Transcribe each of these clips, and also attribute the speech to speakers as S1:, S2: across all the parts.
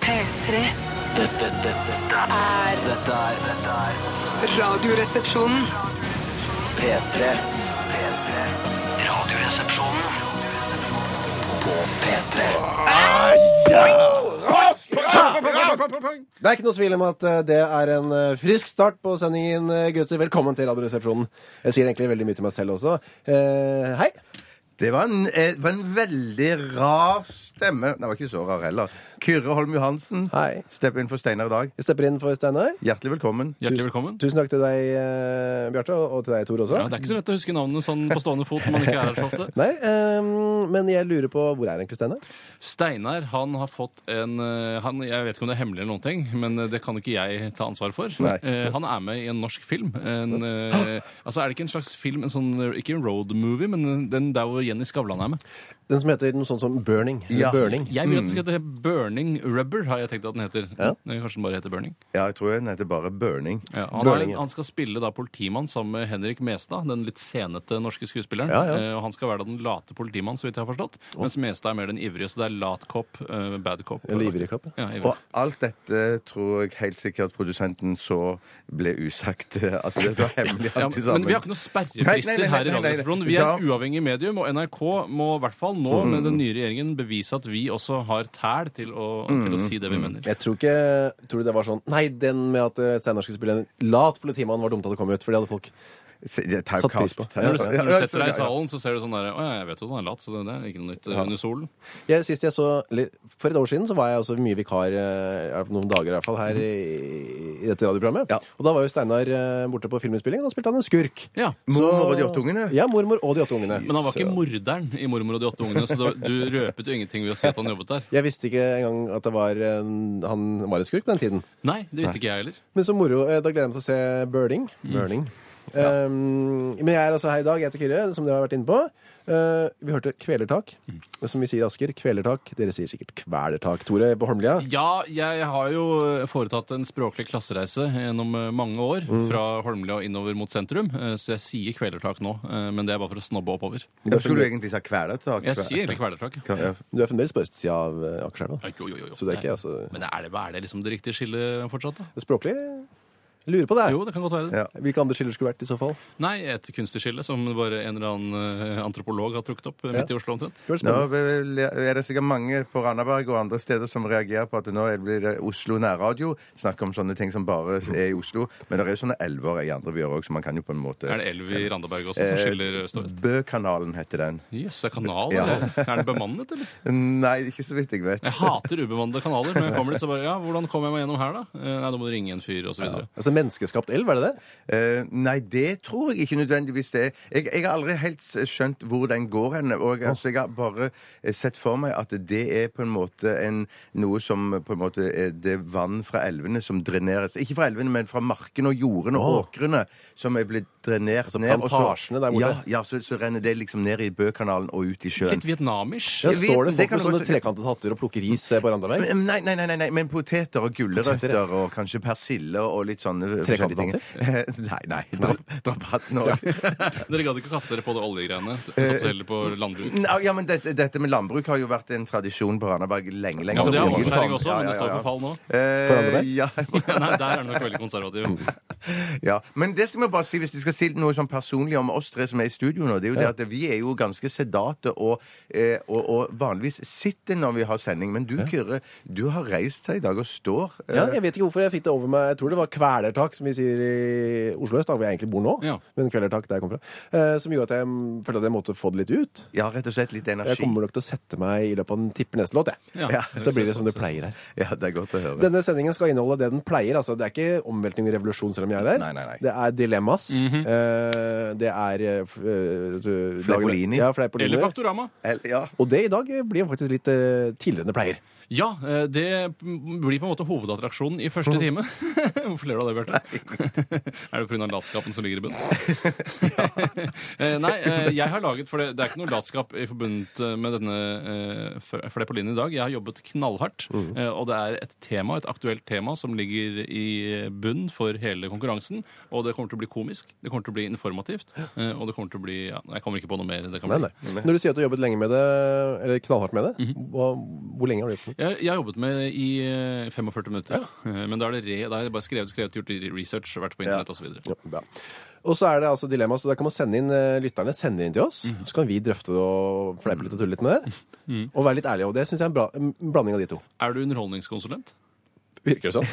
S1: P3
S2: Dette, dette, dette,
S1: er
S2: dette er dette er
S1: Radioresepsjonen.
S2: P3. P3. Radioresepsjonen på P3.
S3: Det er ikke noe tvil om at eh, det er en eh, frisk start på sendingen, eh, gutter. Velkommen til Radioresepsjonen. Jeg sier egentlig veldig mye til meg selv også. Eh, hei.
S4: Det var en, eh, var en veldig rar stemme. Den var ikke så rar heller. Kyrre Holm Johansen,
S3: Hei.
S4: stepp inn for Steinar i dag.
S3: Jeg stepper inn for Steinar.
S4: Hjertelig velkommen.
S5: Hjertelig velkommen.
S3: Tusen takk til deg, eh, Bjarte, og og til deg, Tor, også.
S5: Ja, det er ikke så lett å huske navnene sånn på stående fot når man ikke er her så ofte.
S3: Nei, eh, men jeg lurer på hvor er egentlig Steinar?
S5: Steinar han har fått en eh, han, Jeg vet ikke om det er hemmelig eller noen ting, men eh, det kan ikke jeg ta ansvar for.
S4: Nei.
S5: Eh, Han er med i en norsk film. En, eh, altså Er det ikke en slags film, en sånn, eh, ikke en road movie, men den der hvor Jenny Skavlan er med?
S3: Den som heter noe sånt som Burning. eller
S4: Ja.
S3: Burning.
S5: Jeg vil at den skal hete Burning Rubber, har jeg tenkt at den heter.
S3: Ja.
S5: Eh, Kanskje den bare heter Burning.
S4: Ja, jeg tror den heter bare Burning.
S5: Ja, han,
S3: Burning,
S5: er,
S3: ja.
S5: han skal spille da politimann sammen med Henrik Mestad, den litt senete norske skuespilleren.
S3: Ja, ja.
S5: Eh, og han skal være da den late politimannen, så vidt jeg har forstått. Mens Mestad er mer den ivrige, så det er lat cop, eh, bad cop.
S3: Eller ivrig cop,
S5: Ja, ivrig.
S4: Og alt dette tror jeg helt sikkert produsenten så ble usagt. eh, At det var hemmelig
S5: Ja,
S4: alt i sammen.
S5: men vi har ikke noen
S4: Nei,
S5: sperrefrister
S4: nei, nei,
S5: her i
S4: nei, nei, nei.
S5: Radioresepsjonen. Vi er
S4: Da- Mm.
S5: et uavhengig medium, og NRK må i hvert fall nå med den nye regjeringen bevise at vi også har tæl til å, til å
S4: Mm.
S5: si det vi mener.
S3: Jeg tror ikke Tror du det var sånn Nei, den med at eh, Steinar skulle spille en lat politimann, var dumt at det kom ut, for det hadde folk
S4: Se- det er
S3: Satt pris
S4: Typecast.
S3: på.
S4: Typecast.
S5: Når du, når du
S4: Ja, ja,
S5: setter deg i
S4: ja, ja.
S5: salen, så ser du sånn der Å ja, jeg vet jo at han er lat, så det, det er ikke noe nytt eh, under solen.
S3: Jeg, sist jeg så, eller, for et år siden så var jeg også mye vikar, eh, i hvert fall noen dager i hvert fall, her i, i dette radioprogrammet.
S4: Mhm. Ja.
S3: Og da var jo Steinar eh, borte på filminnspilling, og da spilte han en skurk.
S5: Ja.
S4: Mormor og de åtte ungene?
S3: Ja, mormor og de åtte ungene.
S5: Men han var ikke morderen i 'Mormor og de åtte ungene', så du, du røpet jo ingenting ved å si at han jobbet der.
S3: Jeg visste ikke engang at det var en, han var en skurk på den tiden.
S5: Nei, det visste ikke jeg heller.
S3: Men så moro. eh, Da gleder jeg meg til å se Burning.
S4: Mm.
S3: Burning. Um, men jeg er altså her i dag. Jeg heter Kyrre, som dere har vært inne på. Eh, vi hørte kvelertak.
S4: Mm.
S3: Som vi sier i Asker, kvelertak. Dere sier sikkert kvelertak. Tore på Holmlia.
S5: Ja, jeg har jo foretatt en språklig klassereise gjennom eh, mange år.
S3: Mm.
S5: Fra Holmlia og innover mot sentrum. eh, Så jeg sier kvelertak nå, eh, men det er bare for å snobbe oppover.
S4: Da skulle du egentlig sagt kvelertak.
S5: Jeg sier egentlig kvelertak. ja.
S4: Ja,
S3: Du er fremdeles på østsida av eh, Akerselva.
S5: Oi, oi, oi, oi.
S3: Så det er ikke altså,
S5: Men er det, hva er det liksom det riktige skillet fortsatt, da?
S3: språklig. Jeg Lurer på det. her.
S5: Jo, det kan godt være det.
S4: Ja.
S3: Hvilke andre skiller skulle vært i så fall?
S5: Nei, et kunstig skille som bare en eller annen eh, antropolog har trukket opp eh, midt i Oslo omtrent.
S3: Det var
S4: Nå
S3: spennende.
S4: vel- er det sikkert mange på Randaberg og andre steder som reagerer på at nå er- blir det Oslo nærradio. Snakker om sånne ting som bare er i Oslo. Men det er jo sånne elver i andre byer òg, så man kan jo på en måte
S5: Er det elv i Randaberg også som
S4: Eh,
S5: skiller øst og vest?
S4: Bøkanalen heter den.
S5: Jøss, det er kanal,
S4: Ja.
S5: eller? Er den bemannet, eller?
S4: Nei, ikke så vidt jeg vet.
S5: Jeg hater ubemannede kanaler. Når jeg kommer dit, så bare Ja, hvordan kommer jeg meg gjennom her, da? Eh, Nei, da må du ringe en fyr, og så videre.
S3: Altså menneskeskapt elv, er det det?
S4: Eh, nei, det tror jeg ikke nødvendigvis det er. Jeg, jeg har aldri helt s- skjønt hvor den går hen. Og jeg, altså, jeg har bare eh, sett for meg at det er på en måte en, noe som på en måte er det vann fra elvene som dreneres. Ikke fra elvene, men fra markene og jordene og
S3: Åh.
S4: åkrene som er blitt drenert
S3: Altså
S4: ned. og så-
S3: plantasjene der borte.
S4: Ja, ja så, så renner det liksom ned i Bøkanalen og ut i sjøen.
S5: Litt vietnamisk.
S3: Ja,
S4: Jeg vet-
S3: står det
S4: det
S3: folk
S4: kan
S3: med sånne
S4: godt-
S3: trekantet hatter og plukker ris eh, på Randavei?
S4: Men- Nei, nei, nei, nei, nei, men poteter og
S3: Poteter,
S4: gulrøtter
S3: ja.
S4: og kanskje persille og litt sånne
S3: Trekantet
S4: forskjellige ting. Eh, Nei, nei. dra- Drabatten òg.
S5: Dere gadd ikke kaste dere på det oljegreiene. Satse heller på landbruk.
S4: Nei, Ja, men dette, dette med landbruk har jo vært en tradisjon på Randaberg lenge, lenge.
S5: Ja, men Det er
S4: Oljeform.
S5: omskjæring også, men det står
S4: ja, ja.
S5: for fall nå.
S4: Eh,
S3: Randaberg?
S4: ja,
S5: Ja, nei, der er den nok veldig konservativ.
S4: ja. Men det skal vi bare si, hvis vi skal si noe sånn personlig om oss tre som er i studio nå, det er jo det at vi er jo ganske sedate og, eh, og, og vanligvis sitter når vi har sending. Men du, Kyrre, du har reist deg i dag og står. eh,
S3: Ja, jeg vet ikke hvorfor jeg fikk det over meg. Jeg tror det var kvelertak, som vi sier i Oslo øst, da, hvor jeg egentlig bor nå.
S5: Ja.
S3: Men kvelertak, der jeg kommer fra. Eh, som gjorde at jeg mm, følte at jeg måtte få det litt ut.
S4: ja, rett og slett litt energi.
S3: Jeg kommer nok til å sette meg i løpet av den tipper neste låt, jeg.
S5: Ja.
S3: Så blir det som det pleier her.
S4: Ja, det er godt å høre.
S3: Denne sendingen skal inneholde det den pleier. altså Det er ikke omveltning og revolusjon selv om jeg er der.
S4: Nei, nei, nei.
S3: Det er dilemmas. Eh, det er eh, f- eh,
S4: Fleipolini.
S3: Ja, fleipolini.
S5: Eller Faktorama.
S4: El- Ja.
S3: Og det i dag eh, blir faktisk litt eh, tidligere enn det pleier.
S5: Ja, eh, det blir på en måte hovedattraksjonen i første time. Hvorfor ler du av det, Bjarte? Er det pga. latskapen som ligger i bunnen? Eh, Nei, eh, jeg har laget For det, det er ikke noe latskap i forbundet med denne eh, f- fleipolinen i dag. Jeg har jobbet knallhardt,
S3: Mm.
S5: eh, og det er et tema, et aktuelt tema som ligger i bunn for hele konkurransen. Og det kommer til å bli komisk, det kommer til å bli informativt, eh, og det kommer til å bli ja, Jeg kommer ikke på noe mer. Det kan
S3: Nei,
S5: bli.
S3: nei. Når du sier at du har jobbet lenge med det, eller knallhardt med det, hva, hvor lenge har du gjort det?
S5: Jeg, jeg har jobbet med i eh, 45 minutter. Eh, Men da er det re, da er det bare skrevet, skrevet, gjort research, vært på internett osv.
S3: Ja, bra. Og så er det altså dilemma, så da kan man sende inn eh, lytterne sende inn til oss. Så kan vi drøfte det og fleipe litt og tulle litt med det. Og være litt ærlige. Og det syns jeg er en, bra, en blanding av de to.
S5: Er du underholdningskonsulent?
S3: Virker det sånn?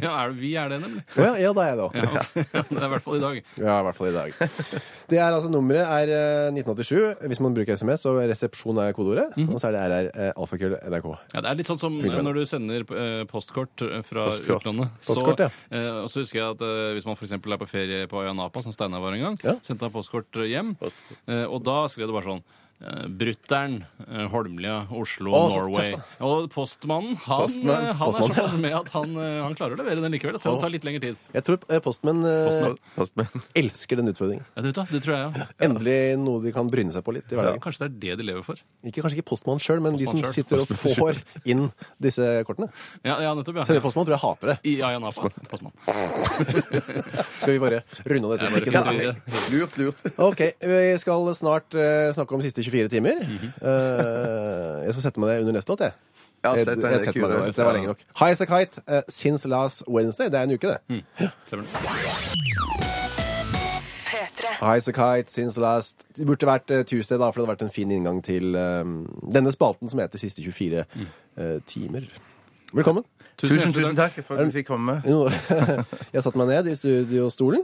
S5: ja, er, vi er det, nemlig.
S3: Å ja, ja, da er jeg det òg.
S5: Ja, det er i hvert fall i dag.
S3: Ja, i hvert fall i dag. Det er altså Nummeret er eh, 1987. Hvis man bruker SMS, så resepsjon er kodeordet.
S5: Mhm.
S3: Og så er det RR eh, alfakrøll NRK.
S5: Ja, det er litt sånn som
S3: Fint, men.
S5: når du sender eh, postkort fra
S4: Postkort.
S5: utlandet.
S3: Postkort, ja.
S5: eh, og så husker jeg at eh, hvis man f.eks. er på ferie på Øya Napa, som Steinar var en gang,
S3: Ja.
S5: sendte han postkort hjem, eh, og da skrev det bare sånn eh, Brutter'n, eh, Holmlia, Oslo,
S3: Å, så
S5: Norway.
S3: tøft,
S5: og postmannen, han,
S4: Postmann.
S5: eh, han
S3: Postmann,
S5: er såpass med at han, eh, han klarer å levere den likevel. Selv om det tar litt lengre tid.
S3: Jeg tror eh, postmenn eh,
S5: Postmenn.
S4: Postmann.
S3: elsker den utfordringen.
S5: Ja, det, vet du, det tror jeg, ja.
S3: Endelig noe de kan bryne seg på litt i hverdagen.
S5: Kanskje det er det de lever for.
S3: Ikke, kanskje ikke postmannen sjøl, men de som
S5: Postmannen selv.
S3: sitter og får inn disse kortene.
S5: Ja, ja nettopp,
S3: Tredje
S5: ja.
S3: postmann tror jeg hater det.
S5: I Øya Napa. Postmann.
S3: Skal vi bare runde av dette
S5: Jeg bare
S3: stikket?
S5: finner det.
S4: Lurt, lurt.
S3: Ok, vi skal snart eh, snakke om siste 24 timer. Eh, jeg skal sette meg det under neste låt, jeg.
S4: Ja,
S3: jeg, jeg,
S4: sett den, det er
S3: setter meg det,
S4: kult.
S3: det var lenge nok. High as a kite, eh, since last Wednesday. Det er en uke, det.
S4: Mm.
S5: Stemmer det.
S1: P3.
S3: High as a kite, since last Det burde vært eh, Tuesday, da, for det hadde vært en fin inngang til eh, denne spalten som heter Siste 24
S4: Mm.
S3: eh, timer. Velkommen.
S4: Tusen,
S5: hjertelig
S4: tusen takk for at du fikk komme.
S3: Jo, Jeg satte meg ned i studiostolen,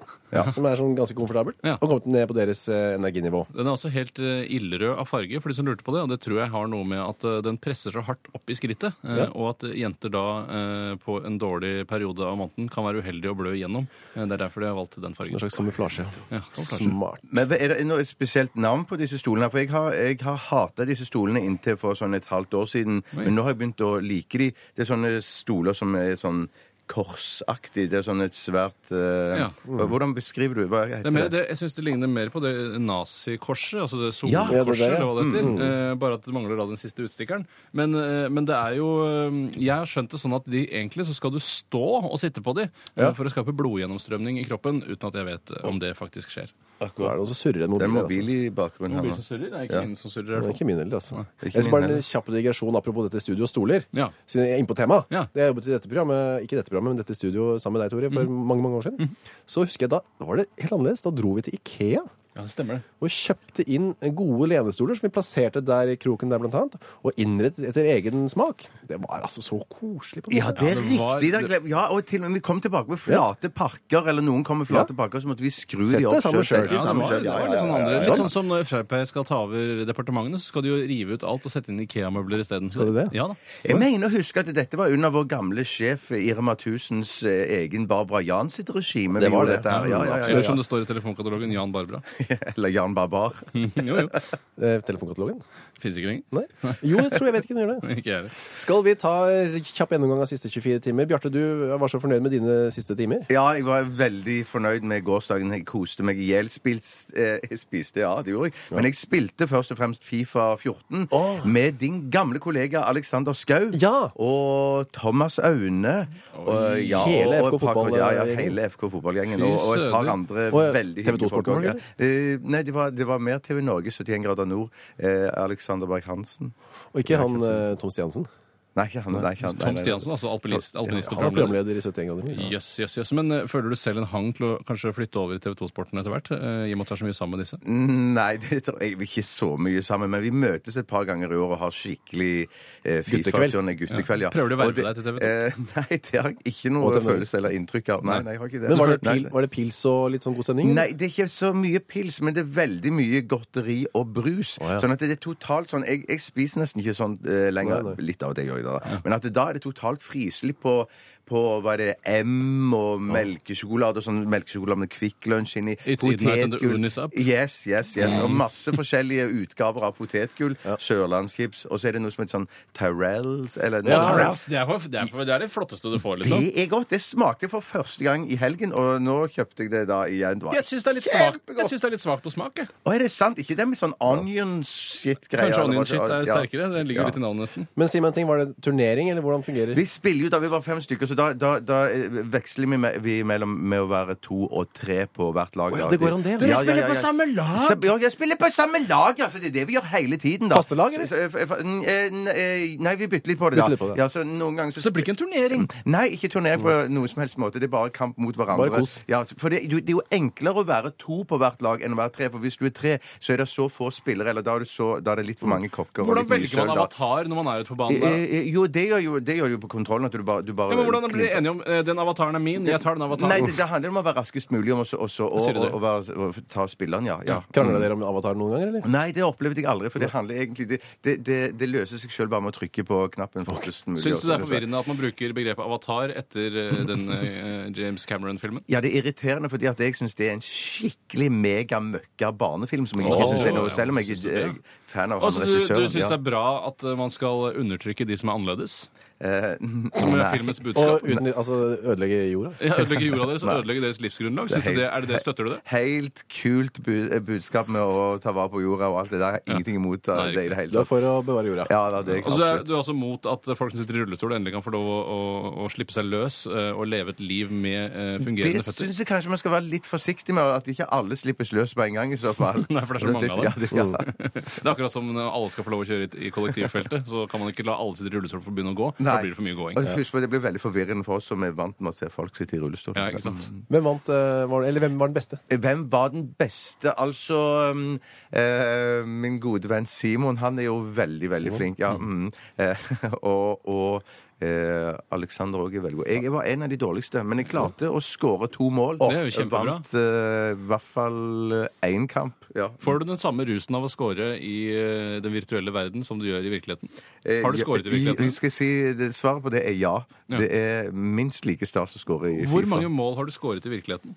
S3: som er sånn ganske komfortabel,
S5: Ja.
S3: og kommet ned på deres eh, energinivå.
S5: Den er også helt eh, ildrød av farge, for de som lurte på det. Og det tror jeg har noe med at eh, den presser så hardt opp i skrittet. eh,
S3: Ja.
S5: Og at eh, jenter da eh, på en dårlig periode av måneden kan være uheldige og blø igjennom. Eh, Det er derfor de har valgt den
S3: En
S5: fargen.
S3: slags kamuflasje.
S5: Ja, kamuflasje.
S3: Smart.
S4: Men Er det noe spesielt navn på disse stolene? For jeg har, jeg har hata disse stolene inntil for sånn et halvt år siden.
S5: Oi.
S4: Men nå har jeg begynt å like de. Det er sånne stoler som er sånn korsaktig. Det er sånn et svært eh,
S5: Ja.
S4: hva- Hvordan beskriver du Hva
S5: Det
S4: heter
S5: er mer,
S4: det?
S5: det, jeg syns det ligner mer på det nazikorset, altså det
S4: Ja,
S5: solkorset,
S4: det
S3: er det der, ja.
S5: eller hva det heter. eh, Bare at det mangler da den siste utstikkeren. Men, eh, men det er jo eh, Jeg har skjønt det sånn at de egentlig så skal du stå og sitte på de eh, for å skape blodgjennomstrømning i kroppen, uten at jeg vet eh, om det faktisk skjer.
S3: Da er det også surrende
S4: Det er en
S3: mobiler. Altså.
S4: mobil i bakgrunnen her
S5: Mobil
S4: nå.
S5: som surrer? Det er ikke
S4: Ja.
S5: min som surrer. i
S3: Det
S5: hvert
S3: er
S5: fall.
S3: ikke min heller, altså.
S4: er ikke
S3: Jeg skal bare
S4: min
S3: en kjapp digresjon apropos dette studio og stoler.
S5: Ja.
S3: Siden jeg er inne på temaet.
S5: Ja.
S3: Da jeg jobbet i dette programmet, ikke dette programmet, men dette studio sammen med deg, Tore, for mange, mange år siden, så husker jeg da, da var det helt annerledes. Da dro vi til Ikea.
S5: Ja, det stemmer det.
S3: og kjøpte inn gode lenestoler som vi plasserte der i kroken der blant annet, og innrettet etter egen smak. Det var altså så koselig på en
S4: Ja,
S3: måte.
S4: det er
S5: Ja, det var-
S4: riktig. da glem- Ja, og til og med vi kom tilbake med flate pakker, eller noen kom med flate pakker, så måtte vi skru
S3: Sett
S4: de opp
S3: det sammen
S4: selv.
S3: selv.
S5: Ja, det, var, det var litt sånn andre.
S4: ja,
S5: Litt
S4: ja.
S5: sånn som når Frp skal ta over departementene, så skal de jo rive ut alt og sette inn Ikea-møbler isteden.
S3: Skal de det?
S5: Ja da.
S4: Jeg mener å huske at dette var under vår gamle sjef Irma Mathusens eh, egen Barbara Jan sitt regime.
S3: Det
S4: vi
S3: var
S4: gjorde
S3: det.
S4: dette her. Ja, ja, ja,
S5: Absolutt som det står i telefonkatalogen. Jan Barbara.
S4: ja. Eller Jan Barbar.
S5: jo, jo.
S3: Eh, telefonkatalogen?
S5: Fins ikke lenger.
S3: Nei? Jo, jeg tror jeg vet ikke om den gjør det.
S5: Ikke jeg heller.
S3: Skal vi ta kjapp gjennomgang av siste 24 timer? Bjarte, du var så fornøyd med dine siste timer.
S4: Ja, jeg var veldig fornøyd med gårsdagen. Jeg koste meg i hjel. Spils- eh, jeg Spiste, ja, det gjorde jeg. Men jeg spilte først og fremst Fifa 14
S3: Åh.
S4: med din gamle kollega Alexander Skau.
S3: Ja.
S4: Og Thomas Aune. Og, ja,
S3: Hele
S4: og et
S3: FK
S4: par-
S3: fotball-
S4: Ja, ja, hele FK fotballgjengen.
S5: Fy
S4: Og, og et par
S5: søder.
S4: andre
S3: Åh, ja,
S4: veldig
S3: TV2
S4: hyggelige folk.
S3: Sporten,
S4: også, ja. Eh, nei, det var, det var mer TV Norge, 71 grader nord. Eh, Alexander Berg-Hansen.
S3: Og ikke han eh, Tom Stiansen.
S4: Nei, ikke han. Nei, ikke han.
S5: Tom
S4: Nei, nei, nei.
S5: Stiansen, altså alpinist. alpinist og
S3: Han var
S5: programleder.
S3: programleder i 71 grader. nord.
S5: Jøss, jøss, jøss. Men eh, føler du selv en hang til å kanskje flytte over i TV 2-sporten etter hvert? eh, I og med at du er så mye sammen med disse?
S4: Nei, det tror jeg vi er ikke så mye sammen, men vi møtes et par ganger i år og har skikkelig eh,
S3: Guttekveld.
S4: FIFA-turné. Guttekveld, ja.
S5: Prøver du å verve
S4: Og det-
S5: deg til TV2?
S4: Eh, nei, det har jeg ikke
S3: Og
S4: noe
S3: til Norge.
S4: følelse eller inntrykk av. Nei, nei, jeg har ikke det.
S3: Men var det,
S4: Nei,
S3: pil, var det pils og litt sånn god stemning?
S4: Nei, det er ikke så mye pils, men det er veldig mye godteri og brus.
S3: Å, ja.
S4: Sånn at det er totalt sånn Jeg, jeg spiser nesten ikke sånn eh, lenger.
S3: Nei, nei.
S4: Litt av det gjør jeg da. Men at det, da er det totalt frislipp på på hva er det M og melkesjokolade og sånn melkesjokolade med Kvikk Lunsj inni.
S5: It's midnight and the urn is up.
S4: Yes, yes, yes.
S3: Mm.
S4: Og masse forskjellige utgaver av potetgull. Sørlandschips. Og så er det noe som heter sånn Tyrells eller
S3: Ja,
S4: Tyrells.
S3: Ralph.
S5: altså, Det er, for- det er for- det er det flotteste du får, liksom.
S4: Det er godt. Det smakte for første gang i helgen, og nå kjøpte jeg det da igjen. Det var
S5: Jeg syns det er litt svakt- jeg synes det er litt svakt på smak, jeg.
S4: Å, er det sant? Ikke det med sånn onion shit-greier?
S5: Kanskje
S4: eller hva
S5: onion
S4: det-
S5: shit er
S4: ja.
S5: sterkere. Det ligger
S4: Ja.
S5: litt i navnet, nesten.
S3: Men si meg en ting, var det turnering, eller hvordan fungerer
S4: Vi spiller jo da vi var fem stykker, så så da, da, da eh, veksler vi, me- vi mellom med å være to og tre på hvert lag.
S3: Å ja, det går an det, ja. Dere
S5: spiller på samme lag?
S4: Så- Ja, jeg spiller på samme lag! Altså, det er det vi gjør hele tiden, da.
S3: Faste lag, eller?
S4: Så- f- f- n- eh, n- eh, Nei, vi bytter litt på det, da.
S3: Bytter litt på det.
S4: Ja, så noen ganger
S5: Så det blir ikke en turnering.
S4: Nei, ikke turné på noen som helst måte. Det er bare kamp mot hverandre.
S3: Mm. Bare kos.
S4: Ja, for det, du- det er jo enklere å være to på hvert lag enn å være tre. For hvis du er tre, så er det så få spillere, eller da er det, så, da er det litt for
S3: Mm.
S4: mange kokker. og
S5: Hvordan
S4: litt mye
S5: velger man
S4: søl, da.
S5: avatar når man er ute på banen?
S4: Eh,
S5: der?
S4: eh, Jo, det gjør jo, det gjør jo på kontrollen at du bare, du bare
S5: Ja, men hvordan blir dere enige om eh, den avataren er min, jeg tar den
S4: Nei,
S5: avataren?
S4: det, det handler om å være raskest mulig om også, også, og,
S5: Sier du
S4: og,
S5: det?
S4: og, være- og ta spilleren, ja. Mm. ja.
S3: Krangla dere om avatar noen ganger, eller?
S4: Nei, det opplevde jeg aldri, for det handler egentlig Det, det, det, det løser seg sjøl bare med å trykke på knappen. fortest mulig.
S5: Syns du det er
S4: også.
S5: forvirrende at man bruker begrepet avatar etter eh, den eh, James Cameron-filmen?
S4: Ja, det er irriterende, fordi at jeg syns det er en skikkelig megamøkka barnefilm som jeg ikke
S5: Åh,
S4: syns er noe,
S5: ja,
S4: selv om jeg
S5: synes du
S4: ikke
S5: det?
S4: er fan av han
S5: Altså, du du
S4: regissøren.
S5: syns det er bra at eh, man skal undertrykke de som er annerledes?
S4: Eh,
S5: Som er
S4: nei.
S5: filmens
S3: Og
S5: budskap?
S3: uten, altså, ødelegge jorda?
S5: Ja, Ødelegge jorda deres og ødelegge deres livsgrunnlag? Synes du det, er det det støtter du det?
S4: Helt kult bu eh, budskap med å ta vare på jorda og alt det der. Jeg har Ingenting imot eh,
S5: Nei,
S4: det i det
S3: Du
S4: hele
S3: er
S4: tatt.
S3: for å bevare jorda?
S4: Ja, da, det er
S5: Altså, du, er,
S4: absolutt.
S5: du er også mot at folk som sitter i rullestol, endelig kan få lov å, å, å slippe seg løs eh, og leve et liv med eh,
S4: Det
S5: fungerende føtter?
S4: syns jeg kanskje man skal være litt forsiktig med, at ikke alle slippes løs på en gang. i så fall.
S5: Nei, for det er så mange av dem. Oh,
S4: Ja, det- ja.
S5: Det er akkurat som når alle skal få lov å kjøre i, i kollektivfeltet. Så kan man ikke la alle sitte i rullestol for å begynne å gå. Da
S4: Nei.
S5: blir det for mye gåing.
S4: Og husk på, Det blir veldig forvirrende for oss som er vant med å se folk sitte i rullestol.
S5: Ja, ikke sant?
S3: Hvem vant, eh, var, eller hvem var den beste?
S4: Hvem var den beste? Altså um, eh, Min gode venn Simon, han er jo veldig, veldig flink. Ja, mm. Eh, og og eh, Alexander òg er veldig god. Jeg var en av de dårligste, men jeg klarte å skåre to mål.
S5: Det er jo
S4: Og
S5: kjempebra.
S4: Vant eh, i hvert fall eh, én kamp. Ja.
S5: Får du den samme rusen av å score i eh, den virtuelle verden som du gjør i virkeligheten?
S4: Eh,
S5: Har du
S4: ja,
S5: scoret i
S4: Jeg
S5: virkeligheten?
S4: skal si, det, Svaret på det er ja.
S5: Ja.
S4: Det er minst like stas å skåre i
S5: Hvor
S4: Fifa.
S5: mange mål har du scoret i virkeligheten?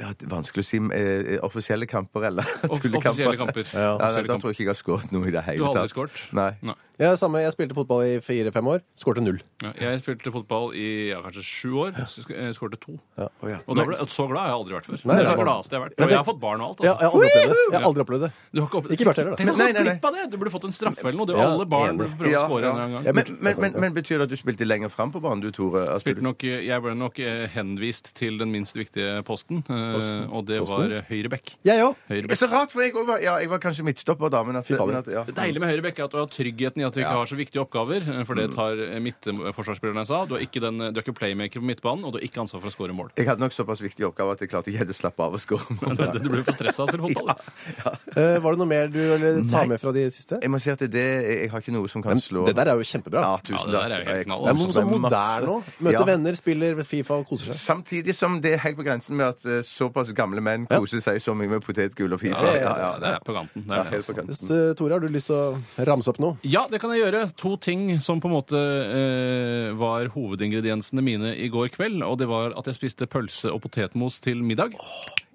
S4: Ja, det er vanskelig å si. eh, Offisielle kamper eller
S5: Off-
S4: tullekamper?
S5: Offisielle kamper.
S4: Ja, nei,
S5: Offisielle
S4: da
S5: kamper.
S4: tror jeg ikke jeg har skåret noe i det hele
S5: Du
S4: tatt.
S5: har aldri scoret?
S4: Nei.
S5: Nei.
S3: Ja, samme, jeg spilte fotball i fire-fem år. Skårte null.
S5: Ja, jeg spilte fotball i ja, kanskje sju år. Så sk- eh, skårte to.
S4: Å, ja.
S5: Og da ble, så glad har jeg aldri vært før.
S3: Nei,
S5: det
S3: det
S5: er
S3: er
S5: det
S3: bare-
S5: gladeste jeg har vært. Og jeg har fått barn og alt. altså.
S3: Ja, jeg har aldri opplevd det. Jeg har aldri opplevd det.
S5: Du har ikke, opp...
S3: Ikke vært heller, da.
S5: Tenk å
S4: Nei,
S5: gå
S4: nei, nei.
S5: glipp av det! Du burde fått en straffe eller noe. Det er jo
S3: Ja,
S5: alle barn
S3: enig.
S5: burde prøve å score en
S4: ja.
S5: eller annen gang.
S3: Jeg
S4: Men,
S3: burde-
S4: men, men,
S3: ja.
S4: men betyr det at du spilte lenger fram på banen, du, Tore? Altså,
S5: Spilte nok, jeg ble nok eh, henvist til den minst viktige posten, eh, og det var eh, høyrebekk.
S3: Jeg òg.
S4: Det er
S5: Høyrebekk.
S4: så rart, for jeg, også var, ja, jeg var kanskje midtstopper da, men at,
S3: faen.
S4: men at ja.
S5: Det deilige med høyrebekk er at du har tryggheten i at du ikke har så viktige oppgaver. eh, For det
S4: Mm.
S5: tar eh, midtforsvarsspillerne seg av. Du er ikke, den, eh, du er ikke playmaker på midtbanen, og du har ikke ansvar for å score mål.
S4: Jeg hadde nok såpass viktig oppgave at jeg klarte ikke helt å slappe av og skåre mål.
S5: Du blir for stressa av å spille fotball. du.
S3: Eh, var det noe mer du ville ta med fra de siste?
S4: Jeg må si at det, det- jeg har ikke noe som kan slå
S3: Det der er jo kjempebra.
S4: Ja,
S5: Ja, det
S4: tusen
S5: der
S4: takk.
S5: er jo helt
S4: Jeg-
S5: knall,
S3: Det er
S5: altså.
S3: noe sånn
S4: masse-
S3: moderne òg. Møter
S4: Ja.
S3: venner, spiller Fifa og koser seg.
S4: Samtidig som det er helt på grensen med at eh, såpass gamle menn
S3: Ja.
S4: koser seg så mye med potetgull og Fifa.
S5: Ja,
S4: Ja, ja,
S5: det er på kanten. Det
S4: Ja,
S5: er det,
S4: helt på
S5: altså.
S4: kanten.
S3: Hvis, eh, Tore, har du lyst til å ramse opp noe?
S5: Ja, det kan jeg gjøre. To ting som på en måte eh, var hovedingrediensene mine i går kveld. Og det var at jeg spiste pølse og potetmos til middag.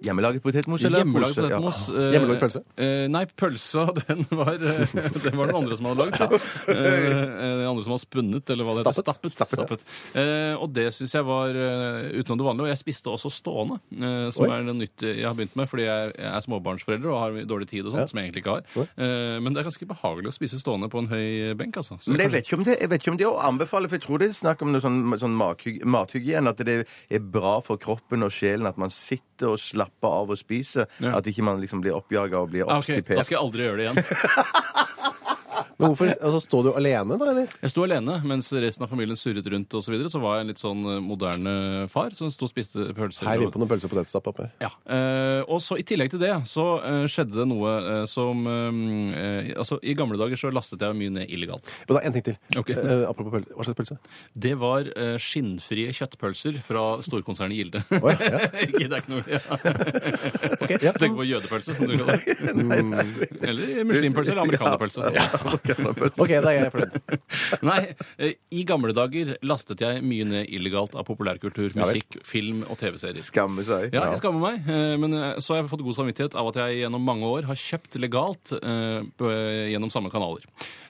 S4: Hjemmelaget potetmos eller
S5: Hjemmelaget
S4: pose? Ja.
S5: potetmos. eh,
S3: Hjemmelaget pølse?
S5: eh, nei, pølsa den var, eh, den var den andre som hadde lagd. så. Eh, eh, den andre som har spunnet, eller hva det heter.
S3: Stappet.
S5: Stappet. stappet. Eh, og det syns jeg var eh, utenom det vanlige. Og jeg spiste også stående, eh, som
S3: Oi.
S5: er noe nytt jeg har begynt med fordi jeg, jeg er småbarnsforelder og har dårlig tid og sånt, som jeg egentlig ikke har. Eh, men det er ganske behagelig å spise stående på en høy benk, altså. Så
S4: Men jeg
S5: kanskje-
S4: vet ikke om det, jeg vet ikke om det er å anbefale, for jeg tror det er snakk om noe sånn, sånn mathyg, mathygiene, at det er bra for kroppen og sjelen at man sitter og slapper av og spiser,
S5: Ja.
S4: at ikke man liksom blir oppjaget og blir
S5: Ah, ok,
S4: oppstipert.
S5: Da skal jeg aldri gjøre det igjen.
S3: Men hvorfor, altså, Står du alene, da? eller?
S5: Jeg sto alene mens resten av familien surret rundt osv. Så, videre, så var jeg en litt sånn eh, moderne far som sto og spiste pølser.
S3: Her
S5: og-
S3: vil på noen pølse og potetstapp oppe.
S5: Ja. eh, og så I tillegg til det så eh, skjedde det noe eh, som eh, eh, Altså, I gamle dager så lastet jeg mye ned illegalt.
S3: Men da, En ting til.
S5: Ok.
S3: Eh, apropos pølse. Hva slags pølse?
S5: Det var eh, skinnfrie kjøttpølser fra storkonsernet Gilde.
S3: Oi, ja.
S5: Ikke, det er ikke noe ja.
S3: Ok, ja.
S5: Tenk på jødepølse, som du kaller det. Mm. Eller muslimpølse eller amerikanerpølse. som det er.
S3: OK, da er jeg fornøyd.
S5: Nei, eh, i gamle dager lastet jeg mye ned illegalt av populærkultur,
S3: vel.
S5: musikk, film og TV-serier.
S4: Skamme seg.
S5: Ja, jeg skammer meg, eh, men eh, så har jeg fått god samvittighet av at jeg gjennom mange år har kjøpt legalt eh, på- eh, gjennom samme kanaler.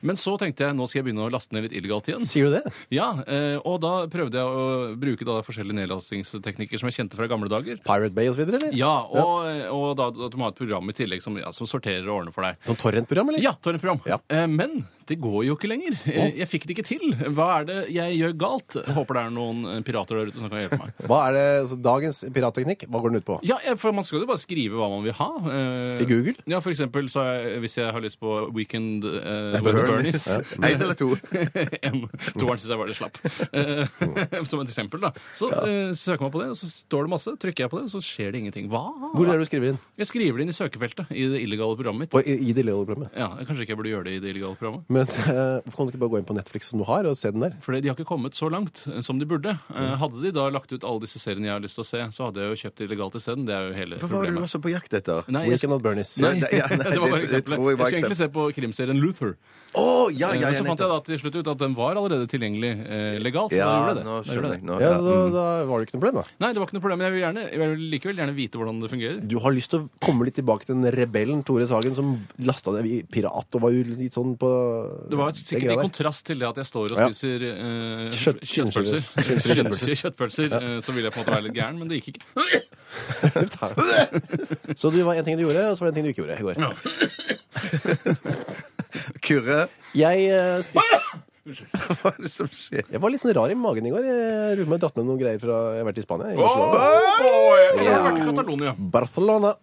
S5: Men så tenkte jeg nå skal jeg begynne å laste ned litt illegalt igjen.
S3: Sier du det?
S5: Ja, eh, og da prøvde jeg å bruke da forskjellige nedlastingsteknikker som jeg kjente fra gamle dager.
S3: Pirate Bay osv., eller?
S5: Ja, og, eh, og da, at du må ha et program i tillegg som, ja, som sorterer og ordner for deg.
S3: Sånn torrentprogram, eller?
S5: Ja, torrentprogram.
S3: Ja.
S5: Eh, men dette går jo ikke lenger. Eh, Jeg fikk det ikke til. Hva er det jeg gjør galt? Håper det er noen eh, pirater der ute som kan hjelpe meg.
S3: Hva er det, så dagens piratteknikk, hva går den ut på?
S5: Ja, eh, for man skal jo bare skrive hva man vil ha. eh,
S3: I Google?
S5: Ja, for eksempel så er, hvis jeg har lyst på Weekend uh, with the
S3: Burnies.
S5: Burnies.
S4: Én eller to.
S5: En- Toeren syns jeg var litt slapp. Eh, som et eksempel, da. Så eh, søker man på det, og så står det masse. Trykker jeg på det, og så skjer det ingenting. Hva?
S3: Hvor er det du skriver inn?
S5: Jeg skriver det inn i søkefeltet i det illegale programmet mitt.
S3: På, i, I det lille programmet.
S5: Ja, Kanskje ikke jeg burde gjøre det i det illegale programmet?
S3: Men eh, hvorfor kan du ikke bare gå inn på Netflix som du har, og se den der?
S5: Fordi de har ikke kommet så langt eh, som de burde.
S3: Mm.
S5: Eh, Hadde de da lagt ut alle disse seriene jeg har lyst til å se, så hadde jeg jo kjøpt det illegalt isteden. Det er jo hele
S4: Hva var det du var
S5: problemet.
S4: så på jakt etter?
S5: Nei, jeg,
S3: Weekend at Bernies.
S5: nei,
S4: Ja, ja, nei,
S5: det var bare
S4: det- det
S5: eksempelet.
S4: tror
S5: Jeg
S4: jeg var
S5: skulle egentlig se på krimserien Luther.
S4: Å, ja,
S5: Eh,
S4: ja,
S5: Men
S4: ja,
S5: så fant jeg
S4: nettopp.
S5: da til slutt ut at den var allerede tilgjengelig eh, legalt. Så
S4: Ja,
S5: da gjorde jeg det.
S4: nå
S5: Da gjorde jeg
S4: skjønner
S5: det.
S4: jeg. Nå,
S3: Ja,
S4: ja.
S3: så da, da var det ikke noe problem, da.
S5: Nei, det var ikke noe problem. Men jeg vil, gjerne, jeg vil likevel gjerne vite hvordan det fungerer.
S3: Du har lyst til å komme litt tilbake til den rebellen Tore Sagen som lasta ned i pirat og var jo litt sånn på
S5: Det var
S3: den
S5: sikkert
S3: greia
S5: i
S3: der.
S5: kontrast til det at jeg står og
S3: Ja.
S5: spiser eh,
S3: Kjøtt-
S5: kjøttpølser. Kjøttpølser, kjøttpølser eh, Så ville jeg på en måte være litt gæren, men det gikk ikke.
S3: Uff, da. Så det var en ting du gjorde, og så var det en ting du ikke gjorde i går.
S5: Ja.
S4: Kurre,
S3: Jeg, eh, spiste,
S4: hva er det som skjer?
S3: jeg var litt sånn rar i magen i går. Jeg ruller meg dratt med noen greier fra jeg har vært i Spania. I Barcelona.
S5: Oh, boy! Jeg har vært i Catalonia.
S3: Barcelona.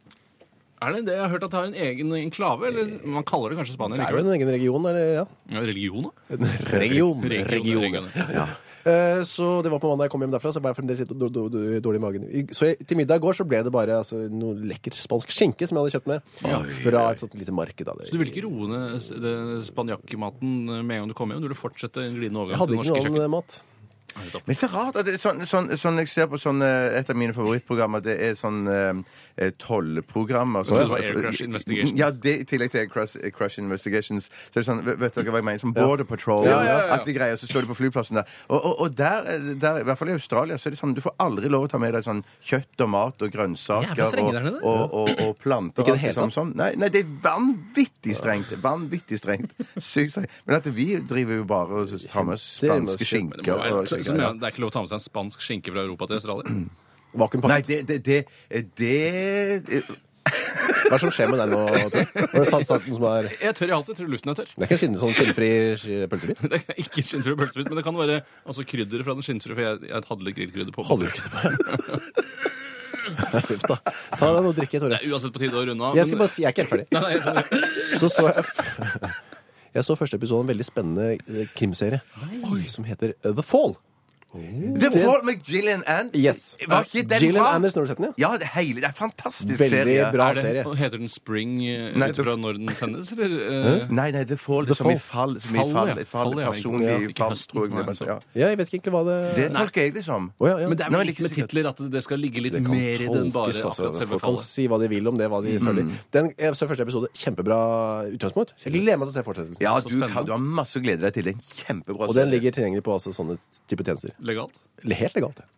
S5: Er det det? Jeg har hørt at det har en egen enklave, eller man kaller det kanskje Spania?
S3: Det er jo
S5: likevel.
S3: en egen region, eller? Ja.
S5: Ja, religion, da?
S3: En region.
S5: Region, region, ja.
S3: Eh, Så det var på mandag jeg kom hjem derfra, så jeg var fremdeles litt do- do- do- dårlig i magen. I- Så jeg, til middag i går så ble det bare altså, noe lekker spansk skinke som jeg hadde kjøpt med fra et sånt lite marked. Da.
S5: Så du vil ikke roe ned s- den spanjakkematen med en gang du kommer hjem? Du vil fortsette en glidende overgang
S3: Jeg
S5: til
S3: hadde
S5: det
S3: ikke
S5: norske
S3: noe eh,
S5: kjøkken?
S3: annen mat.
S4: Men så rart at det, sånn, sånn, sånn jeg ser på sånne, et av mine favorittprogrammer, det er sånn eh, tollprogrammer.
S5: trodde det var Air Crash Investigation.
S4: Ja, det, i tillegg til Air Crash, Air Crash Investigations. Så er det sånn, vet vet dere hva jeg mener? Som Border Patrol.
S3: Ja, ja,
S5: ja.
S4: At de greier, så står de på flyplassen der. Og, og, og der, eh, der, i hvert fall i Australia, så er det sånn, du får aldri lov å ta med deg sånn kjøtt og mat og grønnsaker
S5: Jævla strenge
S4: og,
S5: der nede.
S4: og, og, og planter.
S3: Ikke i det
S4: alt
S3: hele
S4: sånn- sånn. Nei, nei, det er vanvittig strengt. Vanvittig strengt. Sykt strengt. Men at vi driver jo bare og tar med oss
S3: Det må
S4: spanske
S3: skje, men
S5: Det, må
S4: skinker.
S5: være,
S4: og-
S5: så, så, mener jeg, det er ikke lov å ta med seg en spansk skinke fra Europa til Australia?
S3: Vakuumpakke.
S4: Nei, det, det, det, eh, det eh,
S3: Hva er det som skjer med den nå, Tor? Var det sant, sant, noe som er
S5: Jeg er tørr i halsen. Jeg tror luften er tørr.
S3: Det er ikke skinne, sånn skinnfri sk- pølsebil?
S5: Det er ikke skinnfrø pølsebrus, men det kan være altså, krydderet fra den skinnfrø, for jeg, jeg hadde litt grillkrydder på.
S3: Holder du ikke det på? Uff da. Ta deg noe å drikke, Tore.
S5: Det er uansett på tide å runde av.
S3: Jeg skal
S5: men-
S3: bare si, jeg er ikke helt ferdig.
S5: Nei, nei, jeg skjønner.
S3: Så så jeg f- Jeg så første episode av en veldig spennende eh, krimserie Oi, som heter eh, The Fall.
S4: The Paul McGillian and
S3: Yes.
S4: Var ikke den
S3: Gillian
S4: bra?
S3: Anders Nordseten, ja.
S4: Ja, det, hele, det er en fantastisk
S3: Veldig
S4: serie.
S3: bra
S5: Er det-
S3: serie.
S5: og Heter den Spring eh,
S4: Nei,
S5: ut
S4: det-
S5: fra når den sendes, eller? eh,
S4: Nei, nei, The Fall. Det er
S3: The
S4: som i
S3: Fall.
S4: fall. Som i
S5: Fall,
S4: fall,
S5: ja.
S4: fall,
S5: Fall, ja.
S4: personlig
S5: Ja, ikke
S4: fall,
S5: høsten,
S4: tror jeg. det
S5: nei,
S4: er bare-
S5: så.
S4: Ja.
S3: ja. Jeg vet ikke egentlig hva det
S4: Det tolker jeg liksom. det som.
S3: Å, ja, ja.
S5: Men det er
S4: Nei,
S5: vel litt
S4: men
S5: med
S4: ikke sikkert.
S5: titler at det skal ligge litt
S3: Det kan
S5: mer i den bare
S3: tolkes, altså.
S5: akkurat selve
S3: Folk kan
S5: fallet.
S3: si hva de vil om det, hva de føler. Den, jeg så første episode. Kjempebra utgangspunkt. Jeg gleder meg til å se fortsettelsen.
S4: Ja,
S5: Så
S4: du,
S5: spennende.
S4: kan, du har masse å glede deg til. Det er en kjempebra
S3: Og den ligger tilgjengelig på altså, sånne type tjenester.
S5: Legalt?
S3: Helt legalt. ja.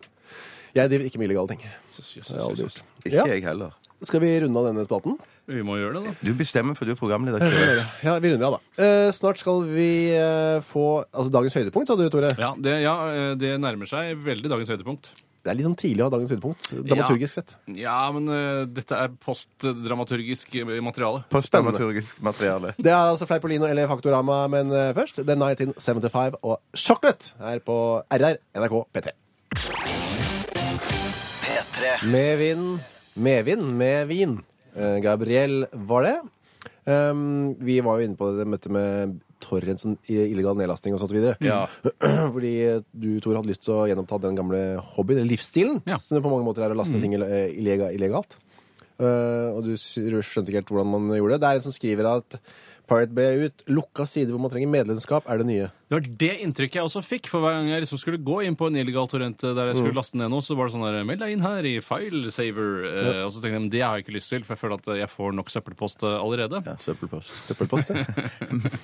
S3: Jeg driver ikke med illegale ting. Det
S5: Jøss, jøss,
S3: har jeg
S5: jøss,
S3: aldri
S5: jøss.
S3: gjort.
S4: Ikke
S3: Ja,
S4: jeg heller.
S3: skal vi runde av denne spalten?
S5: Vi må gjøre det, da.
S4: Du bestemmer, for du er programleder. Kjell.
S3: Ja, vi runder av, da. Eh, snart skal vi eh, få altså, dagens høydepunkt, sa du, Tore.
S5: Ja, det, ja, eh, det nærmer seg veldig dagens høydepunkt.
S3: Det er litt sånn tidlig å ha dagens høydepunkt, dramaturgisk sett.
S5: Ja, men eh, dette er postdramaturgisk eh, materiale.
S4: Postdramaturgisk materiale.
S3: Det er altså Fleipolino eller Faktorama, men eh, først The 1975 og Chocolate her på RR NRK P3.
S2: P3
S3: Med vind, med vind, med vin. Eh, Gabriel var det. Um, vi var jo inne på det møtet med Torrensen, illegal nedlasting og sånt videre.
S5: Ja.
S3: Fordi du, Tor, hadde lyst til å gjenoppta den gamle hobbyen, eller livsstilen,
S5: Ja.
S3: som på mange måter er å laste ned ting ille- eh, illega- illegalt. Eh, og du s- skjønte ikke helt hvordan man gjorde det. Det er en som skriver at Pirate Bay er ut. Lukka side hvor man trenger medlemskap, er det nye.
S5: Det var det inntrykket jeg også fikk. For hver gang jeg liksom skulle gå inn på en illegal torrent eh, der jeg skulle laste ned noe, så var det sånn der Meld deg inn her i Filesaver. Eh, Og så tenkte jeg men det har jeg ikke lyst til, for jeg føler at eh, jeg får nok søppelpost eh, allerede.
S4: Ja, søppelpost.
S3: Søppelpost, ja.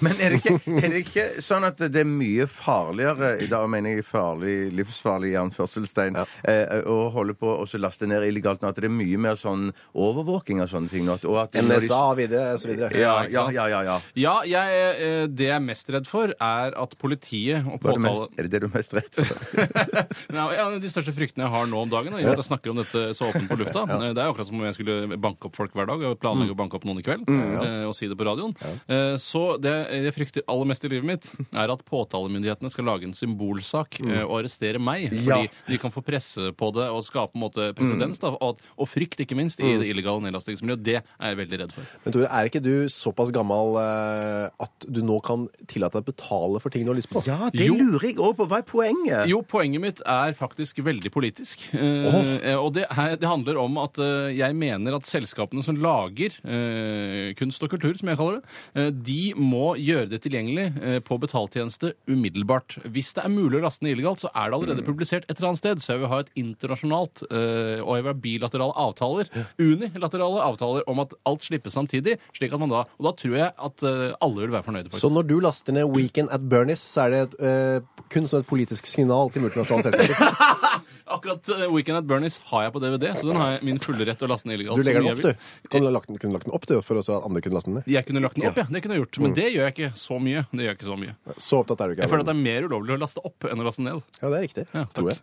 S4: Men er det, ikke, er det ikke sånn at det er mye farligere i dag, mener jeg farlig, livsfarlig i anførselstegn, eh, å holde på og så laste ned illegalt nå? At det er mye mer sånn overvåking av sånne ting nå? at- Og at når de-
S3: NSA og videre, og så videre.
S4: Ja, ja, ja. ja, ja.
S5: Ja, jeg, eh, det jeg er mest redd for, er at at politiet og
S4: Hva er, det
S5: påtale...
S4: mest, er det det du er mest redd for?
S5: Nei, ja, de største fryktene jeg har nå om dagen, da, i og med at jeg snakker om dette så åpent på lufta eh, Det er jo akkurat som om jeg skulle banke opp folk hver dag og planlegge å banke opp noen i kveld. eh, Og si det på radioen. Eh, Så det jeg frykter aller mest i livet mitt, er at påtalemyndighetene skal lage en symbolsak eh, og arrestere meg.
S4: Ja.
S5: Fordi de kan få presse på det og skape på en måte presedens. da, Og, at- og frykt, ikke minst, i det illegale nedlastingsmiljøet. Det er jeg veldig redd for.
S3: Men Tore, er ikke du såpass gammel eh, at du nå kan tillate deg å betale for ting du har lyst på?
S4: Ja, det
S5: Jo.
S4: lurer jeg òg på. Hva er poenget?
S5: Jo, poenget mitt er faktisk veldig politisk. Eh, eh, Og det, her- det handler om at eh, jeg mener at selskapene som lager eh, kunst og kultur, som jeg kaller det, eh, de må gjøre det tilgjengelig eh, på betaltjeneste umiddelbart. Hvis det er mulig å laste ned illegalt, så er det allerede publisert et eller annet sted. Så jeg vil ha et internasjonalt eh, og jeg vil ha bilaterale avtaler, unilaterale avtaler, om at alt slippes samtidig. slik at man da, Og da tror jeg at eh, alle vil være fornøyde. faktisk.
S3: Så når du laster ned Weekend at Bernies, så er det et, eh, kun som et politisk signal til multinasjonale selskaper.
S5: Akkurat eh, Weekend at Bernies har jeg på DVD, så den har jeg min fulle rett til å laste ned illegalt.
S3: Du legger
S5: så mye
S3: den
S5: jeg
S3: opp,
S5: vil.
S3: du. Kan du lagt den, kunne lagt den opp du, for også at andre kunne laste den ned?
S5: Jeg kunne lagt den opp, ja. Det kunne jeg gjort.
S3: Mm.
S5: Men det gjør jeg ikke så mye. Det gjør jeg ikke så mye.
S3: Så opptatt er du ikke.
S5: Jeg føler at det er mer ulovlig å laste opp enn å laste ned.
S3: Ja, det er riktig.
S5: Ja, takk.
S3: tror jeg.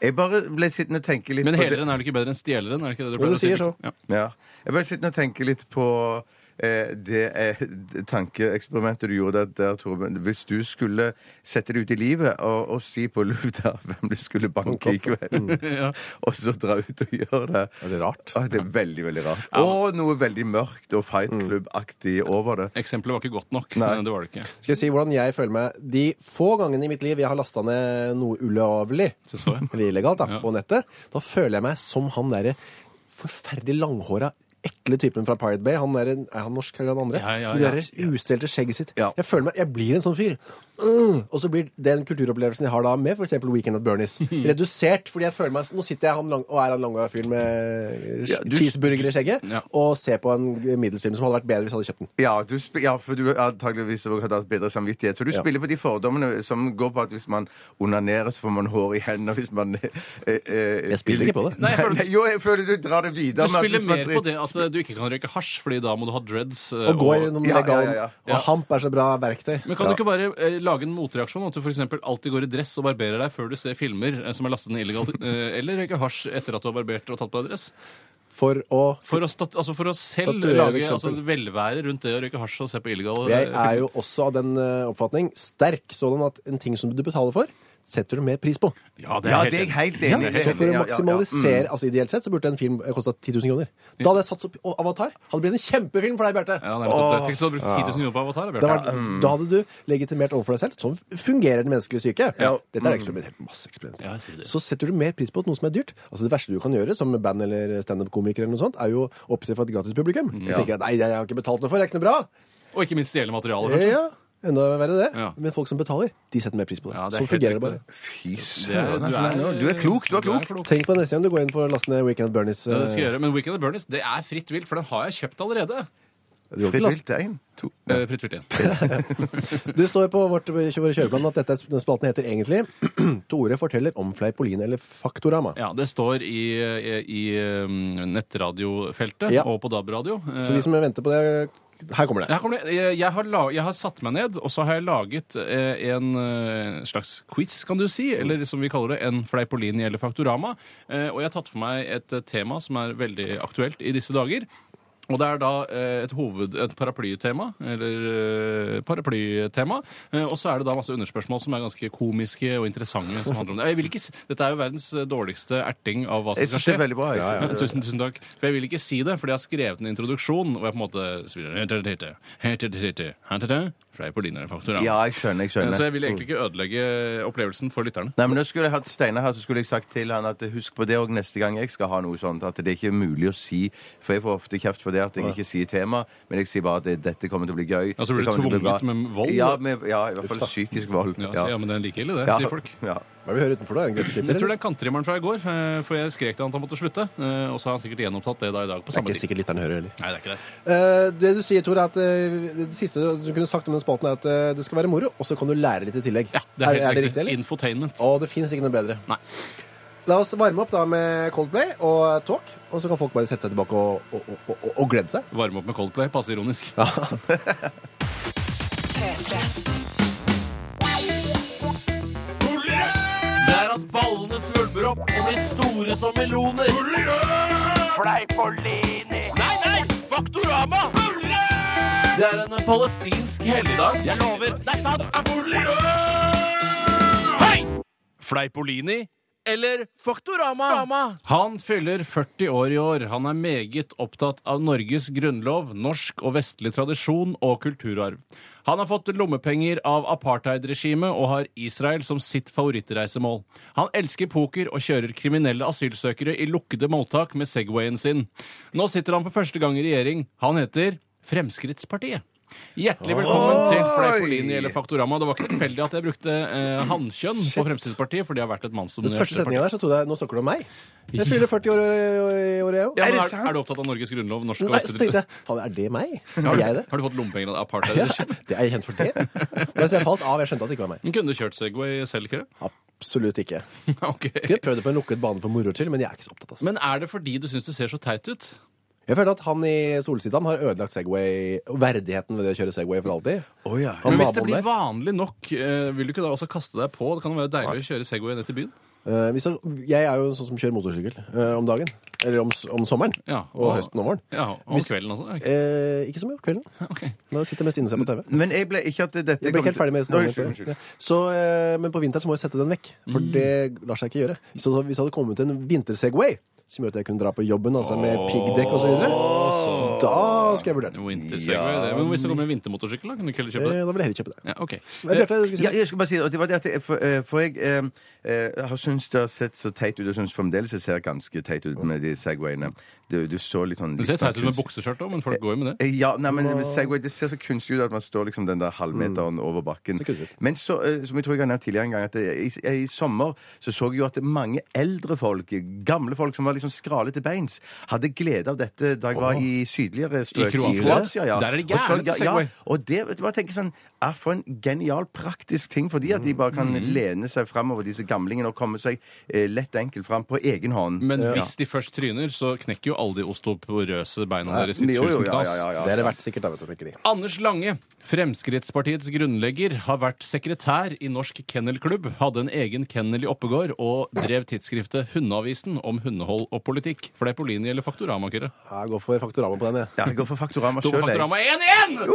S4: Jeg bare ble sittende og tenke litt
S5: Men
S4: på
S5: heleren er vel ikke bedre enn stjeleren? Er det ikke det du
S3: Jo,
S5: pleier
S3: det
S5: å si?
S3: sier så.
S5: Ja.
S4: Ja. Jeg bare sitter og tenker litt på eh, det eh, det tankeeksperimentet du gjorde der, der, Torben. Hvis du skulle sette det ut i livet og, og si på lufta hvem du skulle banke i kveld, og så dra ut og gjøre det
S3: Er det rart?
S4: ah, Det er veldig, veldig rart. Og noe veldig mørkt og Fight
S3: Mm.
S4: Club-aktig over det.
S5: Eksempelet var ikke godt nok.
S4: Nei.
S5: men Det var det ikke.
S3: Skal jeg si hvordan jeg føler meg De få gangene i mitt liv jeg har lasta ned noe ulovlig,
S5: Så så jeg.
S3: eller illegalt, da,
S5: Ja.
S3: på nettet, da føler jeg meg som han derre forferdelig langhåra ekle typen fra Pirate Bay. Han der, er han norsk eller han andre?
S5: Ja, ja,
S3: Med
S5: ja.
S3: Det der ustelte skjegget sitt.
S4: Ja.
S3: Jeg føler meg, jeg blir en sånn fyr. Øh! og så blir den kulturopplevelsen jeg har da med f.eks. Weekend at Bernies, redusert. fordi jeg føler meg, Nå sitter jeg han lang, og er han langhåra fyren med
S4: Ja, du-
S3: cheeseburger i skjegget
S5: Ja.
S3: og ser på en middelsfilm som hadde vært bedre hvis jeg hadde kjøpt den.
S4: Ja, du sp ja, for du har antageligvis også hatt bedre samvittighet. Så du
S3: Ja.
S4: spiller på de fordommene som går på at hvis man onanerer, så får man hår i hendene. og Hvis man eh, eh, eh,
S3: Jeg spiller ikke på det.
S5: Nei, jeg føler du-
S4: jo, jeg føler du drar det
S5: Du
S4: videre. med at
S5: spiller
S4: hvis man
S5: mer
S4: dri-
S5: på det at eh, du ikke kan røyke hasj, fordi da må du ha dreads. eh,
S3: Og gå gjennom
S4: ja, ja,
S3: legal
S4: ja, ja.
S5: Ja.
S3: Og hamp er så bra verktøy.
S5: Men kan
S4: Ja.
S5: du ikke bare eh, lage en motreaksjon? At du f.eks. alltid går i dress og barberer deg før du ser filmer eh, som er lastet ned illegalt, eh, eller røyker hasj etter at du har barbert og tatt på deg dress?
S3: For å
S5: For å, stat altså for å selv
S3: Statuere et
S5: lage altså
S3: eksempel.
S5: velvære rundt det å røyke hasj og se på eh, illegale
S3: Jeg er jo også av den eh, oppfatning sterk sådan at en ting som du betaler for, setter du mer pris på.
S5: Ja, det er
S4: Ja,
S5: helt
S4: det er jeg
S5: enig.
S4: helt
S3: Ja,
S4: enig i.
S3: så for
S4: Ja, Mm. ja,
S3: å
S4: ja.
S3: maksimalisere Altså Ideelt sett så burde en film eh, kosta 10 000 kroner. Da hadde jeg satt opp og Avatar. Hadde blitt en kjempefilm for deg, Bjarte.
S5: Ja, nei, nettopp det. Tenk så du brukt 10 000 kroner på Avatar.
S3: Da,
S5: Bjarte.
S3: var, da hadde du legitimert overfor deg selv. Sånn fungerer den menneskelige syke.
S4: Ja.
S3: Dette er eksperimentert. Masse eksperimenter.
S5: Ja, jeg sier det.
S3: så setter du mer pris på noe som er dyrt. Altså Det verste du kan gjøre som band- eller standup-komiker, eller noe sånt, er jo å opptre for et gratis publikum. Du tenker at nei, jeg har ikke betalt noe for, det er ikke noe bra.
S5: Og ikke minst stjele materialet,
S3: Ja,
S5: kanskje.
S3: ja. Enda verre det.
S5: Ja.
S3: Men folk som betaler, de setter mer pris på det.
S5: Ja, det er helt
S3: sånn
S5: riktig.
S3: fungerer det bare.
S4: Fy
S5: er-
S4: søren.
S5: du
S4: altså,
S5: er-
S4: nei, Du er klok. Du er klok.
S3: Tenk på det neste gang du går inn for å laste ned Weekend at Bernies.
S5: Ja, det skal jeg
S3: eh,
S5: gjøre. Men Weekend at Bernies det er fritt vilt, for den har jeg kjøpt allerede.
S3: du kan ikke
S4: Fritt
S3: laste-
S4: vilt, en, to.
S5: Eh, fritt vilt igjen.
S3: Du står på vårt vår kjøreplan at dette er- den spalten heter egentlig Tore forteller om Fleipolini eller Faktorama.
S5: Ja, det står i, i, i um, nettradiofeltet
S3: Ja.
S5: og på DAB-radio. Eh,
S3: Så de som venter på det Her kommer det.
S5: her kommer det. Jeg, jeg, har la, jeg har satt meg ned, og så har jeg laget eh, en eh, slags quiz, kan du si,
S4: Mm.
S5: eller som vi kaller det, en Fleipolini eller Faktorama. Eh, og jeg har tatt for meg et eh, tema som er veldig aktuelt i disse dager. Og det er da eh, et hoved, et paraplytema, eller eh, paraplytema. Eh, og så er det da masse underspørsmål som er ganske komiske og interessante. som handler om det. Jeg vil ikke, s- dette er jo verdens eh, dårligste erting av hva som
S4: Jeg
S5: skal
S4: syns det
S5: skje.
S4: er veldig bra. jeg.
S5: Ja, Tusen, tusen takk. For jeg vil ikke si det, fordi jeg har skrevet en introduksjon hvor jeg på en måte spiller Fleipolini eller Faktorama.
S4: Ja, jeg Mm. skjønner. jeg
S5: Så
S4: skjønner.
S5: jeg vil egentlig ikke ødelegge opplevelsen for lytterne.
S4: Nei, men nå skulle jeg hatt Steinar her, så skulle jeg sagt til han at husk på det òg neste gang jeg skal ha noe sånt, at det er ikke mulig å si For jeg får ofte kjeft for det at jeg ikke sier tema, men jeg sier bare at det, dette kommer til å bli gøy.
S5: Ja, så blir
S4: det
S5: du
S4: kommer til å bli
S5: tvunget
S4: bra.
S5: med vold?
S4: Ja, med, ja, i hvert fall psykisk vold.
S5: Ja, så, ja, men det er like ille, det, sier folk.
S4: Ja.
S3: Hva er det vi hører utenfor da? En gressklipper?
S5: Jeg tror
S3: eller?
S5: det er kanttrimmeren fra i går, eh, for jeg skrek til han at han måtte slutte. eh, Og så har han sikkert gjenopptatt det da i dag på
S3: Det er
S5: samme tid.
S3: ikke sikkert lytterne hører heller.
S5: Nei, det er ikke det.
S3: Eh, det du sier, Tore, er at eh, det siste du kunne sagt om den spalten, er at eh, det skal være moro, og så kan du lære litt i tillegg.
S5: Ja, det er, helt
S3: det
S5: riktig.
S3: riktig, eller?
S5: Infotainment.
S3: Å, det fins ikke noe bedre.
S5: Nei.
S3: La oss varme opp da med Coldplay og Talk, og så kan folk bare sette seg tilbake og, og, og, og, og glede seg.
S5: Varme opp med Coldplay. Passe ironisk.
S1: P3. blomstrer opp og blir store som meloner. Fleipolini. Nei, nei! Faktorama! Det er en palestinsk helligdag. Jeg lover. Nei, sant! Hei! Fleipolini eller Faktorama?
S5: Han fyller 40 år i år. Han er meget opptatt av Norges grunnlov, norsk og vestlig tradisjon og kulturarv. Han har fått lommepenger av apartheidregimet og har Israel som sitt favorittreisemål. Han elsker poker og kjører kriminelle asylsøkere i lukkede mottak med Segwayen sin. Nå sitter han for første gang i regjering. Han heter Fremskrittspartiet. Hjertelig velkommen til Fleipolini eller Faktorama. Det var ikke tilfeldig at jeg brukte eh, hannkjønn på Fremskrittspartiet, for det har vært et
S3: Den
S5: mannsdominert
S3: første
S5: parti.
S3: setninga der så trodde jeg nå snakker du om meg. Jeg fyller 40 år i i- i året, jeg òg.
S5: Ja,
S4: Er
S5: men
S4: det
S5: er,
S4: sant?
S5: er du opptatt av Norges grunnlov? Norsk og
S3: Nei, så tenkte
S5: vestlig
S3: jeg faen, er det meg?
S5: har,
S3: Er
S5: du-
S3: jeg det?
S5: har du fått lommepenger av apartheid?
S3: Ja, det er kjent for det. Men så jeg falt av. Jeg skjønte at det ikke var meg.
S5: Men kunne du kjørt Segway selv, ikke det?
S3: Absolutt ikke.
S5: Ok.
S3: Kunne prøvd det på en lukket bane for moro skyld, men jeg er ikke så opptatt av sånt.
S5: Men er det fordi du syns det ser så teit ut?
S3: Jeg føler at han i Solsidan har ødelagt Segway, verdigheten ved det å kjøre Segway for alltid.
S4: Å, ja.
S3: Han
S5: Men hvis det
S3: naboen
S5: blir
S3: der.
S5: vanlig nok, eh, vil du ikke da også kaste deg på? Det kan jo være deilig å kjøre Segway ned til byen.
S3: Eh, hvis jeg, jeg er jo sånn som kjører motorsykkel eh, om dagen. Eller om, s- om sommeren.
S5: Ja,
S3: og,
S5: og-
S3: høsten og våren.
S5: Ja, Om
S3: Hvis-
S5: kvelden også. er det ikke?
S3: Eh, ikke så mye om kvelden.
S5: Ok. Mm.
S3: Da sitter jeg mest inne og ser på TV.
S4: Men jeg ble ikke at dette
S3: Jeg ble ikke helt ferdig med
S4: Oi,
S3: resonemanget.
S4: unnskyld, unnskyld.
S3: Ja. Så, eh, Men på vinteren så må jeg sette den vekk, for
S5: Mm.
S3: det lar seg ikke gjøre. Så hvis det hadde kommet en vintersegway, som gjør at jeg kunne dra på jobben altså med piggdekk osv.,
S5: sånn.
S3: da skulle jeg vurdert det.
S5: Winter-Segway. det. Men hvis det kommer en vintermotorsykkel, da? Kan du ikke heller
S3: Eh,
S5: kjøpe det?
S3: Da vil jeg heller kjøpe det.
S5: Ja, ok.
S3: Men Bjarte, du skulle si
S4: Ja, jeg skal bare si det, og det var det at jeg, for, eh, for jeg eh, eh, har syntes det har sett så teit ut, og syns fremdeles det ser ganske teit ut med de Segwayene. Du, du så litt sånn
S5: Det ser
S4: litt sånn
S5: teit ut med
S4: kunst-
S5: bukseskjørt òg, men folk går jo med det.
S4: Eh, Ja, nei, men med Segway, Det ser så kunstig ut at man står liksom den der halvmeteren
S5: Mm.
S4: over bakken.
S3: Ser kunstig ut.
S4: Men så, eh, som jeg tror jeg har nevnt tidligere en gang, at eh, i, i sommer så så jeg jo at mange eldre folk, gamle folk som var liksom skrale til beins, hadde glede av dette da jeg var i sydligere strøk.
S5: Kroatia? Der er det
S4: Og så-
S5: gærent
S4: ja,
S5: Segway.
S4: ja, og det vet du, bare tenker sånn er For en genial, praktisk ting for de at de bare kan
S5: Mm.
S4: lene seg framover, disse gamlingene, og komme seg eh, lett og enkelt fram på egen hånd.
S5: Men hvis de først tryner, så knekker jo alle de ostoporøse beina deres i
S4: Jo, jo,
S5: tusen
S4: ja, ja,
S5: knas.
S4: ja, ja.
S3: Det er det verdt sikkert, da, vet du, tenker de.
S5: Anders Lange, Fremskrittspartiets grunnlegger, har vært sekretær i Norsk Kennelklubb, hadde en egen kennel i Oppegård og drev tidsskriftet Hundeavisen om hundehold og politikk. Fleipolini eller Faktorama, Kyrre?
S3: Jeg går for Faktorama på den, jeg.
S4: Ja, jeg går for Faktorama
S5: To på
S4: sjøl, jeg.
S5: Faktorama 1-1!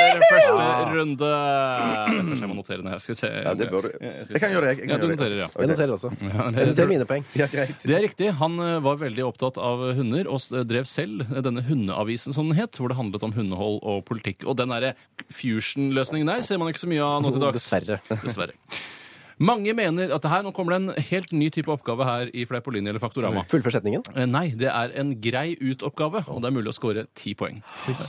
S5: Etter
S4: Ah.
S5: første runde. Først jeg må notere den her. Skal vi se.
S4: Ja, det bør du.
S5: Jeg skal
S4: Jeg kan
S5: se.
S4: gjøre det, jeg kan
S5: Ja, du
S4: gjøre det.
S5: noterer, ja.
S3: Jeg noterer også.
S5: Ja, det-
S3: Jeg noterer mine poeng.
S4: Ja, greit.
S5: Det er riktig. Han eh, var veldig opptatt av hunder, og s- eh, drev selv denne hundeavisen som den het, hvor det handlet om hundehold og politikk. Og den derre fusion-løsningen der ser man ikke så mye av nå til dags.
S3: Dessverre.
S5: Dessverre. Mange mener at det her, nå kommer det en helt ny type oppgave her i Fleipolini eller Faktorama.
S3: Fullfør setningen.
S5: Eh, Nei, det er en grei ut-oppgave, og det er mulig å score ti poeng.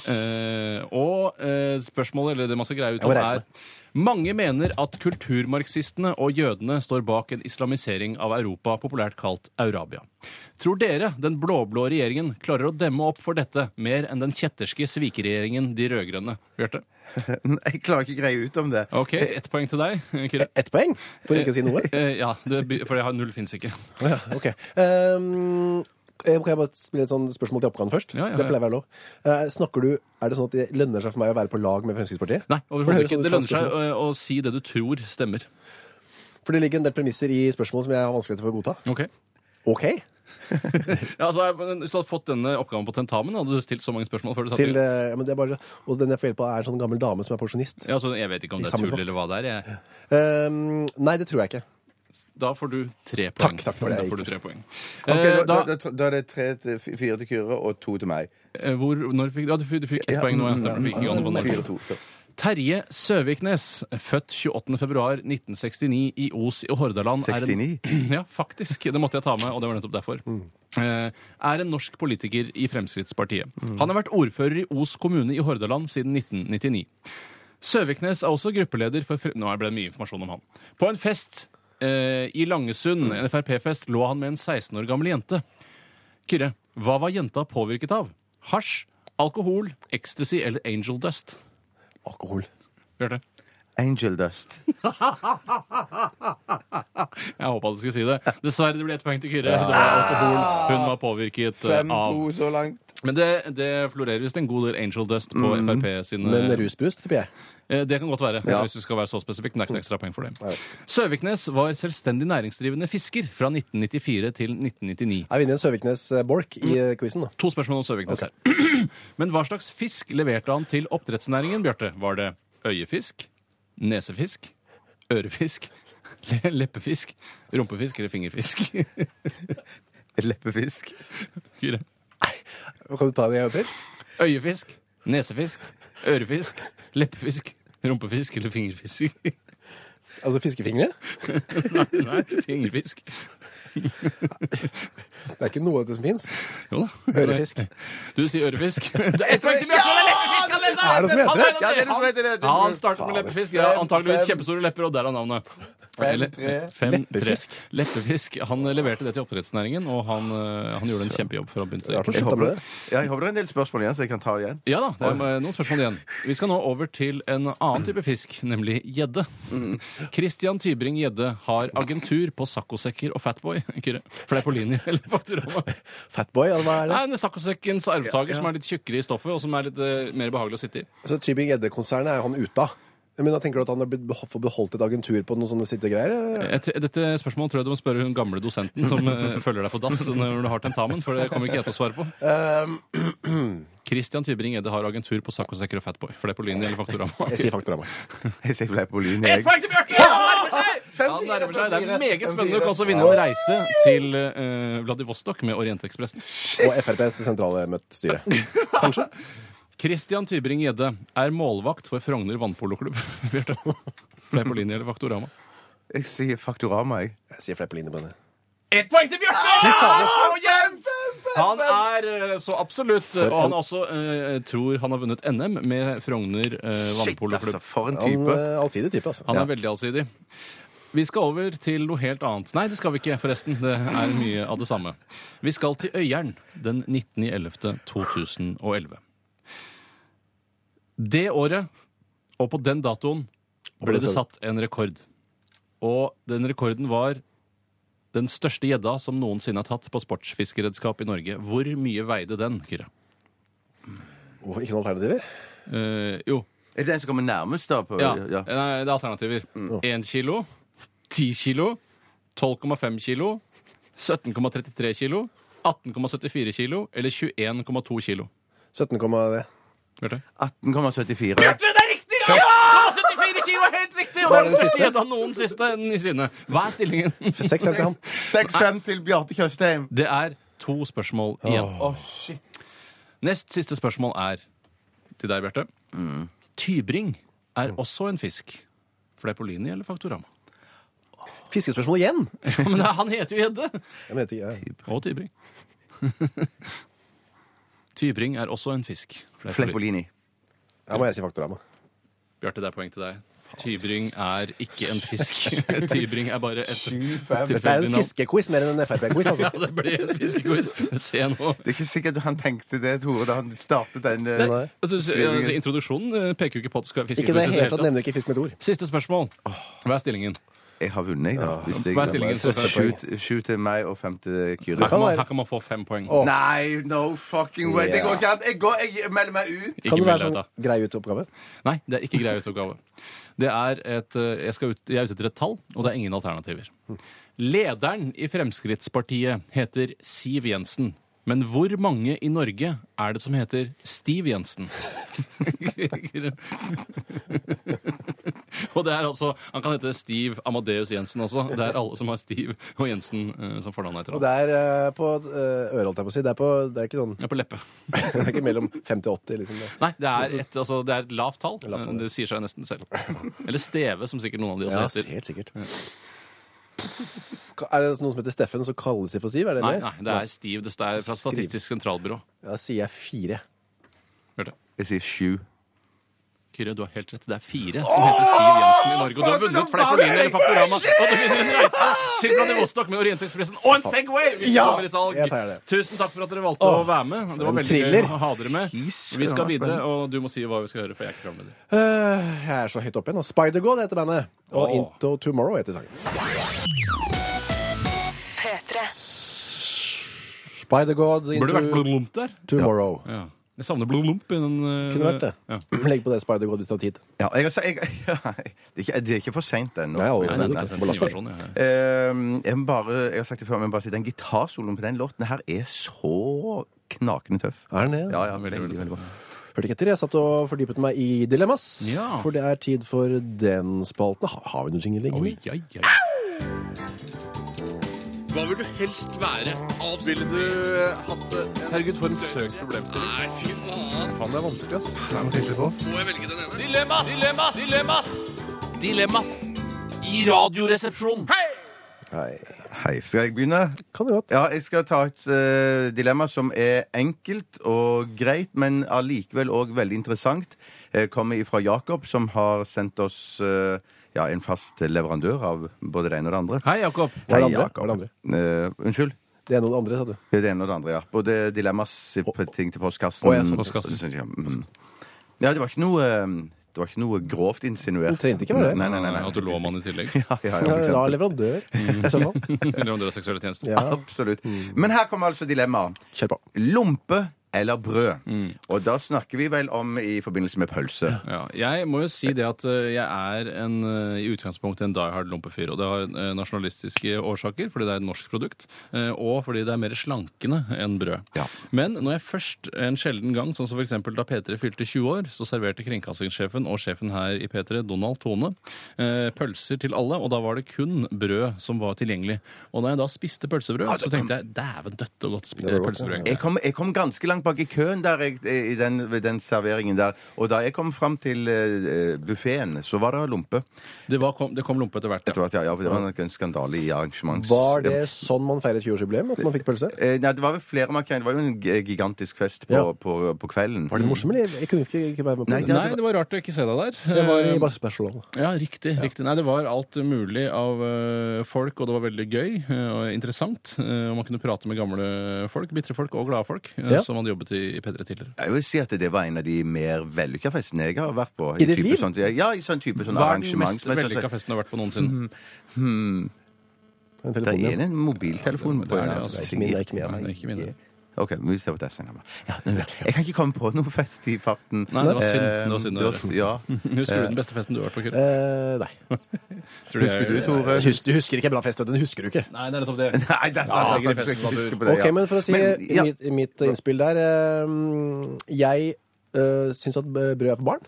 S5: Eh, og eh, spørsmålet, eller det man skal greie ut
S3: Jeg må
S5: om,
S3: reise
S5: er
S3: meg.
S5: mange mener at kulturmarxistene og jødene står bak en islamisering av Europa, populært kalt Eurabia. Tror dere den blå-blå regjeringen klarer å demme opp for dette mer enn den kjetterske svikeregjeringen de rød-grønne? Bjarte?
S4: Nei, Jeg klarer ikke greie ut om det.
S5: OK,
S3: Eh,
S5: ett poeng til deg. Kyrre.
S3: Ett poeng, for ikke å si noe.
S5: Eh, ja, det, by- for jeg har null fins ikke.
S3: Ja, ok. Ehm, eh, kan jeg bare spille et sånt spørsmål til oppgaven først?
S5: Ja, ja, ja.
S3: Det pleier å være lov. Eh, snakker du, er det sånn at det lønner seg for meg å være på lag med Fremskrittspartiet?
S5: Nei,
S3: For
S5: overhodet
S3: høres
S5: ikke.
S3: sånn ut
S5: Det
S3: fra
S5: lønner seg
S3: spørsmålet.
S5: å, å si det du tror stemmer.
S3: For det ligger en del premisser i spørsmålet som jeg har vanskeligheter for å godta.
S5: Ok.
S3: Ok,
S5: Ja, altså, men Hvis du hadde fått denne oppgaven på tentamen, hadde du stilt så mange spørsmål før du satt
S3: til,
S5: i-
S3: eh, ja, men det er bare, og den jeg får hjelp av er en sånn gammel dame som er pensjonist.
S5: ja, så Jeg vet ikke om
S3: I
S5: det er
S3: samme
S5: tull
S3: spott.
S5: eller hva det er. Jeg.
S3: Ehm, nei, det tror jeg ikke.
S5: Da får du tre poeng.
S3: takk for det.
S5: Da får du tre poeng.
S4: Ok,
S5: Eh,
S4: da,
S5: da,
S4: da, da er det tre til f- fire til Kyrre og to til meg.
S5: eh, hvor, når fikk, ja, du, fikk- du fikk ett poeng nå. Jeg stemmer, fikk ikke Johanne von
S4: Mm, Fire,
S5: Nordsjø.
S4: to.
S5: Terje Søviknes, født 28.2.1969 i Os i Hordaland er en-
S4: 69?
S5: Ja, faktisk. Det måtte jeg ta med, og det var nettopp derfor. Eh, Er en norsk politiker i Fremskrittspartiet. Han har vært ordfører i Os kommune i Hordaland siden 1999. Søviknes er også gruppeleder for Fre- Nå ble det mye informasjon om han. På en fest eh, i Langesund, en Frp-fest, lå han med en 16 år gammel jente. Kyrre, hva var jenta påvirket av? Hasj, alkohol, ecstasy eller angel dust?
S3: Alkohol.
S5: Bjarte?
S4: Angel dust.
S5: Jeg håpa du skulle si det. Dessverre, det ble ett poeng til Kyrre. Det var alkohol hun var påvirket eh,
S4: Fem,
S5: av.
S4: to så langt.
S5: Men det, det florerer visst en god del angel dust på Frp sine
S3: Mm. Men rusbrus, tipper jeg.
S5: Eh, Det kan godt være,
S3: Ja.
S5: hvis du skal være så spesifikk. Men det er ikke noe ekstra poeng for det. Søviknes var selvstendig næringsdrivende fisker fra 1994 til 1999.
S3: Er vi inne i en Søviknes-bork i eh, quizen, da?
S5: To spørsmål om Søviknes her. Men hva slags fisk leverte han til oppdrettsnæringen, Bjarte? Var det øyefisk, nesefisk, ørefisk, le- leppefisk, rumpefisk eller fingerfisk?
S4: Leppefisk.
S5: Kyrre.
S3: Kan du ta det en gang til?
S5: Øyefisk, nesefisk, ørefisk, leppefisk, rumpefisk eller fingerfisk?
S3: Altså fiskefingre?
S5: Nei, fingerfisk.
S3: Det er ikke noe av det som fins.
S5: Jo da.
S3: Ørefisk.
S5: Du sier ørefisk. Det er ett poeng til Bjarte! det er leppefisk, han vet
S3: Er det noe som heter det?
S4: Ja, det er det som heter det.
S5: Ja,
S4: det
S5: han
S4: er det som-
S5: starter med
S3: Fader.
S5: leppefisk. Ja,
S3: Fem,
S5: antakeligvis
S3: fem.
S5: kjempestore lepper, og derav navnet. Eller-
S3: tre.
S5: fem,
S3: Leppefisk.
S5: tre. Leppefisk. Han eh, leverte det til oppdrettsnæringen, og han, eh, han gjorde en kjempejobb før han
S3: Rart han
S5: begynte.
S4: Jeg
S3: slutta
S4: håper,
S3: med det.
S4: ja, jeg håper det er en del spørsmål igjen, så jeg kan ta igjen.
S5: Ja da, det er eh, noen spørsmål igjen. Vi skal nå over til en annen type fisk, nemlig gjedde.
S3: Mhm.
S5: Christian Tybring Gjedde har agentur på saccosekker og Fatboy. Kyrre, For det er på linje, eller Faktorama.
S3: Fatboy, eller hva er det?
S5: Nei, en saccosekkens arvtaker som er litt tjukkere i stoffet, og som er litt eh, mer behagelig å sitte i.
S3: Så Altså, Tybing Gjedde-konsernet er jo han ute av. Men da tenker du at han har blitt beho- fått beholdt et agentur på noen sånne sittegreier?
S5: Et, dette spørsmålet tror jeg du må spørre hun gamle dosenten som eh, følger deg på dass når du har tentamen, for det kommer ikke jeg til å svare på.
S3: Ehm,
S5: Christian Tybring-Edde har agentur på saccosekker og Fatboy. For det er på linje eller Faktorama.
S3: Jeg sier faktorama.
S4: Jeg sier Leipolini, jeg.
S5: Han nærmer seg. Det er meget spennende. Du kan også vinne en reise til eh, Vladivostok med Orientekspressen.
S3: Og FrPs sentrale møtt styre.
S5: Christian Tybring-Gjedde er målvakt for Frogner vannpoloklubb. Bjarte. For det er på linje eller Faktorama.
S4: Jeg sier Faktorama, jeg.
S3: Jeg sier Fleipolini på det.
S5: Ett poeng til Bjarte! Han er eh, så absolutt eh, Og han er også eh, tror han har vunnet NM med Frogner eh,
S4: Shit, altså,
S5: vannpoloklubb.
S4: for en
S3: Han
S4: type.
S3: eh, allsidig type, altså.
S5: Han er veldig allsidig. Vi skal over til noe helt annet. Nei, det skal vi ikke, forresten. Det er mye av det samme. Vi skal til Øyeren den 19.11.2011. Det året, og på den datoen, ble det satt en rekord. Og den rekorden var den største gjedda som noensinne er tatt på sportsfiskeredskap i Norge. Hvor mye veide den, Kyrre?
S3: Oh, ikke noen alternativer?
S5: Eh, jo.
S4: Er det den som kommer nærmest, da? På,
S5: Ja. Mm.
S4: ja.
S5: Nei, det er alternativer. Én kilo, 10 kilo, 12,5 kilo, 17,33 kilo, 18,74 kilo eller 21,2 kilo.
S3: 17, komma det.
S5: Bjarte?
S4: 18,74.
S5: Det er riktig! Ja! 74 kilo er helt riktig! Og det er
S3: Hva er
S5: den
S3: det
S5: første
S3: siste?
S5: gjedda noensinne. noensinne. Hva er stillingen?
S3: 6 til han.
S4: 6-5 til Bjarte Tjøstheim.
S5: Det er to spørsmål igjen. Nest siste spørsmål er til deg, Bjarte. Mm. Tybring er også en fisk. Fleipolini eller Faktorama?
S3: Fiskespørsmål igjen?
S5: Ja, men han heter jo gjedde!
S3: Jeg vet ikke, jeg.
S5: Og Tybring. Tybring er også en fisk.
S4: Fleipolini.
S3: Ja, må jeg si faktorama.
S5: Bjarte, det er poeng til deg. Tybring er ikke en fisk. Tybring er bare et
S3: Dette er
S5: tilfeldig
S3: en
S5: navn.
S3: fiskequiz mer enn en Frp-quiz,
S5: Ja,
S3: altså.
S5: det ble en fiskequiz. Se nå.
S4: Det er ikke sikkert han tenkte det, Tore, da han startet den. eh,
S3: Nei.
S5: Vet du, se- ja, se, Introduksjonen eh, peker jo ikke på at det skal være
S3: Ikke det
S5: fiskequiz. i det
S3: hele tatt
S5: hele tatt.
S3: nevner ikke fisk med et ord.
S5: Siste spørsmål. Hva er stillingen?
S4: Jeg har vunnet, jeg, da. Hvis jeg
S5: Hva er stillingen?
S4: Sju til- Sju til meg og fem til Kyrre.
S5: Her kan man,
S3: være-
S5: her kan man få fem poeng.
S3: Å,
S4: Nei, no fucking way! Det går ikke an! Jeg, går, jeg melder meg ut.
S5: Ikke
S3: Kan
S5: meld
S3: det være
S5: deg ut,
S3: sånn
S5: da.
S3: grei ut-oppgave?
S5: Nei, det er ikke grei utgave. Det er et, eh, jeg, skal ut, jeg er ute etter et tall, og det er ingen alternativer. Lederen i Fremskrittspartiet heter Siv Jensen. Men hvor mange i Norge er det som heter Stiv Jensen? og det er altså Han kan hete Stiv Amadeus Jensen også. Det er alle som har Stiv og Jensen eh, som fornavn etter
S3: Og
S5: ham.
S3: det er eh, på uh, øret, holdt jeg på å si. Det er, på, det er ikke sånn
S5: Det er på leppe.
S3: Det er ikke mellom 5 til 80, liksom. Det.
S5: Nei, det er et, altså, det er et lavt tall.
S3: Lavt tall, ja.
S5: Det sier seg nesten selv. Eller Steve, som sikkert noen av de
S3: Ja,
S5: også heter.
S3: helt sikkert. Ka- Er det noen som heter Steffen, som kalles de for Siv? Er det
S5: Nei,
S3: det?
S5: nei, det er Stiv. Det er fra
S3: Skriv.
S5: Statistisk sentralbyrå.
S3: Da sier jeg fire.
S5: Hørte.
S4: Jeg sier sju.
S5: Kyrre, du har helt rett. Det er fire som heter Stiv Jensen i Norge. Og du har vunnet Fleipolini eller Faktorama. Og du vinner en reise til Vladivostok med Orientekspressen og en Segway! hvis
S3: Ja,
S5: du kommer i salg.
S3: jeg tar det.
S5: Tusen takk for at dere valgte å være med. Det var
S3: en
S5: veldig
S3: thriller.
S5: gøy å ha dere med.
S4: Fy
S5: Vi skal
S4: søren,
S5: videre,
S4: spennende.
S5: og du må si hva vi skal høre. for jeg er ikke klar med det.
S3: Øh, jeg er så høyt oppe igjen. nå. Spider-God heter bandet. Og
S5: Åh.
S3: Into Tomorrow heter sangen.
S6: P3.
S3: By the God
S5: Burde det vært
S3: into
S5: blodlump der?
S3: tomorrow.
S5: Ja. Jeg savner blodlump i den eh,
S3: Kunne vært det.
S5: Ja.
S3: Legg på det Spider God hvis du har tid.
S4: Ja, jeg, har sa- jeg, ja, det, er ikke, det er ikke for seint ennå.
S3: Nei,
S5: Nei,
S3: aldri.
S5: nei, nei,
S3: Nei,
S5: det er
S3: må
S5: en ny
S3: laste.
S5: versjon, ja.
S4: Ehm, jeg, må bare, jeg har sagt det før, men bare si den gitarsoloen på den låten her er så knakende tøff.
S3: Er den det?
S4: Ja, ja,
S5: Veldig, veldig, veldig.
S4: bra.
S3: Hørte ikke etter. Jeg satt og fordypet meg i dilemmas.
S5: Ja.
S3: For det er tid for den spalten. Ha, har vi noen jingle liggende?
S5: Oi, oi, oi.
S1: Hva vil du helst være? Ville du hatt det? Herregud, for en søk problemstilling. Nei, fy faen. Faen, det er vanskelig, ass. Det er noe sikkert på oss. Må jeg velge den ene? Dilemmas! Dilemmas! Dilemmas! Dilemmas! I radioresepsjonen. Hei!
S3: Nei.
S4: Hei, skal jeg begynne?
S3: Kan du godt.
S4: Ja, jeg skal ta et eh, dilemma som er enkelt og greit, men allikevel òg veldig interessant. Eh, kommer ifra Jakob, som har sendt oss eh, ja, en fast leverandør av både det ene og det andre.
S5: Hei, Jakob.
S3: Hva er det andre?
S4: Jakob.
S3: Hva er det andre?
S4: Eh, unnskyld?
S3: Det er noen andre, sa du.
S4: Det er det ene og det andre, ja. Både dilemmas på ting til postkassen.
S3: Å, ja, sånn.
S5: Postkassen.
S4: Ja, mm. ja, det var ikke noe eh, Det var ikke noe grovt insinuert.
S3: Det trengte ikke være det.
S4: Nei, nei, nei, nei.
S5: At du lå med han i tillegg.
S4: Ja, ja, Mm. ja, for eksempel.
S3: Rar leverandør. i så fall.
S5: Leverandør av seksuelle tjenester.
S3: Ja.
S4: Absolutt.
S5: Mm.
S4: Men her kommer altså dilemmaet.
S3: Kjør på.
S4: Lompe eller brød? Og da snakker vi vel om i forbindelse med pølse.
S5: Mm. Ja, jeg må jo si det at eh, jeg er en, eh, i utgangspunktet en die hard lompefyr. Og det har eh, nasjonalistiske årsaker, fordi det er et norsk produkt, eh, og fordi det er mer slankende enn brød.
S4: Ja.
S5: Men når jeg først en sjelden gang, sånn som f.eks. da P3 fylte 20 år, så serverte kringkastingssjefen og sjefen her i P3, Donald Tone, eh, pølser til alle, og da var det kun brød som var tilgjengelig. Og da jeg da spiste pølsebrød, så tenkte jeg dæven døtte og godt spi-
S3: var godt,
S5: pølsebrød.
S4: Jeg kom, jeg kom ganske langt bak i køen der, jeg, i den, ved den serveringen der. Og da jeg kom fram til uh, buffeen, så var det lompe.
S5: Det, var, kom, det kom lompe etter hvert.
S4: Etter hvert, ja, ja, for det var nok en skandale i arrangements...
S3: Var det sånn man feiret 20-årsjubileum? At man fikk pølse?
S4: Eh, Nei, det var vel flere markeringer. Det var jo en g- gigantisk fest på,
S3: Ja.
S4: på, på kvelden.
S3: Var det morsom, eller? Jeg kunne ikke, ikke være med på
S4: Nei,
S3: det.
S5: Nei, det var rart å ikke se deg der. Eh,
S3: Jeg var i bare spørsmål.
S5: Ja, riktig. riktig. Nei, Det var alt mulig av eh, folk, og det var veldig gøy eh, og interessant. eh, og Man kunne prate med gamle folk, bitre folk og glade folk eh,
S3: Ja.
S5: som hadde jobbet i, i P3 tidligere.
S4: Jeg vil si at det var en av de mer vellykka festene jeg har vært på.
S3: I ditt
S4: type
S3: liv?
S4: sånt- ja, i sånn type sånn
S5: Hva er den
S4: arrangement.
S5: mest vellykka festen du har vært på
S4: Mhm.
S5: noensinne?
S3: Den
S4: Det er
S3: telefonen, ja.
S4: en mobiltelefon
S5: Ja, det-
S4: på.
S5: det er
S4: ja,
S5: det,
S4: altså.
S5: altså.
S3: Ikke min, det er ikke
S5: Nei,
S3: min.
S5: det er ikke min. det.
S4: Ok, men vi ser på det senere. Ja, nå vel. jeg kan ikke komme på noe fest i farten.
S5: Nei, det var synd.
S4: Eh,
S5: Det var synd å
S4: det var- Ja.
S5: Husker
S4: Eh.
S5: du den beste festen du har vært på? Kurt?
S3: Eh, nei.
S5: Tror du jeg-
S4: Husker du, Tore?
S3: Husker, du husker ikke en bra fest, vet du. Den husker du ikke.
S5: Nei, det er nettopp det.
S4: Nei, det
S5: Ja,
S4: er sant. Jeg kan ikke
S5: festen var
S4: huske på det.
S3: Ok,
S4: ja.
S3: men for å si
S4: Men, ja.
S3: mitt, mitt innspill der eh, Jeg uh, syns at brød er for barn.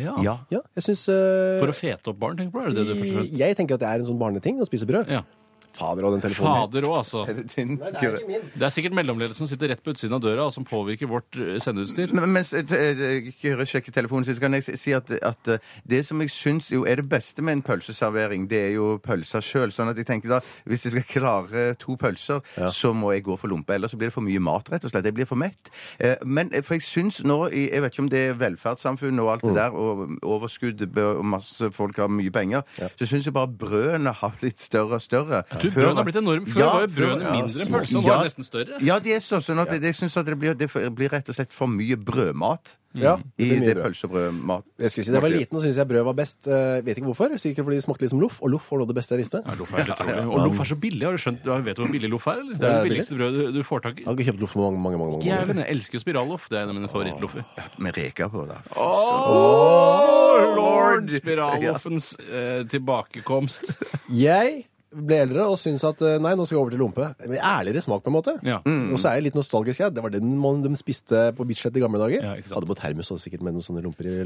S5: Ja.
S4: Ja.
S3: Ja, jeg syns eh,
S5: For å fete opp barn, tenker du på? Er det det du først og fremst?
S3: Jeg tenker at det er en sånn barneting å spise brød.
S5: Ja.
S3: Fader og den telefonen.
S5: Fader òg, altså.
S4: Er det din-
S3: min.
S5: Det er sikkert mellomledelsen som sitter rett på utsiden av døra, og som påvirker vårt eh, sendeutstyr.
S4: Men- Mens eh, eh, Kyrre sjekker telefonen sin, så kan jeg si- si at, at eh, det som jeg syns jo er det beste med en pølseservering, det er jo pølsa sjøl. Sånn at jeg tenker da, hvis jeg skal klare to pølser, så må jeg gå for lompe. Ellers så blir det for mye mat, rett og slett. Jeg blir for mett. Eh, Men eh, for jeg syns nå i- Jeg vet ikke om det er velferdssamfunn og alt det der, og overskudd og masse folk har mye penger, så syns jeg bare brødene har blitt større og større.
S5: Du, brøden har blitt enorm. Før var jo brødene
S4: før- ja,
S5: mindre enn
S4: små-
S5: pølsa, nå
S4: ja.
S5: er det nesten større.
S4: Ja, de er så, sånn at jeg- jeg syns at det blir, det f- blir rett og slett for mye brødmat.
S3: Mm. Ja, det
S4: I
S3: blir mye
S4: det
S3: brød.
S4: pølsebrødmat.
S3: Jeg skulle si, da jeg var liten, så syntes jeg brød var best. Eh, vet ikke hvorfor. Sikkert fordi det smakte litt som loff, og loff var noe av det beste jeg visste.
S5: Ja, loff er helt utrolig. Og loff er så billig. Har du skjønt? Du vet du hvor billig loff er? eller? Det
S3: Ja,
S5: er
S3: det er
S5: det billigste brødet du- du får tak i.
S3: Jeg har ikke kjøpt loff på mange, mange, mange, mange,
S5: Jævlig, men jeg elsker jo spiralloff. Det er en av mine favorittloffer.
S4: Med reker på, da.
S5: Oh,
S4: lord!
S5: Spiralloffens eh, tilbakekomst.
S3: år. Jeg ble eldre og syntes at eh, nei, nå skal jeg over til lompe. Med ærligere smak, på en måte.
S5: Ja.
S4: Mm.
S3: Og så er jeg litt nostalgisk. Jeg. Det var den man, de spiste på Bislett i gamle dager.
S5: Ja, ikke sant.
S3: Hadde på termos og sikkert med noen sånne lomper i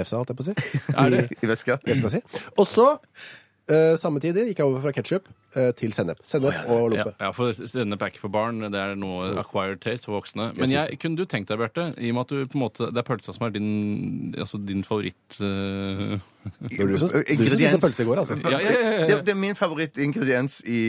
S3: lefsa, holdt jeg på å si.
S5: Er det?
S4: I veska.
S3: Jeg skal si. Og så, eh, samme tid, gikk jeg over fra ketsjup til sennep. Sennep
S5: Ja,
S3: og lompe.
S5: ja, for denne packet for barn det er noe acquired taste for voksne. Men jeg, kunne du tenkt deg, Bjarte, i og med at du på en måte, det er pølsa som er din, altså din favoritt eh,
S3: Det var du som, du som spiste
S4: Ingrediens.
S3: pølse i går, altså.
S5: Ja, ja, ja, ja.
S4: Det, det er min favorittingrediens i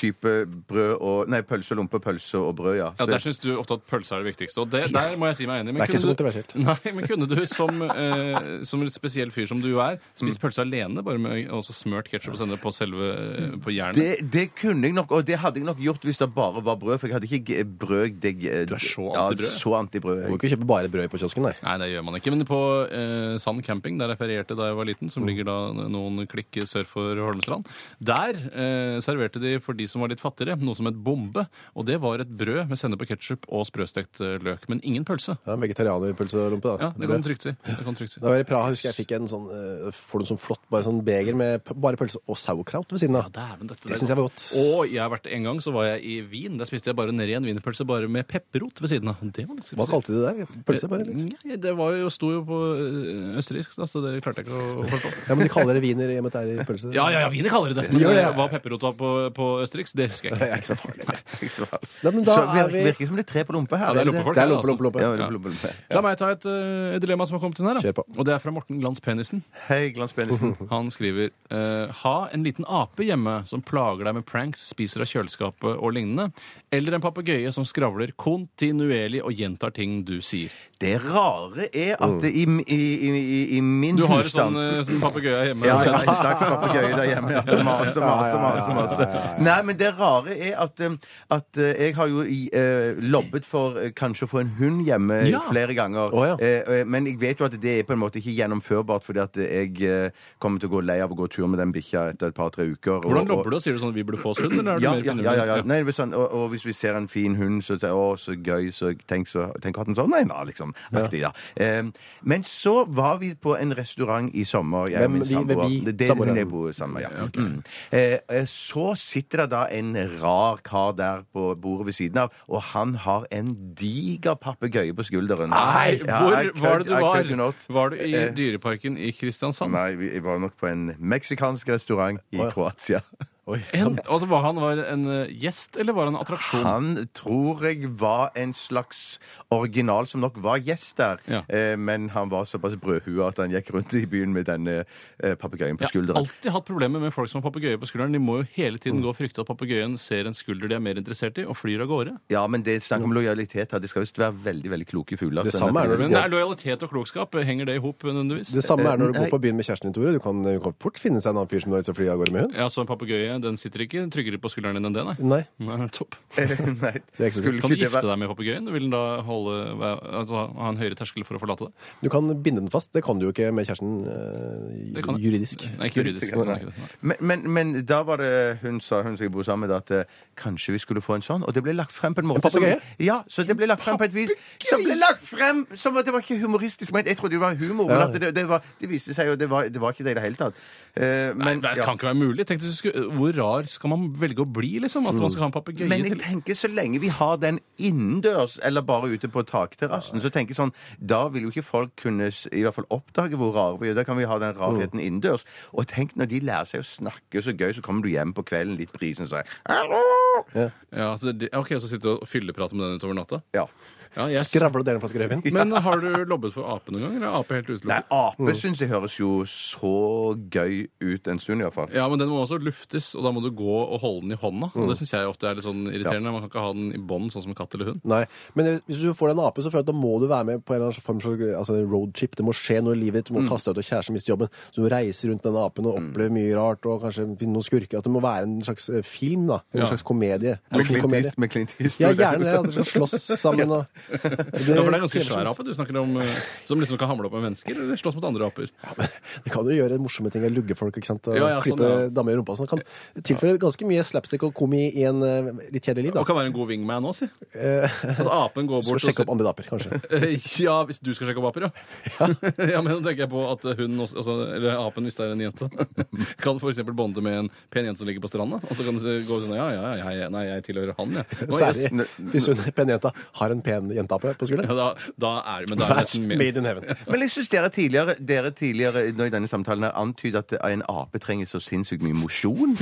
S4: type brød og Nei, pølse og lompe, pølse og brød, ja.
S5: Ja,
S4: Så-
S5: Der syns du ofte at pølse er det viktigste. Og det, der må jeg si meg enig. Men
S3: Det er ikke
S5: kunne du-
S3: så kontroversielt.
S5: Nei, men kunne du som, eh, som en
S3: Mm.
S5: spesiell fyr som du er, spist pølse alene, bare med og så smørt ketsjup og sennep på selve eh, på jernet?
S4: det det, det kunne jeg nok, og det hadde jeg nok gjort hvis det bare var brød. For jeg hadde ikke g- brød deg eh,
S5: Du er så
S4: Ja,
S5: anti-brød.
S4: så anti-brød.
S3: Du må ikke kjøpe bare brød på kiosken, nei.
S5: Nei, det gjør man ikke. Men på eh, Sand camping, der jeg ferierte da jeg var liten,
S3: Mm.
S5: som ligger da noen klikk sør for Holmestrand, der eh, serverte de for de som var litt fattigere, noe som het bombe. Og det var et brød med sennep og ketsjup og sprøstekt eh, løk, men ingen pølse.
S3: Ja, Vegetarianerpølse og lompe, da.
S5: Ja, det kan du trygt si. Det kan du trygt si.
S3: Da jeg var i Praha, husker jeg jeg fikk en sånn eh, Får du en sånn flott bare sånn beger med p- bare pølse og sauerkraut ved siden av.
S5: Dæven, dette
S3: Det
S5: der-
S3: syns jeg var godt.
S5: Og jeg har vært en gang så var jeg i Wien. Der spiste jeg bare en ren wienerpølse bare med pepperrot ved siden av. Det var ganske
S3: Hva kalte de det der? Pølse, bare? liksom? Eller?
S5: Nei, det var jo, sto jo på ø, østerriksk, da, så det klarte jeg ikke å å forstå.
S3: Ja, men de kaller det wiener hjemme der i pølse.
S5: Ja, ja, ja, wiener kaller de det.
S3: De gjør det, ja.
S5: Hva pepperrot var på, på østerriksk, det husker jeg
S3: Det
S5: ikke.
S3: er ikke så farlig. eller?
S4: Så
S3: Nei, men da er
S4: virker,
S3: vi
S4: virker som det er tre på lompe her.
S5: det er
S4: eller?
S5: lompefolk.
S3: Det er lompe, lompe,
S4: Ja,
S3: lompe.
S4: lompe, lompe, lompe.
S5: La meg ta et ø, dilemma som har kommet inn her. Da.
S3: Kjør på.
S5: Og det er fra Morten Glans Penisen.
S4: Hei, Glans Pedersen.
S5: Han skriver eh, Ha en liten ape hjemme som plager deg med pranks, spiser av kjøleskapet og lignende. Eller en papegøye som skravler kontinuerlig og gjentar ting du sier.
S4: Det rare er at det i, i, i, i- i min
S5: Du har en
S4: husstand
S5: sånn eh, sånn papegøye hjemme?
S4: Ja, ja, en slags papegøye der hjemme. Ja. Som maser, maser, maser. maser. Nei, men det rare er at, um, at uh, jeg har jo i, eh, lobbet for eh, kanskje å få en hund hjemme
S5: Ja.
S4: flere ganger.
S3: Å, ja.
S4: Eh, eh, men jeg vet jo at det er på en måte ikke gjennomførbart, fordi at jeg eh, kommer til å gå lei av å gå tur med den bikkja etter et par-tre uker. og-
S5: Hvordan lobber
S4: og-
S5: du? Sier du sånn 'vi burde få oss hund'? Eller er du
S4: Ja,
S5: mer
S4: ja, ja,
S5: finurlig?
S4: ja, ja. Nei, det blir sånn, og, og hvis vi ser en fin hund, så sier jeg 'å, så gøy', så tenk, så, tenk å ha den sånn en, da, liksom. Aktig, da. Eh, men så var vi på en restaurant i sommer. Jeg og
S3: Hvem
S4: min
S3: vi- hvem
S4: samboer.
S3: vi?
S4: Det, det,
S3: Samboeren.
S4: hun jeg bor sammen med, ja. Mm. Eh, eh, så sitter det da en rar kar der på bordet ved siden av, og han har en diger papegøye på skulderen.
S5: Nei,
S4: Ja,
S5: hvor
S4: I
S5: var det
S4: could- I could
S5: du var?
S4: not.
S5: Var du i
S4: Eh,
S5: Dyreparken i Kristiansand?
S4: Nei, vi var nok på en meksikansk restaurant i
S3: Å, ja.
S4: Kroatia.
S3: Oi.
S5: En, altså, var han var en eh, gjest, eller var han en attraksjon?
S4: Han tror jeg var en slags original som nok var gjest der.
S5: Ja.
S4: Eh, men han var såpass brødhua at han gikk rundt i byen med denne eh, papegøyen på
S5: Jeg har
S4: skulderen.
S5: alltid hatt problemer med folk som har papegøye på skulderen. De må jo hele tiden
S4: Mm.
S5: gå og frykte at papegøyen ser en skulder de er mer interessert i, og flyr av gårde.
S4: Ja, men det er snakk om lojalitet her. De skal visst være veldig veldig kloke fugler.
S3: Det
S4: så
S3: samme er
S4: denne-
S3: det
S5: Men er lojalitet og klokskap, henger det i hop eh, nødvendigvis?
S3: Det samme er når du
S4: Eh,
S3: går på byen med kjæresten din, Tore. Du kan, du kan fort finne seg en annen fyr som du har lyst til å fly av gårde med hund.
S5: Ja, så en papegøye den sitter ikke tryggere på skulderen din enn det, nei.
S3: Nei.
S5: Nei, topp.
S4: Nei,
S3: Det er ikke så
S4: skulle
S5: Kan du
S4: ikke det
S5: gifte
S4: være-
S5: deg med papegøyen? Vil den da holde, altså, ha en høyere terskel for å forlate det?
S3: Du kan binde den fast. Det kan du jo ikke med kjæresten eh,
S5: Det kan jeg.
S3: juridisk.
S5: Nei, ikke juridisk.
S4: Nei.
S5: Den er ikke det. Nei.
S4: Men, men, men da var det hun sa hun som jeg bor sammen med, at eh, kanskje vi skulle få en sånn. Og det ble lagt frem på en måte
S3: En papegøye?
S4: som- Ja, så det ble lagt frem på et vis som ble lagt frem som at det var ikke humoristisk ment. Jeg trodde det var humor, men
S3: Ja.
S4: at det, det, var, det viste seg jo det var, det var ikke det i det hele tatt. Eh, men,
S5: Nei, det
S4: ja.
S5: kan ikke være mulig. Tenk, hvis du skulle, hvor rar skal man velge å bli, liksom? At man skal ha en papegøye
S4: men jeg
S5: til
S4: tenker så lenge vi har den innendørs eller bare ute på takterrassen, så tenker jeg sånn, da vil jo ikke folk kunne s- i hvert fall oppdage hvor rare vi er. Da kan vi ha den rarheten innendørs. Og tenk når de lærer seg å snakke så gøy, så kommer du hjem på kvelden litt brisen og sier Hallo!
S5: ja, så det, OK, så sitte og fylleprate med den utover natta?
S4: Ja.
S5: Ja, jeg,
S3: Skravle og dele en flaske rødvin.
S5: men har du lobbet for ape noen gang? Eller er ape helt
S4: Nei,
S5: utelukket?
S4: ape syns jeg høres jo så gøy ut en stund, iallfall.
S5: Ja, men den må også luftes, og da må du gå og holde den i hånda. Og
S3: Mm.
S5: det syns jeg ofte er litt sånn irriterende. Man kan ikke ha den i bånd, sånn som en katt eller hund.
S3: Nei, men hvis du får deg en ape, så føler jeg at da må du være med på en eller annen form for altså, roadtrip. Det må skje noe i livet ditt. Du
S5: Mm.
S3: må kaste deg ut og kjæresten mister jobben. Så du må reise rundt med den apen og oppleve mye rart og kanskje finne noen skurker. At det må være en slags eh, film, da. En
S5: Ja.
S3: slags komedie.
S4: Med
S3: Action-
S4: Clint
S3: komedie.
S4: East- med Clint East.
S3: Ja, gjerne det. At
S4: altså.
S3: de skal slåss sammen og det,
S5: Ja, for det er en ganske svær ape du snakker om, eh, som liksom kan hamle opp med mennesker eller slåss mot andre aper.
S3: Det kan jo gjøre morsomme ting. Lugge folk ikke sant? og
S5: Ja, ja, sånn,
S3: klippe
S5: ja.
S3: damer i rumpa. Sånn. Kan tilføre ganske mye slapstick og komi i en eh, litt kjedelig
S5: Og
S3: liv, da. Eh,
S5: kan være en god wingman òg, si. At apen går
S3: Skal
S5: bort
S3: sjekke opp andre daper, kanskje.
S5: Eh, Ja, hvis du skal sjekke opp aper, ja. ja, men nå tenker jeg på at hun også, altså, eller apen, hvis det er en jente, kan f.eks. bonde med en pen jente som ligger på stranda, og så kan du gå sånn Ja, ja, ja, jeg, nei, jeg tilhører han, jeg. Og jeg-
S3: Særlig hvis hun penjenta har en pen jenteape på skulderen.
S5: Ja, da, da er men da er det
S3: Match
S5: nesten mer-
S3: made in heaven.
S4: Men jeg syns dere tidligere, dere tidligere nå i denne samtalen her antyder at en ape trenger så sinnssykt mye mosjon.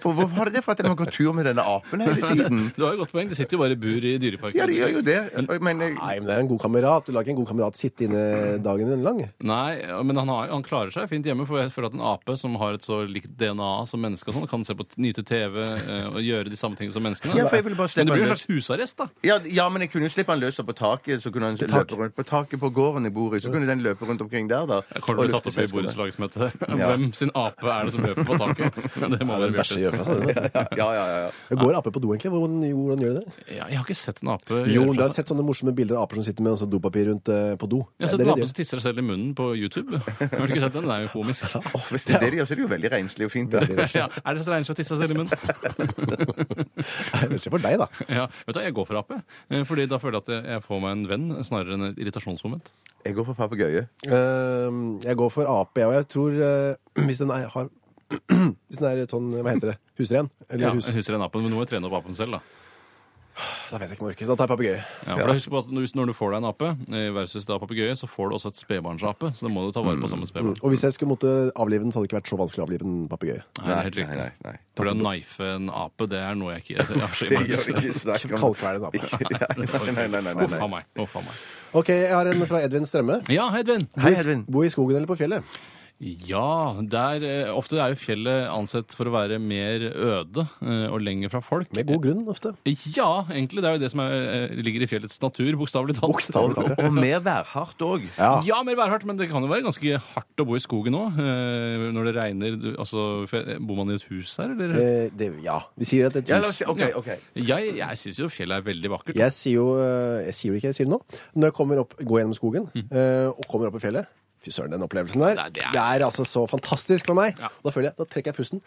S4: For Hvorfor har dere det? For at dere må gå tur med denne apen hele tiden?
S5: Du har jo godt poeng. De sitter jo bare i bur i Dyreparken.
S4: Ja, de gjør jo det. Men jeg,
S3: Nei, men det er en god kamerat. Du lar ikke en god kamerat sitte inne dagen din lang.
S5: Nei, ja, men han, har, han klarer seg fint hjemme. For jeg føler at en ape som har et så likt DNA som menneske, og sånn, kan se på t- nyte TV eh, og gjøre de samme ting som menneskene.
S4: Ja, for jeg ville bare
S5: men
S4: slippe
S5: det blir jo
S4: han
S5: en slags husarrest, da.
S4: Ja, ja, men jeg kunne jo slippe han løs opp på taket. Så kunne han
S3: tak.
S4: løpe rundt På taket på gården jeg bor i. Så kunne den løpe rundt omkring der, da.
S5: Kommer
S4: og
S5: til å bli tatt
S4: lufte
S5: opp i
S4: seg skoene.
S5: borettslagsmøtet.
S4: Ja.
S5: Hvem sin ape er det som løper på taket? Men Det må være Bjørtes.
S3: Bæsje i Gjøka, sa du det?
S4: Ja, ja, ja. ja.
S3: Det går aper på do, egentlig. Hvordan, jo, hvordan gjør de det?
S5: Ja, jeg har ikke sett en ape. i
S3: Jo,
S5: Gjøka.
S3: du har sett sånne morsomme bilder av aper som sitter med altså, dopapir rundt eh, på do.
S5: Jeg har
S3: Det
S5: sett
S3: er
S5: en
S3: det de
S5: ape
S3: gjør.
S5: som tisser seg selv i munnen på YouTube. Har du ikke sett den? Den er jo komisk.
S4: Åh, hvis det er det de gjør, så er det jo veldig renslig og fint. Da.
S5: Ja, er det så renslig å tisse seg selv i munnen?
S3: Det er veldig for deg, da.
S5: Ja, vet du hva, jeg går for ape. Eh, Fordi da føler jeg at jeg- jeg får meg en venn snarere enn et irritasjonsmoment.
S4: Jeg går for papegøye.
S3: Ehm, jeg går for ape, jeg, og jeg tror eh, Hvis den er, har Hvis den er sånn, hva heter det, husren? Eller
S5: Ja, jeg
S3: hus...
S5: husker den apen, men nå må jeg trene opp apen selv, da.
S3: Da vet jeg ikke om jeg orker. Da tar jeg papegøye.
S5: Ja, for da husk på at når- Når du får deg en ape eh, versus da papegøye, så får du også et spedbarnsape. Så det må du ta vare på som et spedbarn.
S3: Og hvis jeg skulle måtte avlive den, så hadde det ikke vært så vanskelig å avlive en papegøye.
S5: Nei, det er helt riktig.
S4: nei, nei, nei.
S5: For å knife en ape, det er noe jeg ikke jeg
S4: Det
S5: avskyer meg.
S4: gjør ikke snakk om.
S3: Kalkvær en ape.
S4: Nei, nei, nei, nei, nei,
S5: Uff a
S4: nei.
S5: meg. Uff a meg.
S3: OK, jeg har en fra Edvin Strømme.
S5: Ja, hei, Edvin.
S4: Hei, Edvin.
S3: Bo i skogen eller på fjellet?
S5: Ja, der, eh, ofte er jo fjellet ansett for å være mer øde eh, og lenger fra folk.
S3: Med god grunn, ofte.
S5: Ja, egentlig. Det er jo det som er, eh, ligger i fjellets natur, bokstavelig talt.
S3: Bokstavelig talt,
S4: Og mer værhardt òg.
S5: Ja. mer værhardt, men det kan jo være ganske hardt å bo i skogen òg. Eh, når det regner du, altså, fe- Bor man i et hus her, eller?
S3: Eh, det, ja. Vi sier at et
S4: Ja, la oss
S3: hus
S4: si OK. ok.
S5: Jeg, jeg syns jo fjellet er veldig vakkert.
S3: Jeg sier jo eh, Jeg sier det ikke, jeg sier det nå. Når jeg kommer opp, går gjennom skogen eh, og kommer opp i fjellet Fy søren, den opplevelsen der.
S5: Nei,
S3: det,
S5: det
S3: er...
S5: er-
S3: altså så fantastisk for meg.
S5: Ja.
S3: Da føler jeg, da trekker jeg pusten.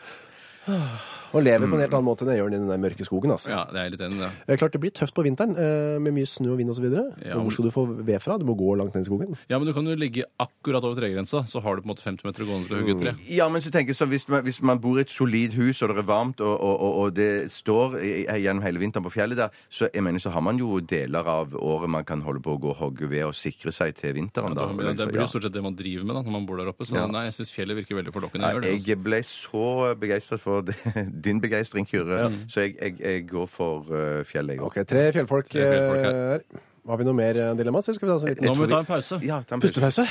S3: Og lever på en helt annen måte enn jeg gjør i den der mørke skogen. altså.
S5: Ja, det er jeg litt enig i det.
S3: Eh, Klart det blir tøft på vinteren eh, med mye snø og vind osv. videre
S5: Ja,
S3: og
S5: men-
S3: hvor skal du få ved fra? Du må gå langt ned i skogen.
S5: Ja, men du kan jo ligge akkurat over tregrensa, så har du på en måte 50 meter å gå ned til å hugge et
S1: Mm,
S5: tre.
S4: Ja, men så tenker jeg så hvis man, hvis man bor i et solid hus, og det er varmt, og, og, og, og det står i- i- gjennom hele vinteren på fjellet der, så jeg mener så har man jo deler av året man kan holde på å gå og hogge ved og sikre seg til vinteren. da.
S5: Det det blir jo stort sett det man driver med da, når man bor der oppe. Så
S4: Ja.
S5: nei, jeg syns fjellet virker veldig forlokkende.
S4: Nei,
S5: Jeg gjør det, altså.
S4: jeg ble så begeistret for det, din begeistring, Kyrre, så jeg, jeg, jeg går for eh, fjellet. Jeg. også.
S3: Ok, Tre fjellfolk
S5: Tre fjellfolk
S3: eh, her. Har vi noe mer eh, dilemmas, eller skal vi ta oss en liten
S5: Nå må vi ta en pause.
S4: Ja, ta en pust.
S3: pustepause?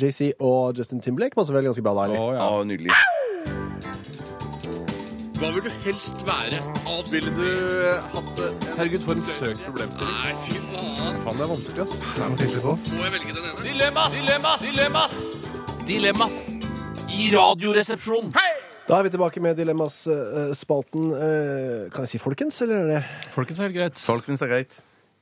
S3: JC og Justin Timberlake passer vel ganske bra da,
S5: altså. Å,
S3: eller?
S5: ja.
S4: Å, nydelig.
S1: Hva vil du helst være? Alt ville du hatt det? Herregud, for en søk problemstilling. Nei, fy faen. Faen, det er vanskelig, ass. Det er noe sikkert på oss. Må jeg velge den ene? Dilemmas! Dilemmas! Dilemmas!
S6: Dilemmas i radioresepsjonen.
S3: Da er vi tilbake med Dilemmas-spalten. eh, Kan jeg si folkens, eller er det
S5: Folkens er helt greit.
S4: Folkens er greit.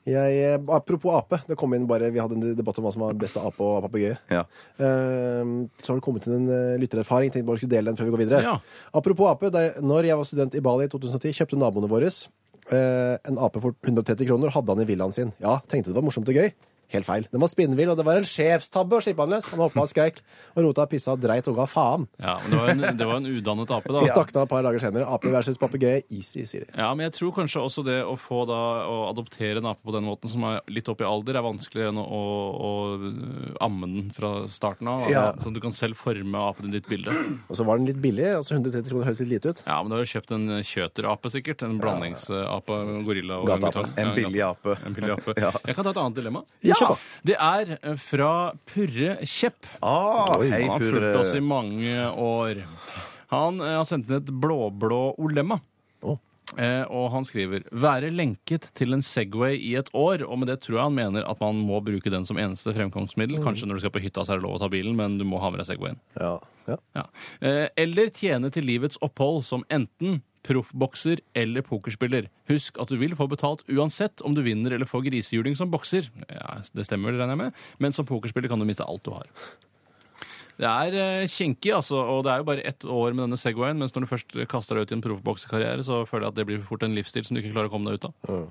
S3: jeg, eh, Apropos ape. Det kom inn bare, Vi hadde en debatt om hva som var best av ape og papegøye.
S4: Ja.
S3: Eh, Så har det kommet inn en eh, lyttererfaring. Tenkte bare jeg skulle dele den før vi går videre.
S5: Ja.
S3: Apropos ape. Da jeg- når jeg var student i Bali i 2010, kjøpte naboene våre eh, en ape for 130 kroner og hadde han i villaen sin. Ja, tenkte det var morsomt og gøy. Helt feil. Den var spinnvill, og det var en sjefstabbe å slippe han løs. Han hoppa og skreik og rota og pissa og dreit og ga faen.
S5: Ja, men det var en, det var en udannet ape, da.
S3: Så stakk den av et par dager senere. Ape versus papegøye. Easy, sier de.
S5: Ja, men jeg tror kanskje også det å få da å adoptere en ape på den måten, som er litt opp i alder, er vanskeligere enn å, å, å amme den fra starten av.
S3: Ja.
S5: Sånn at du kan selv forme apen i ditt bilde.
S3: Og så var den litt billig. altså 130 kroner høres litt lite ut.
S5: Ja, men du har jo kjøpt en kjøterape, sikkert. En blandingsape, gorilla og
S3: Gateape.
S5: orangutang.
S4: En
S5: Ja,
S4: billig
S5: gata-
S4: ape.
S5: En billig ape.
S4: Ja.
S5: Jeg kan ta et annet dilemma.
S3: Ja! Kjør på.
S5: Det er eh, fra Purre Kjepp.
S4: Ah,
S5: Han
S4: hei,
S5: har fulgt
S4: Kyrre.
S5: oss i mange år. Han eh, har sendt inn et blå-blå olemma.
S3: Å.
S5: Eh, og han skriver 'være lenket til en Segway i et år'. Og med det tror jeg han mener at man må bruke den som eneste fremkomstmiddel. Kanskje når du skal på hytta, så er det lov å ta bilen, men du må ha med deg Segwayen.
S3: Ja. ja.
S5: Ja. Eh, Eller tjene til livets opphold som enten proffbokser eller pokerspiller. Husk at du vil få betalt uansett om du vinner eller får grisehjuling som bokser. Ja, det stemmer, det regner jeg med. Men som pokerspiller kan du miste alt du har. Det er eh, kinkig, altså, og det er jo bare ett år med denne Segwayen, mens når du først kaster deg ut i en proffboksekarriere, så føler jeg at det blir fort en livsstil som du ikke klarer å komme deg ut av.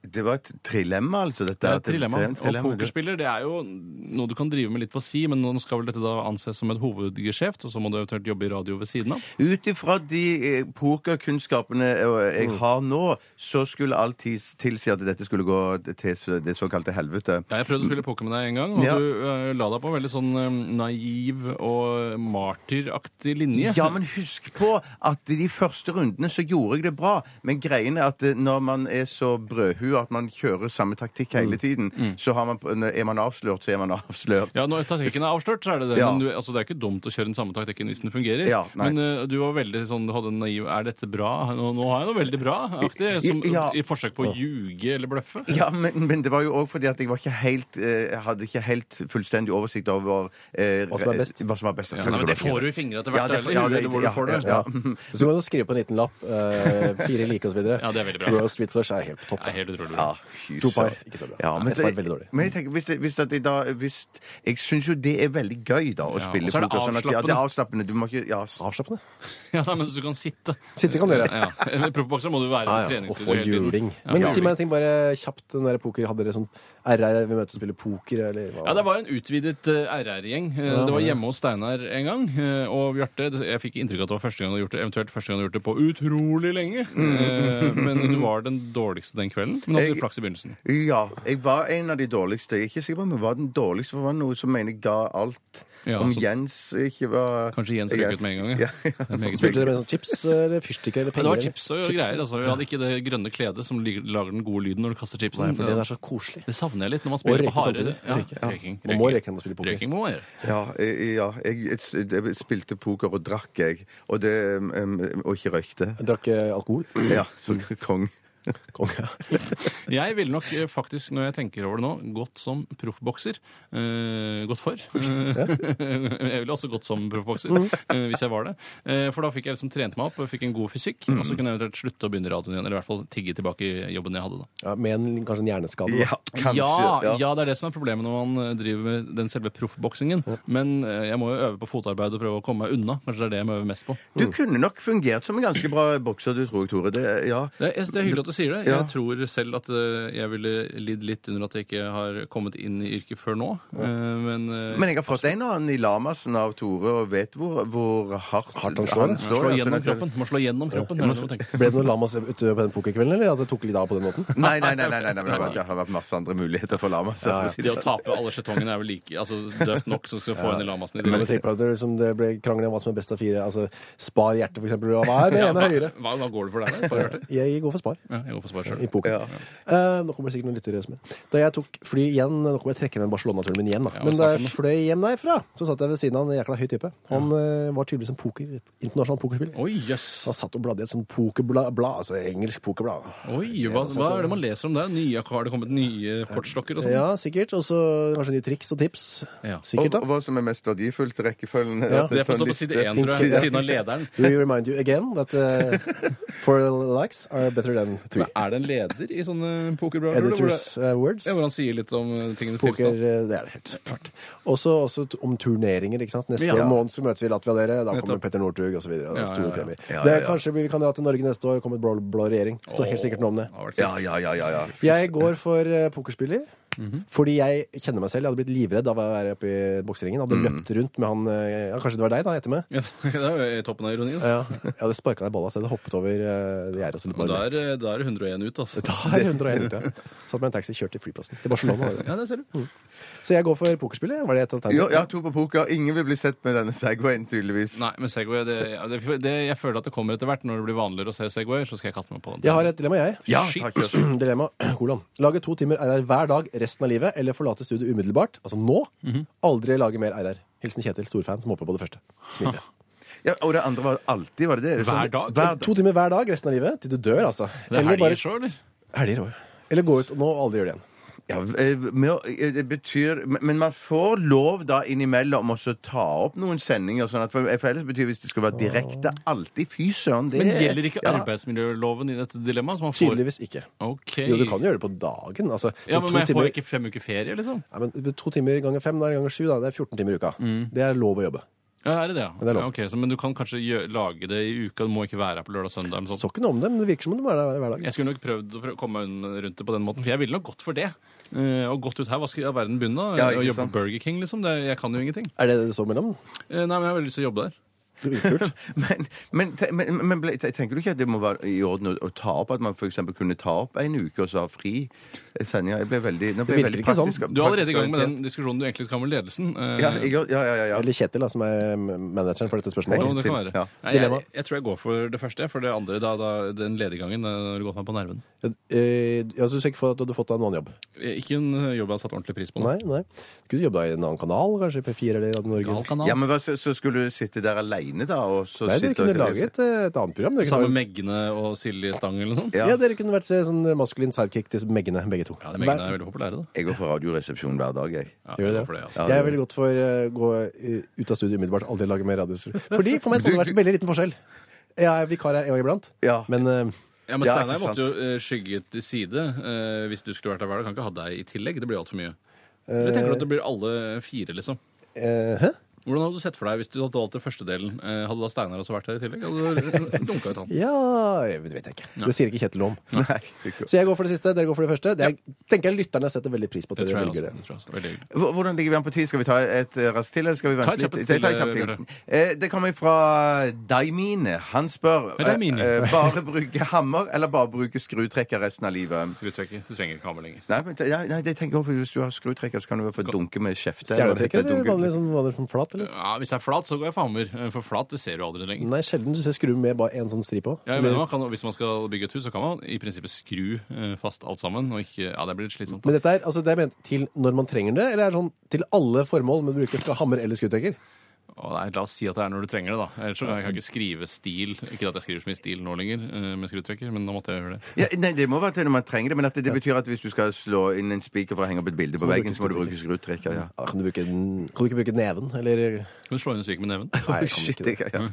S4: Det var et trilemma, altså. Dette.
S5: Det er et trilemma.
S4: Tri-
S5: Og pokerspiller det er jo noe du kan drive med litt på si, men nå skal vel dette da anses som et hovedgeskjeft, og så må du eventuelt jobbe i radio ved siden av.
S4: Ut ifra de eh, pokerkunnskapene eh,
S5: Mm.
S4: jeg har nå, så skulle alt tis- tilsi at dette skulle gå til så- det såkalte helvete.
S5: Ja, jeg prøvde å spille poker med deg en gang, og
S4: Ja.
S5: du eh, la deg på en veldig sånn eh, naiv og martyraktig linje.
S4: Ja, men husk på at i de første rundene så gjorde jeg det bra. Men greien er at eh, når man er så brødhu tabu at man kjører samme taktikk
S5: Mm.
S4: hele tiden. Så har man, er man avslørt, så er man avslørt.
S5: Ja, når taktikken er avslørt, så er det det.
S4: Ja.
S5: Men du, altså, det er ikke dumt å kjøre den samme taktikken hvis den fungerer.
S4: Ja, nei.
S5: men eh, du var veldig sånn, du hadde en naiv 'er dette bra', nå, nå har jeg noe veldig bra-aktig. Som
S4: Ja.
S5: i forsøk på å ljuge eller bløffe.
S4: Ja, men, men det var jo òg fordi at jeg var ikke helt, eh, hadde ikke helt fullstendig oversikt over eh,
S3: Hva som er best.
S4: Hva som var best.
S5: Ja, nei, men det får du i fingra etter
S4: Ja,
S5: hvert.
S4: det får- ja,
S5: eller,
S4: det-
S5: eller hvor du
S4: ja,
S5: får det.
S4: ja,
S3: Så kan du skrive på en liten lapp. eh, fire like osv.
S5: Ja, det er veldig bra.
S3: Royal Street Flush er helt på topp.
S5: Det er helt utrolig.
S4: Ja, fy
S3: To par,
S4: søren.
S3: ikke så bra.
S4: Ja, men,
S3: Et par, veldig dårlig.
S4: men jeg tenker, hvis, det, hvis at jeg da hvis, Jeg syns jo det er veldig gøy, da, å
S5: Ja,
S4: spille
S5: og så er det
S4: poker. sånn at, ja, det er avslappende. Du må ikke ja, s-
S3: Avslappende.
S5: Ja, nei, men så du kan sitte.
S3: Sitte kan du gjøre.
S5: Ja. Med proffbokser må du være i
S3: Og få
S5: treningsstudio hele tiden.
S3: juling.
S5: Ja,
S3: Men
S5: juling.
S3: si meg en ting bare kjapt. Den der poker, Hadde dere sånn RR vi møtes og spiller poker, eller hva?
S5: Ja, det var en utvidet eh, RR-gjeng. Eh, det var hjemme hos Steinar en gang. eh, og Bjarte det- Jeg fikk inntrykk av at det var første gang du hadde gjort det, eventuelt første gang du hadde gjort det på utrolig lenge.
S3: Mm.
S5: Eh, men du var den dårligste den kvelden. Men hadde
S4: Jeg-
S5: litt flaks i begynnelsen.
S4: ja, jeg var en av de dårligste. Jeg er ikke sikker på om jeg var den dårligste, for det var noe som mener jeg ga alt.
S5: Ja,
S4: om
S5: så-
S4: Jens ikke var
S5: Kanskje Jens røk ut med en gang.
S4: Ja, ja.
S5: Det er meget veldig.
S3: Spilte dere med sånn chips eller fyrstikker eller
S5: Ja, det
S3: penger?
S5: var chips og greier. altså. Vi hadde ikke det grønne kledet som lig- lager den gode lyden når du kaster chipsen.
S3: Nei, for det er så koselig.
S5: Det savner jeg litt når man spiller
S3: Og
S5: på
S3: røyke
S5: hardere.
S3: samtidig.
S5: Ja,
S3: Røyke. Ja.
S5: røyking,
S3: Man må
S5: røyking.
S3: røyke når man spiller poker.
S5: Røyking må man gjøre.
S4: Ja, jeg, ja jeg, jeg spilte poker og drakk, jeg. Og, det, um, og ikke røykte.
S3: Jeg drakk eh, alkohol.
S4: Ja, så
S3: Mm.
S4: kong.
S3: Kom, ja.
S5: Jeg ville nok eh, faktisk, når jeg tenker over det nå, gått som proffbokser. Eh, gått for. Eh, jeg ville også gått som proffbokser, eh, hvis jeg var det. Eh, for da fikk jeg liksom trent meg opp, og fikk en god fysikk. Og så kunne jeg eventuelt slutte å begynne i radioen igjen, eller i hvert fall tigge tilbake i jobben jeg hadde da.
S3: Ja, med en, kanskje en hjerneskade. da.
S4: Ja, kanskje.
S5: Ja, ja, det er det som er problemet når man eh, driver med den selve proffboksingen. Men eh, jeg må jo øve på fotarbeid og prøve å komme meg unna. Kanskje det er det jeg må øve mest på.
S4: Du kunne nok fungert som en ganske bra bokser, du tror jeg, Tore. Det, ja.
S5: Det er, det er hyggelig at du sier det.
S4: Ja.
S5: Jeg tror selv at eh, jeg ville lidd litt under at jeg ikke har kommet inn i yrket før nå. Eh, Men, eh,
S4: Men jeg har fått en og annen i Lamassen av Tore, og vet hvor, hvor hardt,
S3: Hardt han slår, ja.
S5: Slå
S4: ja, sånn
S5: gjennom
S4: at-
S5: kroppen. Må slå gjennom kroppen. er det du må tenke.
S3: Ble det noe lamas ute på den pokerkvelden, eller? At det tok litt av på den måten?
S4: Nei, nei, nei, nei, nei, nei, men det har vært masse andre muligheter for Lamas.
S3: Ja, ja.
S5: Det å tape alle skjetongene er vel like altså, døvt nok som skal få en i lamasen i
S3: Men
S5: det.
S3: tenk på at det, liksom, det ble krangel om hva som er best av fire. Altså, spar hjerte, for eksempel. Hva er det
S5: Ja,
S3: ene
S5: hva,
S3: høyere?
S5: hva, hva går det for deg der? Bare hørte.
S3: Jeg går for spar.
S5: Ja, jeg går for svar
S3: I
S5: sjøl.
S3: poker. Eh, nå kommer det sikkert noen lyttere som er Da jeg tok fly igjen Nå kommer jeg trekke den Barcelona-turen min hjem, da.
S5: Ja,
S3: Men da
S5: snakk om
S3: jeg fløy hjem derfra, så satt jeg ved siden av en jækla høy type. Han eh, var tydeligvis en poker, internasjonal pokerspiller.
S5: Oi, jøss.
S3: Så han satt og bladde i et sånt pokerblad, blad, altså engelsk pokerblad.
S5: Oi, hva, hva er det man leser om der? Nye, har det kommet nye kortstokker og sånn?
S3: Ja, sikkert. Og så kanskje nye triks og tips.
S5: Ja.
S4: Og,
S3: Sikkert, da.
S4: og hva som er mest verdifullt rekkefølgen?
S3: Ja.
S4: at
S5: Det
S4: en
S5: er på,
S4: sånn
S5: står på
S4: liste-
S5: side én, tror jeg.
S3: Ja.
S5: Ved siden av lederen.
S3: We remind you again that uh, four likes are better than three.
S5: Men er det en leder i sånne pokerblader? eller hvor det-
S3: Editors uh, words.
S5: Ja, hvor han sier litt om eh, tingenes
S3: Poker,
S5: tilstand?
S3: eh, det er det helt klart. Også, også t- om turneringer. ikke sant? Neste
S5: Ja.
S3: måned så møtes vi i Latvia, dere. Da kommer
S5: Nettopp.
S3: Petter Northug osv. Ja,
S5: Ja,
S3: store
S5: ja, ja.
S3: premier.
S4: Ja,
S3: Det
S4: ja,
S3: er
S4: ja.
S3: kanskje vi kan dra til Norge neste år. Kommer blå, blå regjering. Det står helt sikkert noe om det.
S5: Det har vært kult.
S4: Ja, ja, ja, ja, ja.
S3: Jeg går for eh, pokerspiller.
S5: Mhm.
S3: Fordi jeg kjenner meg selv. Jeg hadde blitt livredd av å være oppe i bokseringen.
S4: Mm.
S3: Hadde løpt rundt med han eh, ja, Kanskje det var deg, da, etter meg.
S5: Ja, det er jo i toppen av ironien.
S3: Ja, jeg hadde sparka deg i balla, så jeg hadde hoppet over uh, gjerdet.
S5: Men da er, eh, da er det 101 ut, altså.
S3: Da er 101 ute. ja. Satt med en taxi, kjørt til flyplassen. Til Barcelona. da.
S5: Ja, det ser du.
S3: Så jeg går for pokerspiller. Var det et alternativ?
S4: Jo, ja, to på poker. Ingen vil bli sett med denne Segwayen, tydeligvis.
S5: Nei, men Segway det, ja, det, det, Jeg føler at det kommer etter hvert. Når det blir vanligere å se Segway, så skal jeg kaste meg på den.
S3: Jeg har et dilemma, jeg.
S4: Ja,
S5: Shit.
S4: takk, Jørgen.
S3: Dilemma, kolon. Lage to timer RR hver dag resten av livet, eller forlate studiet umiddelbart, altså nå.
S5: Mhm.
S3: Aldri lage mer RR. Hilsen Kjetil, storfan, som håper på det første. Smilefjes.
S4: Ja, og det andre var alltid, var det det?
S5: Hver
S4: Sånn-
S5: dag?
S4: Hver dag.
S3: To timer hver dag resten av livet, til du dør, altså.
S5: Det er helger så, eller?
S3: Helger også. Eller gå ut nå og aldri gjøre det igjen.
S4: Ja, eh, med, å- eh, det betyr, men- men man får lov da innimellom også ta opp noen sendinger. Sånn at, for for ellers betyr hvis det skulle vært direkte alltid Fy søren, det
S5: Men gjelder ikke
S4: ja.
S5: arbeidsmiljøloven i dette dilemmaet? som man får?
S3: Tydeligvis ikke.
S5: Ok.
S3: Jo, du kan gjøre det på dagen. Altså,
S5: Ja, men
S3: men to
S5: jeg
S3: timer-
S5: får ikke fem uker ferie, liksom?
S3: Nei, men to timer ganger fem, da er det ganger sju, da. Det er 14 timer i uka.
S5: Mm.
S3: Det er lov å jobbe.
S5: Ja, er det det, ja?
S3: det er lov.
S5: ja ok, så, men du kan kanskje gjø lage det i uka? Du må ikke være her på lørdag og søndag? Eller noe
S3: Så
S5: sånt.
S3: ikke noe om det, men det virker som om du må være der hver dag.
S5: Jeg skulle nok prøvd å prø komme unn- rundt det på den måten, for jeg ville nok gått for det. Eh, og gått ut her. Hva skal all verden begynne? da?
S4: Ja,
S5: Å
S4: ikke
S5: jobbe
S4: sant.
S5: på Burger King, liksom? Det, jeg kan jo ingenting.
S3: Er det det det står mellom?
S5: Eh, nei, men jeg har veldig lyst til å jobbe der.
S3: Dritkult.
S4: Men, men, te- men, men ble, te- tenker du ikke at det må være i orden å, å ta opp? At man f.eks. kunne ta opp en uke og så ha fri sendinga? Jeg ble veldig, nå ble jeg
S3: virker
S4: veldig
S3: ikke sånn.
S4: praktisk-
S5: Du er allerede i gang med den
S4: orientert.
S5: diskusjonen du egentlig skal ha med ledelsen. Eh,
S4: Ja, jeg, ja, ja, ja, ja.
S3: Eller Kjetil, da, som er eh, manageren for dette
S5: jo,
S3: spørsmålet.
S5: det kan være.
S4: Ja.
S5: Nei,
S3: Dilemma.
S5: jeg, jeg tror jeg går for det første, for det andre, da, da den lediggangen, eh, har gått meg på nerven.
S3: Eh, ja, så du ser ikke for at du hadde fått deg en annen jobb?
S5: Eh, Ikke en eh, jobb jeg har satt ordentlig pris på. nå.
S3: Nei, nei. Skulle du jobbe deg i en annen kanal, kanskje P4 eller Radio Norge?
S5: Gal kanal.
S4: Ja, men hva, så, så skulle du sitte der aleine, da? Og så
S3: Nei, dere
S4: sitte
S3: kunne
S4: og-
S3: laget et, et annet program. Dere kunne
S5: Sammen
S3: laget-
S5: med Megne og Silje Stang eller noe sånt.
S4: Ja.
S3: ja. dere kunne vært eh, sånn maskulin sidekick til Meggene, begge to.
S5: Ja, de Megne
S3: Hver-
S5: er veldig populære, da.
S4: Jeg går for Radioresepsjonen hver dag, jeg.
S5: Ja,
S3: Gjør
S5: jeg
S3: det.
S5: går for det, altså.
S4: Ja,
S3: jeg
S4: det-
S3: ville gått for eh, gå eh, ut av studio umiddelbart, aldri lage mer radiostrøm. Fordi for meg så hadde det vært veldig liten forskjell. Jeg er vikar her en gang iblant,
S4: Ja.
S3: men eh,
S5: Ja, men
S4: Ja,
S5: Steinar
S4: ikke sant.
S5: måtte jo eh, skygge til side eh, hvis du skulle vært der hver dag. Kan ikke ha deg i tillegg. Det blir altfor mye. Eller tenker du at det blir alle fire, liksom?
S3: eh, Hæ?
S5: Hvordan hadde du sett for deg hvis du hadde valgt den første delen? Eh, Hadde da Steinar også vært her i tillegg? Hadde du dunka ut han?
S3: Ja jeg vet- vet jeg ikke. Det sier ikke Kjetil noe om.
S4: Nei.
S3: Så jeg går for det siste, dere går for det første. Det er, tenker jeg lytterne setter veldig pris på. at
S5: Det tror
S3: dere
S5: jeg
S3: velger
S5: også.
S3: det.
S5: Det tror jeg også. Veldig hyggelig.
S4: Hvor- Hvordan ligger vi an på tid? Skal vi ta et eh, raskt til, eller skal vi vente
S5: Ta et kjapt
S4: litt?
S5: til,
S4: Jeg tar et kjapt til.
S5: Bjarte.
S4: Eh, Det kommer fra Daimine. Han spør
S5: Hei, Daimine.
S4: eh, eh, bare bruke hammer eller bare bruke skrutrekker resten av livet.
S5: Du trenger, du trenger ikke hammer lenger.
S4: Nei, men, ja, nei det tenker jeg også, Hvis du har skrutrekker, så kan du i hvert fall dunke med kjefte. eller
S3: Stjernetrekker eller
S4: dunke-
S3: vanlig sånn, vanlig sånn flat, eller?
S5: Ja, hvis det er flat, så går jeg for hammer. Eh, For flat det ser du aldri lenger.
S3: Nei, sjelden du ser skru med bare én sånn stripe på.
S5: Ja, jeg mener, man kan, hvis man skal bygge et hus, så kan man i prinsippet skru eh, fast alt sammen. Og ikke, ja, det blir litt slitsomt.
S3: Men dette er, altså, det er ment til når man trenger det, eller er det sånn til alle formål man bruker skal hammer eller skuddtekker?
S5: Å, nei, la oss si at det er når du trenger det, da. Ellers så kan jeg kan ikke skrive stil. Ikke at jeg skriver så mye stil nå lenger eh, med skrutrekker, men da måtte jeg gjøre det.
S4: Ja, nei, Det må være til når man trenger det, men at det, det betyr at hvis du skal slå inn en spiker for å henge opp et bilde på
S3: må du
S4: veggen,
S3: bruke
S4: så må du bruke skrutrekker. ja.
S3: Ja, Ah, kan, du bruke, den- kan du ikke bruke neven, eller
S5: Kan du slå inn en spik med neven?
S3: Nei, jeg kan
S4: Shit,
S3: ikke det.
S4: jeg, ja.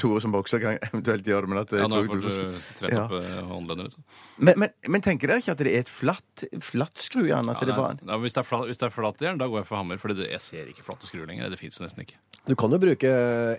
S4: Tore som bokser kan eventuelt gjøre det, men at jeg
S5: Ja, nå har
S4: tror
S5: jeg
S4: du
S5: fått
S4: får-
S5: eh, trett
S4: Ja.
S5: opp eh, håndleddet. litt.
S4: Men, men, men tenker dere ikke at det er et flatt, flatt skrujern? At
S5: Ja,
S4: det bare
S5: nei, nei, hvis det er flat- hvis det er flatjern, da går jeg for hammer. For det, jeg ser ikke flate skruer lenger. Det fins jo nesten ikke.
S3: Du kan jo bruke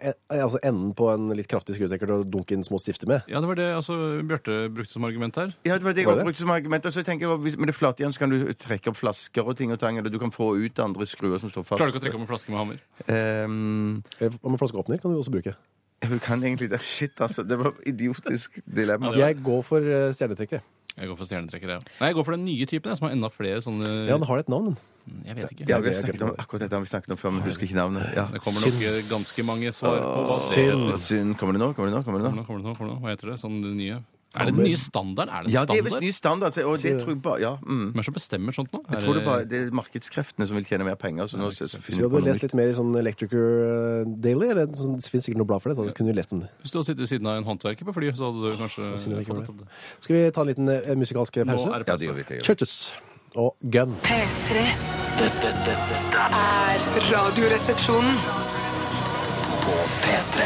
S3: eh, altså enden på en litt kraftig skrutrekker til å dunke inn små stifter med.
S5: Ja, det var det altså, Bjarte brukte som argument her.
S4: Ja, det var det jeg
S3: Var
S4: også
S3: det det?
S4: brukte som argument. Og så tenker jeg, hvis- Med det flate igjen så kan du trekke opp flasker og ting og tang, eller du kan få ut andre skruer som står fast.
S5: Klarer du ikke å trekke om en flaske med hammer?
S4: Ehm,
S3: Eller Eh, Om en flaskeåpner kan du også bruke.
S4: ja, du kan egentlig det. Shit, altså. Det var idiotisk dilemma.
S3: Jeg går for eh, stjernetrekkere.
S5: Jeg går for stjernetrekker, jeg. Nei, jeg går for den nye typen, jeg, som har enda flere sånne
S3: Ja, den har et navn, den.
S5: Jeg vet ikke.
S4: Ja, vi har snakket om akkurat dette har vi snakket om før, men husker ikke navnet. Ja.
S5: Det kommer nok eh, ganske mange svar på hva det
S3: synd.
S5: heter.
S4: Synd. Kommer det nå? Kommer det nå? Kommer
S5: Kommer
S4: det nå?
S5: det nå, kommer det nå, kommer det nå. Hva heter det? Sånn det nye? Er det den nye standarden? Er det en
S4: Ja, det er visst
S5: standard?
S4: ny standard. så- Og det tror jeg bare Ja.
S5: Hvem
S4: Mm.
S5: er det som bestemmer sånt nå?
S4: Jeg tror det, bare, det er markedskreftene som vil tjene mer penger. Så nå så, så
S3: Hvis
S4: finner
S3: du
S4: jeg på
S3: hadde
S4: noe
S3: lest
S4: nytt.
S3: litt mer i sånn Electricer Daily, eller sånn, det finnes sikkert noe blad for det, så hadde- kunne du lest om det.
S5: Hvis du hadde sittet ved siden av en håndverker på flyet, så hadde du kanskje
S3: synd jeg ikke
S5: fått
S3: var
S5: opp det.
S3: Skal vi ta en liten eh, musikalsk
S5: Nå er
S3: pause?
S5: det
S4: Ja, det
S5: pause.
S4: gjør vi. Det gjør vi.
S3: Churches og Gun.
S7: P3
S2: Dette, dette
S7: er Radioresepsjonen.
S2: på P3.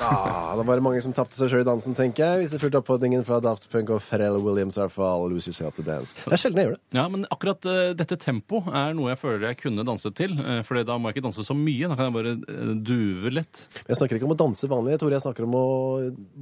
S3: Ja, Ah, det var mange som tapte seg sjøl i dansen, tenker jeg. Hvis de fulgte oppfordringen fra Daft Punk og Pharrell Williams er for all Lose Yourself to Dance. Det er sjelden jeg gjør det.
S5: Ja, men akkurat eh, dette tempo er noe jeg føler jeg kunne danset til. eh, for da må jeg ikke danse så mye. Da kan jeg bare eh, duve lett.
S3: Men Jeg snakker ikke om å danse vanlig, Tore. Jeg snakker om å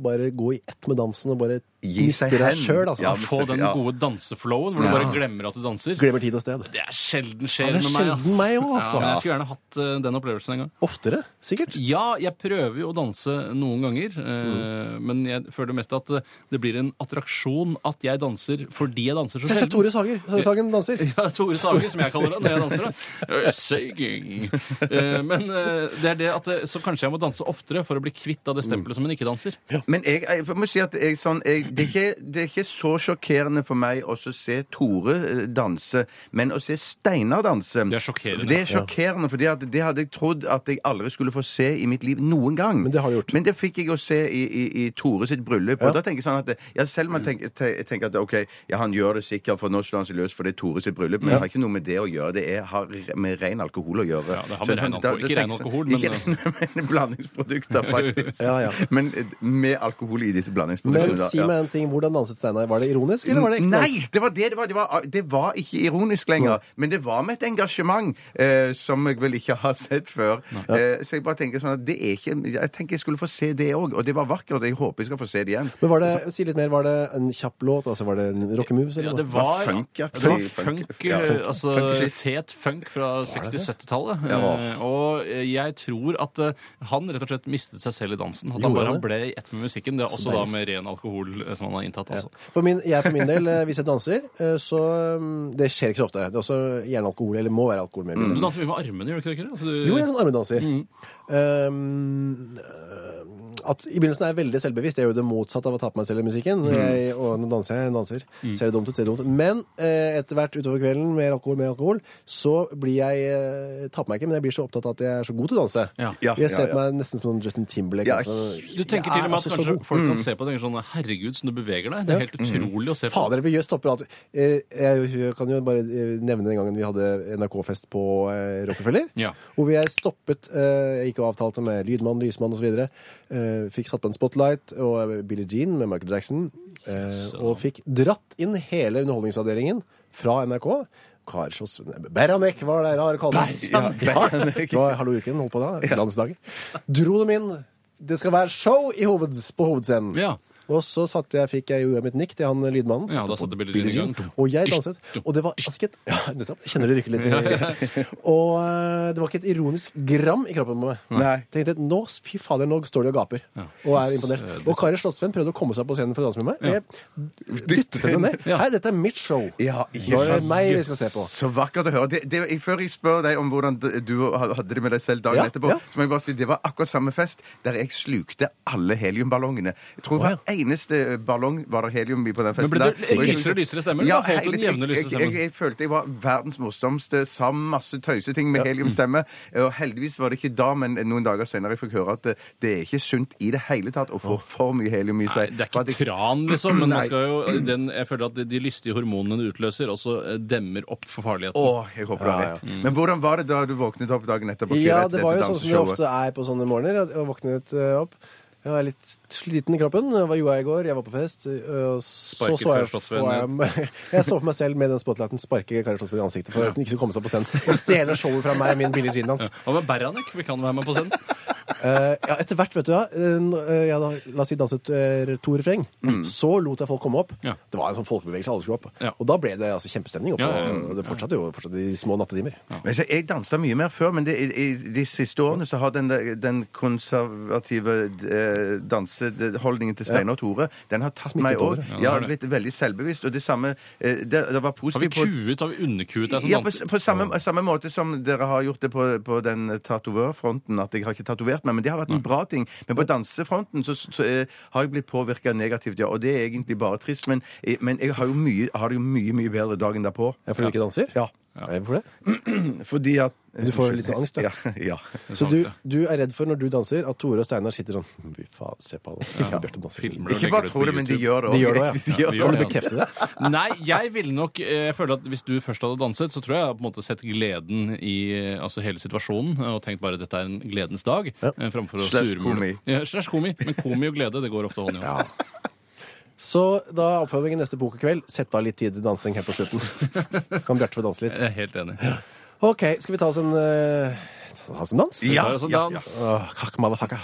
S3: bare gå i ett med dansen og bare
S4: Gi seg
S3: miste deg
S4: hen.
S3: sjøl. Altså.
S4: Ja, men
S5: Få
S4: så-
S5: den
S4: ja.
S5: gode danseflowen hvor du
S4: Ja.
S5: bare glemmer at du danser.
S3: Glemmer tid og sted.
S5: Det er sjelden skjer
S3: Ja, det er
S5: med meg.
S3: sjelden meg også, altså.
S5: Ja, men jeg skulle gjerne hatt eh, den opplevelsen en gang.
S3: Oftere, sikkert.
S5: Ja, jeg prøver jo å danse noen ganger, eh, men jeg føler mest at eh, det blir en attraksjon at jeg danser fordi jeg danser så
S3: Se, se
S5: sjelden.
S3: Tore Sager. Se, Sagen danser.
S5: Ja, Tore Sagen, som jeg kaller det når jeg danser. da. Eh, Saging. Eh, Men eh, det er det at eh, Så kanskje jeg må danse oftere for å bli kvitt av det stempelet som en ikke-danser.
S4: Men jeg, jeg må si at jeg, sånn, jeg, det, er ikke, det er ikke så sjokkerende for meg også å se Tore eh, danse, men å se Steinar danse
S5: Det er sjokkerende.
S4: Det er sjokkerende, fordi at det hadde jeg trodd at jeg aldri skulle få se i mitt liv noen gang.
S3: Men det har du gjort.
S4: Men det fikk jeg å se i, i, i Tore sitt bryllup. Og
S3: Ja.
S4: da tenker jeg sånn at ja, Selv om jeg tenker, te- jeg tenker at OK, ja, han gjør det sikkert, for nå slår han seg løs, for det er Tore sitt bryllup, men det har ikke noe med det å gjøre. Det er, har med ren alkohol å gjøre.
S5: Ja, det har
S4: Så
S5: med ren
S4: da-
S5: alkohol-
S4: da
S5: ikke ren
S4: tenker jeg
S5: alkohol,
S4: sånn-
S5: men- eh,
S4: Ikke, men blandingsprodukter, faktisk.
S3: Ja, ja.
S4: Men med alkohol i disse
S3: Men
S4: blandingsproduktene. da,
S3: si
S4: ja.
S3: meg en ting. Hvordan danset Steinar? Var det ironisk, eller var det ekte?
S4: Nei! Det var det det var. Det var, det var ikke ironisk lenger. Men det var med et engasjement eh, som jeg vel ikke har sett før. Eh, så jeg bare tenker sånn at det er ikke Jeg tenker jeg skulle få se det òg, og det var vakkert. Jeg håper jeg skal få se det igjen.
S3: Men var det, si litt mer, var det en kjapp låt? Altså, var det en rockemoves?
S5: Ja,
S3: eller
S5: det
S3: noe?
S5: var,
S4: Funk, ja.
S5: ja, det var
S4: Funk,
S5: funk,
S4: funk, ja.
S5: eh, altså
S4: Funk shit.
S5: fet funk fra 60-70-tallet.
S4: Ja.
S5: Eh, Og eh, jeg tror at eh, han rett og slett mistet seg selv i dansen. At
S3: Gjorde
S5: han bare
S3: han det?
S5: ble i ett med musikken. Det er også da med ren alkohol eh, som han har inntatt. Altså.
S3: For min, jeg for min del, eh, hvis jeg danser, eh, så mm, Det skjer ikke så ofte. Det er også gjerne alkohol, eller må være alkohol med. i
S5: Du
S3: bildet.
S5: danser mye med armene, gjør du ikke det? Kyrre? Altså, du,
S3: Jo, jeg er en armedanser. Um, eh, at I begynnelsen er jeg veldig selvbevisst. Jeg gjør jo det motsatte av å ta på meg selv i musikken. Jeg, og nå danser jeg, jeg danser. Ser det dumt ut, ser det dumt ut. Men eh, etter hvert utover kvelden, mer alkohol, mer alkohol, så blir jeg eh, Tar på meg ikke, men jeg blir så opptatt av at jeg er så god til å danse.
S5: Ja.
S4: Ja,
S3: jeg ser
S4: ja,
S3: på meg nesten som Justin Timberlake.
S4: Ja,
S3: altså.
S5: du tenker
S3: Jeg
S5: til og
S3: er
S5: med at
S3: altså så
S5: kanskje
S3: god.
S5: folk kan se på det og tenke sånn Herregud, som du beveger deg. Det er helt utrolig å se på.
S3: Fader, vi gjør stopper alt. Eh, Jeg jeg kan jo bare eh, nevne den gangen vi hadde NRK-fest på eh, Rockefeller.
S5: Ja.
S3: Hvor vi er stoppet eh, Jeg gikk og avtalte med lydmann, lysmann osv. eh, Fikk satt på en spotlight og eh, Billie Jean med Michael Jackson. eh, Og fikk dratt inn hele underholdningsavdelingen fra NRK. Karsos Beranek var der, Are Kalvin. Ja, det var Hallo-uken, holdt på da. Glansdager. Dro dem inn. Det skal være show i hoved, på hovedscenen.
S5: Ja.
S3: Og så satte jeg, fikk jeg jo mitt nikk til han eh, lydmannen.
S5: Ja,
S3: satte
S5: da
S3: på
S5: satte Billie Jean i gang.
S3: Og jeg danset. Og det var altså ikke et ja, nettopp. Jeg Kjenner det rykker litt. i- Og eh, det var ikke et ironisk gram i kroppen på meg.
S4: Nei.
S3: Tenkte, nå, fy fader, nå står de og gaper. Og er imponert.
S5: eh,
S3: Og Kari Slottsvenn prøvde å komme seg på scenen for å danse med meg. Jeg dyttet henne ned.
S5: Ja.
S3: Hei, dette er mitt show.
S4: Ja, ikke
S3: Nå er det
S4: sant.
S3: meg vi skal se på.
S4: Så vakkert å høre. Det, det, jeg- før jeg spør deg om hvordan d- du hadde det med deg selv dagen
S3: Ja,
S4: etterpå,
S3: ja.
S4: så må jeg bare si det var akkurat samme fest der jeg slukte alle heliumballongene. Jeg tror hver eneste eh, ballong var det helium i på den festen.
S5: ble det
S4: der. Og jeg-
S5: lysere og lysere stemme, eller holdt du
S4: hele-
S5: den jevne lyse
S4: jeg, jeg,
S5: stemmen?
S4: jeg, jeg følte jeg var verdens morsomste, sa masse tøyseting med heliumstemme. Og heldigvis var det ikke da, men noen dager senere jeg fikk høre at det, det er ikke sunt i det hele tatt å få for mye helium i
S5: Nei,
S4: seg.
S5: det er
S4: For at
S5: ikke
S4: jeg-
S5: tran, liksom, men man
S4: Nei.
S5: skal jo, den, jeg føler at de- de lystige hormonene du utløser, også eh, demmer opp for farligheten.
S4: Åh, jeg håper du har rett.
S5: Mm.
S4: Men hvordan var det da du våknet opp dagen etterpå?
S3: Ja,
S4: Kyrre,
S3: det
S4: etter
S3: var jo
S4: dette
S3: sånn som det
S4: danseshowet?
S3: ofte er på sånne morgener. at Jeg våknet eh, opp. Jeg var litt sliten i kroppen. Hva gjorde jeg i går? Jeg var på fest. eh, Og så
S5: Sparket
S3: så jeg,
S5: Kari Slottsveen
S3: for jeg, jeg så for meg selv med den spotlighten sparke Kari Slottsveen i ansiktet for at hun ikke skulle komme seg på scenen og stjele showet fra meg og min Billie Jean-dans.
S5: Hva med Beranek? Vi kan være med på scenen.
S3: Eh, ja, etter hvert, vet du ja, eh, n- eh, jeg hadde, La oss si danset eh, to refreng. Så lot jeg folk komme opp.
S5: Mm. Ja.
S3: Det var en sånn folkebevegelse. alle skulle opp.
S5: Ja.
S3: Og da ble det altså, kjempestemning. Oppe,
S5: Ja, ja, ja.
S3: Og det fortsatte jo fortsatte i små nattetimer.
S4: Men så, jeg dansa mye mer før, men det, i, i de siste årene så har den, der- den konservative eh, danseholdningen til Steinar Tore den har tatt
S3: Smittet
S4: meg
S3: over,
S4: òg.
S3: ja.
S5: Ja, det
S4: Jeg
S5: har
S4: har blitt veldig selvbevisst. Og det samme eh, det, det var
S5: Har vi
S4: positivt på-
S5: kuet, har vi underkuet deg som
S4: ja, på,
S5: danser?
S4: på samme, samme måte som dere har gjort det på, på den tatovørfronten. At jeg har ikke tatovert meg, men det har vært en bra ting. Men på dansefronten så, så, eh, har jeg blitt påvirka negativt, ja. Og det er egentlig bare trist. Men, eh, men jeg har, jo mye, har det jo mye, mye bedre dagen derpå.
S3: Ja, for du ikke danser?
S4: Ja.
S3: Eh, Hvorfor det?
S4: Fordi at
S3: Du får litt sånn angst, da.
S4: Eh, ja. ja.
S3: Så du, du er redd for når du danser at Tore og Steinar sitter sånn Fy faen, se på han. Se på Bjarte danser.
S5: Filmer
S4: Ikke bare tror det, men de gjør det
S3: De
S4: også.
S3: gjør det òg,
S5: Ja,
S3: ja.
S5: vi gjør
S3: Kan
S5: det,
S3: du
S5: ja.
S3: bekrefte det?
S5: Nei, jeg ville nok eh, Jeg føler at hvis du først hadde danset, så tror jeg jeg hadde på en måte sett gleden i eh, altså hele situasjonen og tenkt bare dette er en gledens dag. eh, Framfor å
S4: Slash
S5: surmule.
S4: komi.
S5: Ja, slash komi. Men komi og glede, det går ofte hånd i hånd.
S3: Så da er oppfordringen neste pokerkveld sett av litt tid til dansing her på slutten. Kan Bjarte få danse litt?
S5: Jeg er helt enig.
S3: OK, skal vi ta oss en eh, ta oss en dans?
S5: Ja, altså,
S4: ja,
S5: dans.
S3: Åh, kakk, motherfucker.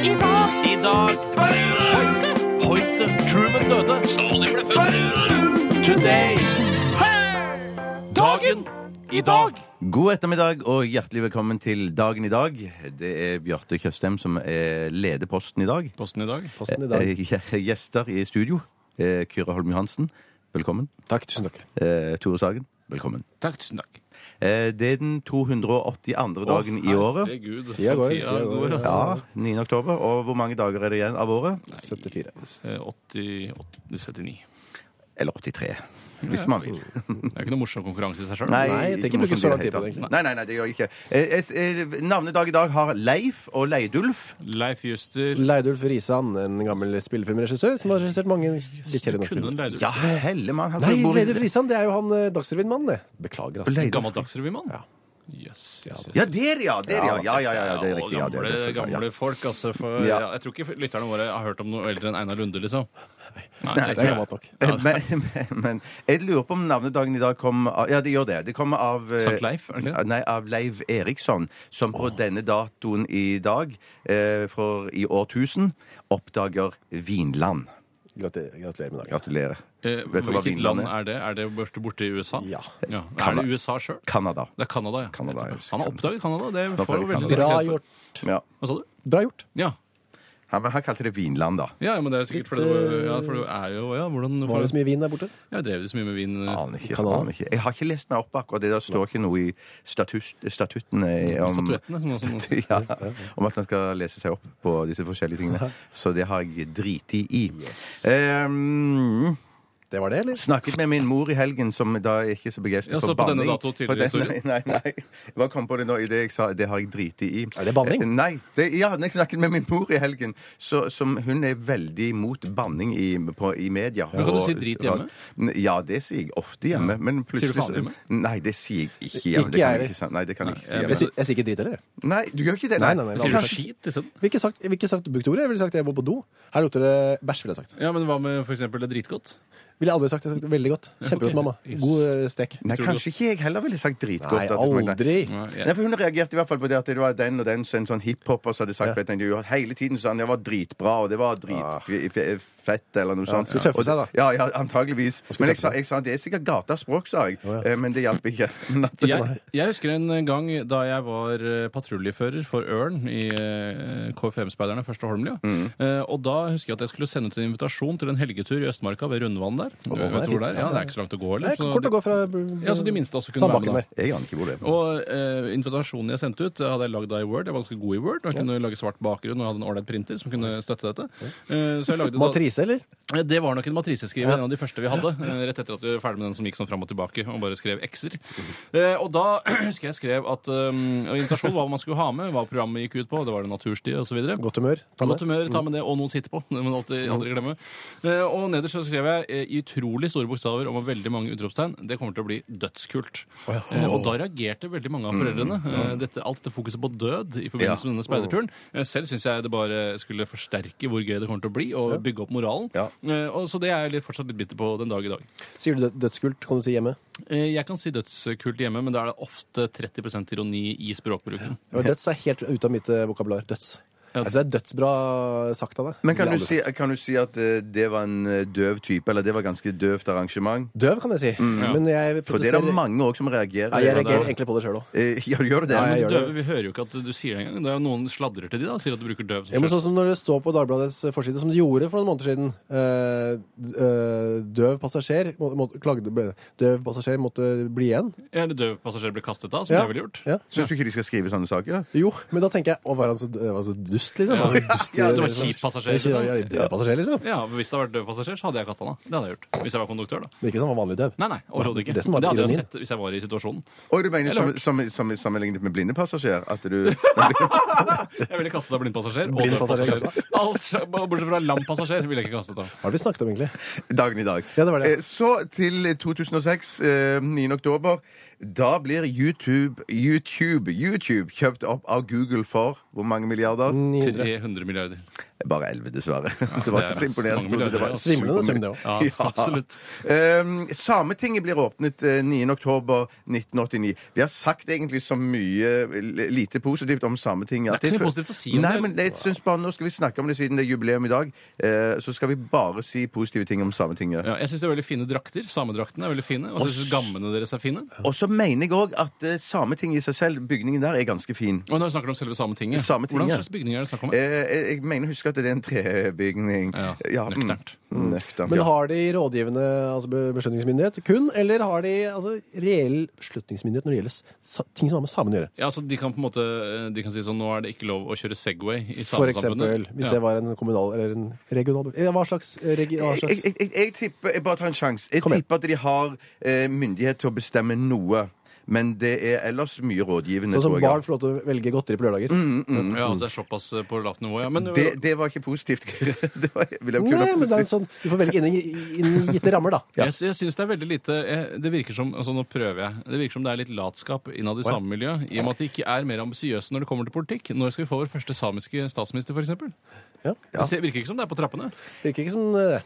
S6: I dag Hoite, Hoite, Truman døde. Stalin ble født. Today. Dagen i dag.
S4: God ettermiddag og hjertelig velkommen til Dagen i dag. Det er Bjarte Tjøstheim som eh, leder posten i dag.
S5: Posten i dag.
S3: Posten i dag.
S4: Eh, gje- Gjester i studio. eh, Kyrre Holm Johansen, velkommen.
S3: Takk, tusen takk.
S4: Eh, Tore Sagen, velkommen.
S5: Takk, tusen takk.
S4: Eh, Det er den 282. dagen i året.
S5: Herregud.
S3: Tida går,
S5: Tida
S3: tida går,
S5: går, altså.
S4: Ja, 9. oktober. Og hvor mange dager er det igjen av året?
S3: 74.
S5: Eh, 80, 80, 79.
S4: Eller 83, hvis man vil.
S5: Det er ikke noe morsom konkurranse i seg sjøl.
S3: Nei, jeg tenker ikke bruke så lang tid på det, egentlig.
S4: Nei, nei, nei, det gjør jeg ikke. Eh, eh, eh, Navnedag i dag har Leif og Leidulf.
S5: Leif Juster.
S3: Leidulf Risan, en gammel spillefilmregissør som har regissert mange litt kjedelige norske
S5: Kunne
S3: filmer.
S5: en Leidulf.
S4: Ja, hellemann. han
S3: Nei,
S4: bor i-
S3: Leidulf Risan, det er jo han eh, Dagsrevyen-mannen, det. Beklager, altså.
S5: Gammel dagsrevymann. Jøss. jøss, jøss.
S4: Ja, der, ja! Der, ja. Ja, ja, ja, ja, det er
S5: og
S4: riktig. Ja, det er
S5: gamle,
S4: det som- ja.
S5: gamle folk, altså. For,
S4: Ja.
S5: ja. jeg tror ikke lytterne våre har hørt om noe eldre enn Einar Lunde, liksom. Nei,
S3: det er gammelt nok.
S4: men, men, men jeg lurer på om navnedagen i dag kommer av Ja, det gjør det. Det kommer av eh,
S5: Sankt Leif, er det ikke det?
S4: Nei, av Leiv Eriksson, som på denne datoen i dag, eh, for i årtusen, oppdager Vinland.
S3: Gratulerer, gratulerer med dagen.
S4: Gratulerer.
S5: Eh,
S4: Vet du hva
S5: Hvilket
S4: Vinland
S5: land
S4: er?
S5: er det? Er det borte, borte i USA?
S3: Ja.
S5: Er det USA sjøl?
S4: Canada.
S5: Det er Canada, ja.
S4: Canada, ja.
S5: Han har oppdaget Canada. Det får jo
S4: oppdaget
S5: veldig
S4: Canada.
S3: Bra
S5: kred for.
S3: gjort.
S4: Ja.
S5: Hva sa du?
S3: Bra gjort.
S5: Ja.
S4: Ja, men han kalte det Vinland, da.
S5: Ja, ja, men det er sikkert fordi det, ja, for det er jo ja, hvordan,
S3: eh, Var det så mye vin der borte?
S5: Jeg drev det så mye med vin. eh,
S4: Aner ikke,
S3: Canada?
S4: aner ikke. Jeg har ikke lest meg opp akkurat det. Der står ikke noe i statut, statuttene eh, om
S5: Statuettene, som noen som-
S4: ja, om at man skal lese seg opp på disse forskjellige tingene. Så det har jeg driti i. Ehm,
S3: Det var det, eller?
S4: snakket med min mor i helgen, som da er ikke så begeistret
S5: Ja, så
S4: for
S5: på denne
S4: banning.
S5: dato tidligere i
S4: nei,
S5: historien?
S4: nei, nei. Jeg bare kom på det nå i det jeg sa. Det har jeg driti i.
S3: Er det banning?
S4: Eh, Nei. Det, ja, når jeg snakket med min mot i helgen, så, som hun er veldig mot banning i, på, i media.
S5: Men kan du
S4: Og-
S5: si drit hjemme?
S4: Ja, det sier jeg ofte hjemme. Men plutselig
S5: Sier du faen hjemme?
S4: Nei, det sier jeg ikke hjemme.
S3: Ikke
S4: Det kan
S3: jeg.
S4: jeg ikke, si- nei, det kan jeg ikke si
S5: jeg
S3: Jeg,
S4: hjemme.
S3: si- jeg sier ikke drit heller.
S4: Nei, du gjør ikke det?
S3: Nei, nei, nei,
S5: Sier du
S3: Kanskje-
S5: skit liksom? isteden?
S3: Vi har ikke sagt, vi har ikke sagt brukt ordet. Jeg ville sagt jeg må på do. Her lukter det bæsj, ville jeg sagt.
S5: Ja, men hva med f.eks. det er dritgodt?
S3: Ville jeg aldri sagt. Jeg har sagt veldig godt. Kjempegodt, mamma. God eh, stek.
S4: Nei,
S5: Tror du-
S4: kanskje ikke jeg heller ville sagt
S3: Nei,
S4: dritgodt. at-
S3: aldri.
S5: Ja, jeg-
S4: Nei, for Hun reagerte i hvert fall på det at det var den og den så en sånn hiphoper som hadde sagt på et intervju at hele tiden sa han det var dritbra og det var dritfett eller noe sånt.
S3: skulle tøffe
S4: Og det-
S3: seg, da.
S4: Ja, ja, antageligvis.
S3: skulle
S4: Men jeg
S3: tøffe
S4: sa,
S3: seg.
S4: jeg sa det er sikkert gataspråk, sa jeg.
S3: Å, ja.
S4: Eh, Men det hjalp ikke.
S5: Jeg, jeg husker en gang da jeg var eh, patruljefører for Ørn i eh, KFM-speiderne, første Holmlia.
S3: Mm.
S5: Eh, Og da husker jeg at jeg skulle sende ut en invitasjon til en helgetur i Østmarka ved Rundvann der.
S3: Å,
S5: Vet du hvor det er?
S3: ja,
S5: Ja,
S3: ja.
S5: det er ikke så langt å gå,
S3: Det
S5: eller?
S3: er kort å
S5: de,
S3: gå fra eh,
S5: ja, så de minste også kunne være
S3: Sandbakken
S5: med.
S3: der.
S5: da.
S4: Jeg aner ikke hvor det er.
S5: Og eh, invitasjonen jeg sendte ut, eh, hadde jeg lagd da i Word. Jeg var ganske god i Word. og Jeg kunne lage svart bakgrunn og jeg hadde en ålreit printer som kunne støtte dette. Eh, så jeg lagde da-
S3: Matrise, eller?
S5: Eh, Det var nok en matriseskriver, en av de første vi hadde. eh, Rett etter at vi var ferdig med den som gikk sånn fram og tilbake og bare skrev x-er. Eh, Og da husker jeg skrev at um, invitasjonen var hva man skulle ha med, hva programmet gikk ut på, det var det naturstid osv.
S3: Godt humør. Ta med.
S5: Godt humør, ta med det, og noen sitter på. Det må man alltid,
S3: Mm.
S5: aldri glemme. Eh, Og nederst så skrev jeg eh, i utrolig store bokstaver og med veldig mange utropstegn det kommer til å bli dødskult. Eh, Og da reagerte veldig mange av
S3: Mm.
S5: foreldrene. eh, Dette, alt dette fokuset på død i forbindelse
S4: Ja.
S5: med denne speiderturen. Eh, Selv syns jeg det bare skulle forsterke hvor gøy det kommer til å bli, og bygge opp moralen.
S4: Ja.
S5: Eh, og Så det er jeg litt- fortsatt litt bitter på den dag i dag.
S3: Sier du død- dødskult, kan du si hjemme?
S5: Eh, Jeg kan si dødskult hjemme, men da er det ofte 30 ironi i språkbruken.
S3: Ja, Døds er helt ute av mitt eh, vokabular. Døds.
S5: Ja.
S3: Altså, det er dødsbra sagt av deg.
S4: Men kan
S3: Ville
S4: du,
S3: aldri
S4: si,
S3: sagt.
S4: kan du si at eh, det var en eh, døv type, eller det var ganske døvt arrangement?
S3: Døv, kan jeg si. Men jeg
S4: For det er det
S3: protesterer-
S4: mange òg som reagerer.
S3: ja, jeg reagerer
S4: Ja,
S3: egentlig på det sjøl òg.
S4: da- Eh, Ja, du gjør det?
S3: Ja, jeg
S5: Men
S3: gjør det.
S5: døve, vi hører jo ikke at du sier det engang. Det er jo Noen sladrer til de da, og sier at du bruker døv. som
S3: Ja, men
S5: språk.
S3: sånn som når det står på Dagbladets eh, forside, som det gjorde for noen måneder siden eh, d- eh, Døv passasjer må, må, klagde, ble, Døv passasjer måtte bli igjen.
S5: Ja, Eller døv passasjer ble kastet av, som
S3: Ja.
S5: jeg ville gjort.
S3: Ja.
S4: Syns du ikke de skal skrive sånne saker?
S3: Jo, men da tenker jeg Å, var han så, døv, var så dust, liksom?
S5: Ja.
S3: Var han dust,
S4: Ja, det
S5: var kjip passasjer,
S3: Ikke-
S5: liksom.
S3: Ja, døv passasjer, liksom.
S5: Ja, for Hvis det hadde vært døv passasjer, så hadde jeg kastet han av. Det hadde jeg gjort. Hvis jeg var konduktør, da.
S3: Men ikke sånn var vanlig døv.
S5: Nei, nei, overhodet ikke.
S3: Det som var
S5: hadde jeg
S3: ironien.
S5: sett hvis jeg var i situasjonen.
S4: Og du mener som,
S5: Eller-
S4: som, som, sammenlignet med blinde passasjer? At du
S5: Jeg ville kastet av blindpassasjer og
S3: Blind
S5: døv
S3: passasjer.
S5: passasjer. Alt, sj- bortsett fra lam passasjer ville jeg ikke kastet av.
S3: Hva har vi snakket om, egentlig?
S4: Dagen i dag.
S3: Ja, det var det.
S4: Eh, Så til 2006, eh, 9. oktober. Da blir YouTube, YouTube, YouTube kjøpt opp av Google for hvor mange milliarder?
S5: 300 milliarder.
S4: Bare 11, dessverre. det
S5: Mm. det er
S4: var ikke så
S5: mange
S4: imponerende.
S5: milliarder,
S4: Det var
S5: ja.
S3: Svimlende sum, det òg.
S5: Ja, absolutt.
S4: Ehm, Sametinget blir åpnet eh, 9. oktober 1989. Vi har sagt egentlig så mye eh, lite positivt om Sametinget. at
S5: Det er ikke så
S4: jeg
S5: mye
S4: føl-
S5: positivt å si om
S4: Nei,
S5: det.
S4: men jeg synes bare nå skal vi snakke om det siden det er jubileum i dag. eh, så skal vi bare si positive ting om Sametinget.
S5: Ja, jeg syns det er veldig fine drakter. Samedraktene er veldig fine. Og så syns gammene deres er fine.
S4: Og så mener jeg òg at eh, Sametinget i seg selv, bygningen der, er ganske fin.
S5: Og når vi snakker om selve Sametinget,
S4: Sametinget.
S5: hvordan slags bygning er det snakk om?
S4: Eh, jeg jeg mener å huske at det er en trebygning.
S5: Ja,
S4: mm.
S5: nøkternt.
S4: Nøkternt,
S3: Men
S4: ja.
S3: har de rådgivende altså be- beslutningsmyndighet kun, eller har de altså, reell beslutningsmyndighet når det gjelder sa ting som har med samene å gjøre?
S5: Ja, altså de kan på en måte De kan si sånn Nå er det ikke lov å kjøre Segway i
S3: For
S5: samesamfunnet.
S3: eksempel, hvis det var en kommunal eller en regional eh, Hva slags, eh, regi, hva
S4: Jeg,
S3: slags
S4: jeg, jeg, jeg tipper Jeg bare tar en sjanse. Jeg
S3: Kom igjen.
S4: tipper at de har eh, myndighet til å bestemme noe. Men det er ellers mye rådgivende.
S3: Sånn som
S4: tror jeg.
S3: barn får lov til å velge godteri på lørdager. Mm,
S5: Ja, altså det er såpass eh, på lavt nivå, ja. Men
S4: det, det var ikke positivt. det var, vil jeg kunne
S3: Nei, men det er sånn, Du får velge innen innen gitte rammer, da.
S5: Jeg, jeg syns det er veldig lite eh, Det virker som altså nå prøver jeg, det virker som det er litt latskap innad i samme miljø, i og med at de ikke er mer ambisiøse når det kommer til politikk. Når skal vi få vår første samiske statsminister, f.eks.?
S3: Ja.
S5: Det ser- virker ikke som det er på trappene.
S3: Virker ikke som eh,